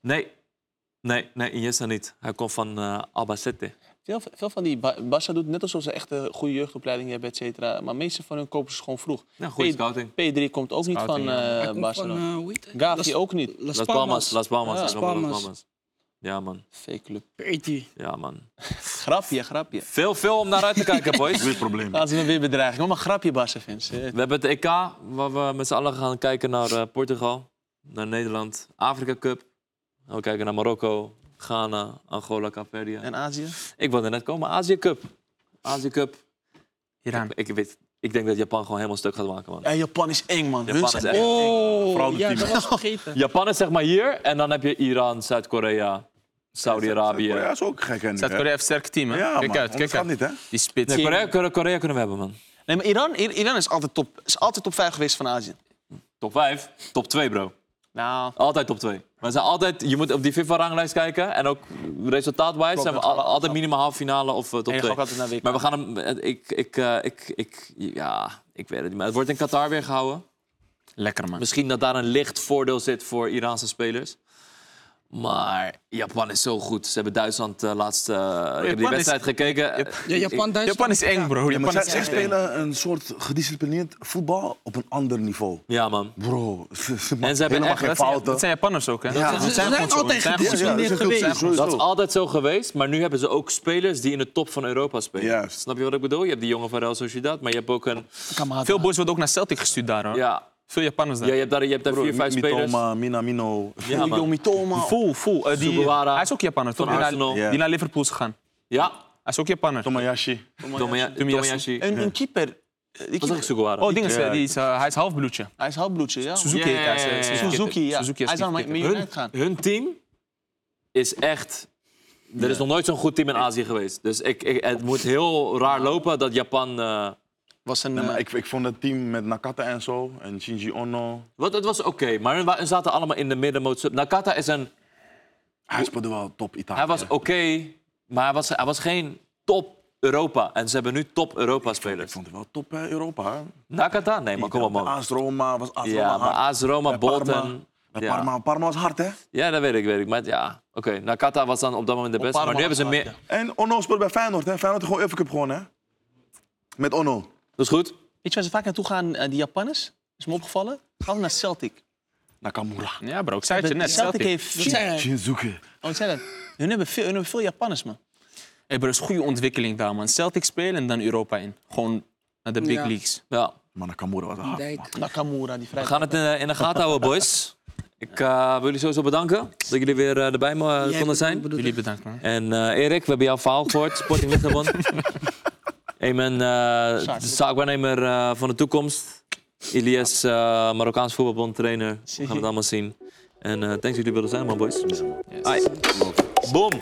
Speaker 1: Nee. Nee, nee, Iniesta niet. Hij komt van eh, Albacete.
Speaker 5: Veel, veel van die... Ba- Barca doet net alsof ze echt een goede jeugdopleiding hebben, et cetera. Maar meeste van hun kopen ze gewoon vroeg.
Speaker 1: Ja, goede
Speaker 5: Hey,
Speaker 1: scouting.
Speaker 5: P3 komt ook niet
Speaker 2: Scouting,
Speaker 5: van
Speaker 2: ja.
Speaker 5: eh,
Speaker 4: Hij komt van,
Speaker 5: Barcelona.
Speaker 4: eh, hoe heet het?
Speaker 5: Gavi
Speaker 4: Las-
Speaker 5: ook niet.
Speaker 4: Las
Speaker 1: Las Palmas. Las Palmas.
Speaker 5: Ja.
Speaker 1: Las Palmas.
Speaker 4: Palmas.
Speaker 1: Las Palmas. Ja, man.
Speaker 5: Fake club.
Speaker 4: Peretti.
Speaker 1: Ja, man.
Speaker 5: Grapje, grapje.
Speaker 1: Veel, veel om naar uit te kijken, boys.
Speaker 3: Weer probleem.
Speaker 5: Laten we me weer bedreigen. Kom maar grapje, Barca fans. Eh,
Speaker 1: We hebben het EK, waar we met z'n allen gaan kijken naar eh, Portugal, naar Nederland, Afrika Cup. En we kijken naar Marokko, Ghana, Angola, Caperia.
Speaker 5: En Azië.
Speaker 1: Ik wilde net komen, Azië Cup. Azië Cup.
Speaker 2: Iran.
Speaker 1: Ik, weet, ik denk dat Japan gewoon helemaal stuk gaat maken, man.
Speaker 5: Ja, Japan is eng, man.
Speaker 1: Japan
Speaker 5: Hun
Speaker 1: is
Speaker 5: zijn
Speaker 1: echt-
Speaker 3: Vooral
Speaker 4: Oh,
Speaker 3: de
Speaker 4: ja,
Speaker 3: team.
Speaker 4: dat was vergeten.
Speaker 1: Japan is zeg maar hier en dan heb je Iran, Zuid-Korea, Saudi-Arabië.
Speaker 3: Oh Ja,
Speaker 1: Nee,
Speaker 3: is ook gek, hè, nu, hè?
Speaker 2: Zuid-Korea heeft een sterk team, hè?
Speaker 3: Ja,
Speaker 2: kijk
Speaker 3: man.
Speaker 2: uit, kijk
Speaker 3: Onderschat
Speaker 2: uit.
Speaker 3: niet, hè?
Speaker 2: Die spits.
Speaker 1: Korea, Korea, Korea kunnen we hebben, man.
Speaker 5: Nee, maar Iran, I- Iran is, altijd top, is altijd top 5 geweest van Azië.
Speaker 1: Top 5, top 2, bro.
Speaker 5: Nou,
Speaker 1: Altijd top 2. Maar zijn altijd, je moet op die FIFA-ranglijst kijken. En ook resultaatwijs zijn we al- altijd minimaal halve finale of eh, top
Speaker 5: en je
Speaker 1: 2.
Speaker 5: gaat ook altijd naar WK.
Speaker 1: Maar we gaan hem. eh, Ik, ik, eh, ik, ik, ja, ik weet het niet. Maar het wordt in Qatar weer gehouden.
Speaker 2: Lekker, man.
Speaker 1: Misschien dat daar een licht voordeel zit voor Iraanse spelers. Maar Japan is zo goed. Ze hebben Duitsland eh, laatst. eh, ik heb die
Speaker 2: Oh, Japan
Speaker 1: wedstrijd
Speaker 2: is-
Speaker 1: gekeken. Eh,
Speaker 4: Ja, Japan, Duitsland.
Speaker 2: Japan is eng, bro.
Speaker 3: Ja,
Speaker 2: Japan
Speaker 3: maar zij,
Speaker 2: is
Speaker 3: zij
Speaker 2: echt eng.
Speaker 3: spelen een soort gedisciplineerd voetbal op een ander niveau.
Speaker 1: Ja, man.
Speaker 3: Bro, ze, ze maken
Speaker 1: hebben
Speaker 3: helemaal
Speaker 1: echt-
Speaker 3: geen
Speaker 2: Dat zijn-
Speaker 3: fouten.
Speaker 2: Dat zijn Japanners ook, hè?
Speaker 3: Ja,
Speaker 4: Ze
Speaker 3: dat
Speaker 4: zijn, altijd
Speaker 3: Ja, ja, dat is
Speaker 4: gedisciplineerd
Speaker 3: een cultuur,
Speaker 4: geweest.
Speaker 3: sowieso.
Speaker 1: Dat is altijd zo geweest, maar nu hebben ze ook spelers die in de top van Europa spelen.
Speaker 3: Juist.
Speaker 1: Snap je wat ik bedoel? Je hebt die jongen van Real Sociedad, maar je hebt ook een...
Speaker 2: Veel boys worden ook naar Celtic gestuurd daar, hoor.
Speaker 1: Ja,
Speaker 2: Veel Japanners daar.
Speaker 1: ja je hebt daar, je hebt daar
Speaker 3: Bro,
Speaker 1: vier, vijf spelers.
Speaker 3: Mitoma, Minamino.
Speaker 1: Ja, man.
Speaker 5: Mitoma.
Speaker 2: Full, full. Eh, die,
Speaker 1: Sugawara.
Speaker 2: hij is ook Japaner, toch?
Speaker 1: Van
Speaker 2: Die
Speaker 1: Arsenal.
Speaker 2: naar,
Speaker 3: Ja.
Speaker 2: die naar Liverpool is gegaan.
Speaker 1: Ja,
Speaker 2: Hij is ook Japaner.
Speaker 3: Tomayashi.
Speaker 1: Tomaya- Tomiyashi.
Speaker 5: Een, een keeper. Eh, die
Speaker 1: Dat is ook
Speaker 5: keeper.
Speaker 1: Sugawara.
Speaker 2: Oh, ding is,
Speaker 3: Ja.
Speaker 2: eh, die is, eh, hij is halfbloedje.
Speaker 5: Hij is halfbloedje, ja. man.
Speaker 2: Suzuki
Speaker 1: Ja,
Speaker 2: heet hij. ze-
Speaker 1: ja, ja,
Speaker 2: ze-
Speaker 1: ja.
Speaker 2: ze-
Speaker 5: Suzuki, ja.
Speaker 2: Suzuki
Speaker 5: hij
Speaker 2: is
Speaker 5: zou naar Man
Speaker 2: niet-
Speaker 5: United gaan.
Speaker 1: hun team is echt. Er is nog nooit zo'n goed team in Azië geweest. Dus ik, ik, het moet heel raar lopen dat Japan. eh,
Speaker 5: Was een,
Speaker 3: Nee, maar
Speaker 5: eh,
Speaker 3: ik, ik vond het team met Nakata en zo. En Shinji Ono.
Speaker 1: wat, het was oké, maar hun wa- hun zaten allemaal in de middenmoot. sub. Nakata is een.
Speaker 3: Hij speelde wel top Italië.
Speaker 1: Hij was oké, maar hij was, hij was geen top Europa. En ze hebben nu top
Speaker 3: Ik
Speaker 1: Europa-spelers.
Speaker 3: vond het wel top hè, Europa. hè.
Speaker 1: Nakata? Nee, maar kom op, man.
Speaker 3: AS Roma was AS
Speaker 1: Ja,
Speaker 3: Roma
Speaker 1: maar
Speaker 3: hard.
Speaker 1: AS Roma,
Speaker 3: Bij Parma.
Speaker 1: Bolton.
Speaker 3: Bij
Speaker 1: Ja.
Speaker 3: Parma, Parma was hard, hè?
Speaker 1: ja, dat weet ik, weet ik. Maar ja, oké. Nakata was dan op dat moment de beste. Maar nu
Speaker 5: Parma
Speaker 1: hebben ze
Speaker 5: was
Speaker 1: meer.
Speaker 5: hard,
Speaker 3: En Ono speelde bij Feyenoord, hè? Feyenoord heeft gewoon Cup gewonnen, hè? Met Ono.
Speaker 1: Dat is goed.
Speaker 5: Weet je waar ze vaak naartoe gaan, eh, die Japanners? Is me opgevallen? Gaan naar Celtic.
Speaker 3: Nakamura.
Speaker 2: Ja, bro, ik zei het je net.
Speaker 5: Celtic
Speaker 2: Celtic.
Speaker 5: heeft...
Speaker 4: Dat zei hij.
Speaker 3: Shinzuke.
Speaker 5: Oh, ik zei dat. Hun hebben veel, hun hebben veel Japanners, man.
Speaker 2: Hey, bro, dat is een goede ontwikkeling daar, man. Celtic spelen en dan Europa in. Gewoon naar de big
Speaker 4: Ja.
Speaker 2: leagues.
Speaker 1: Ja.
Speaker 3: Maar Nakamura was hard.
Speaker 4: Dijk.
Speaker 5: Nakamura, die
Speaker 1: We
Speaker 5: vrijdag.
Speaker 1: gaan het in, eh, in de gaten houden, boys. Ik eh, wil jullie sowieso bedanken dat jullie weer eh, erbij mo- eh,
Speaker 4: Jij
Speaker 1: konden
Speaker 4: bedoelt-
Speaker 1: zijn.
Speaker 4: bedoelt-
Speaker 2: Jullie bedankt, man.
Speaker 1: En eh, Erik, we hebben jouw verhaal gehoord. Sporting Lissabon. Amen, eh de zaakwaarnemer eh, van de toekomst. Ilias, eh, Marokkaans voetbalbond trainer. We gaan het allemaal zien. En eh thanks dat jullie willen zijn, man, boys. Ai. Boom.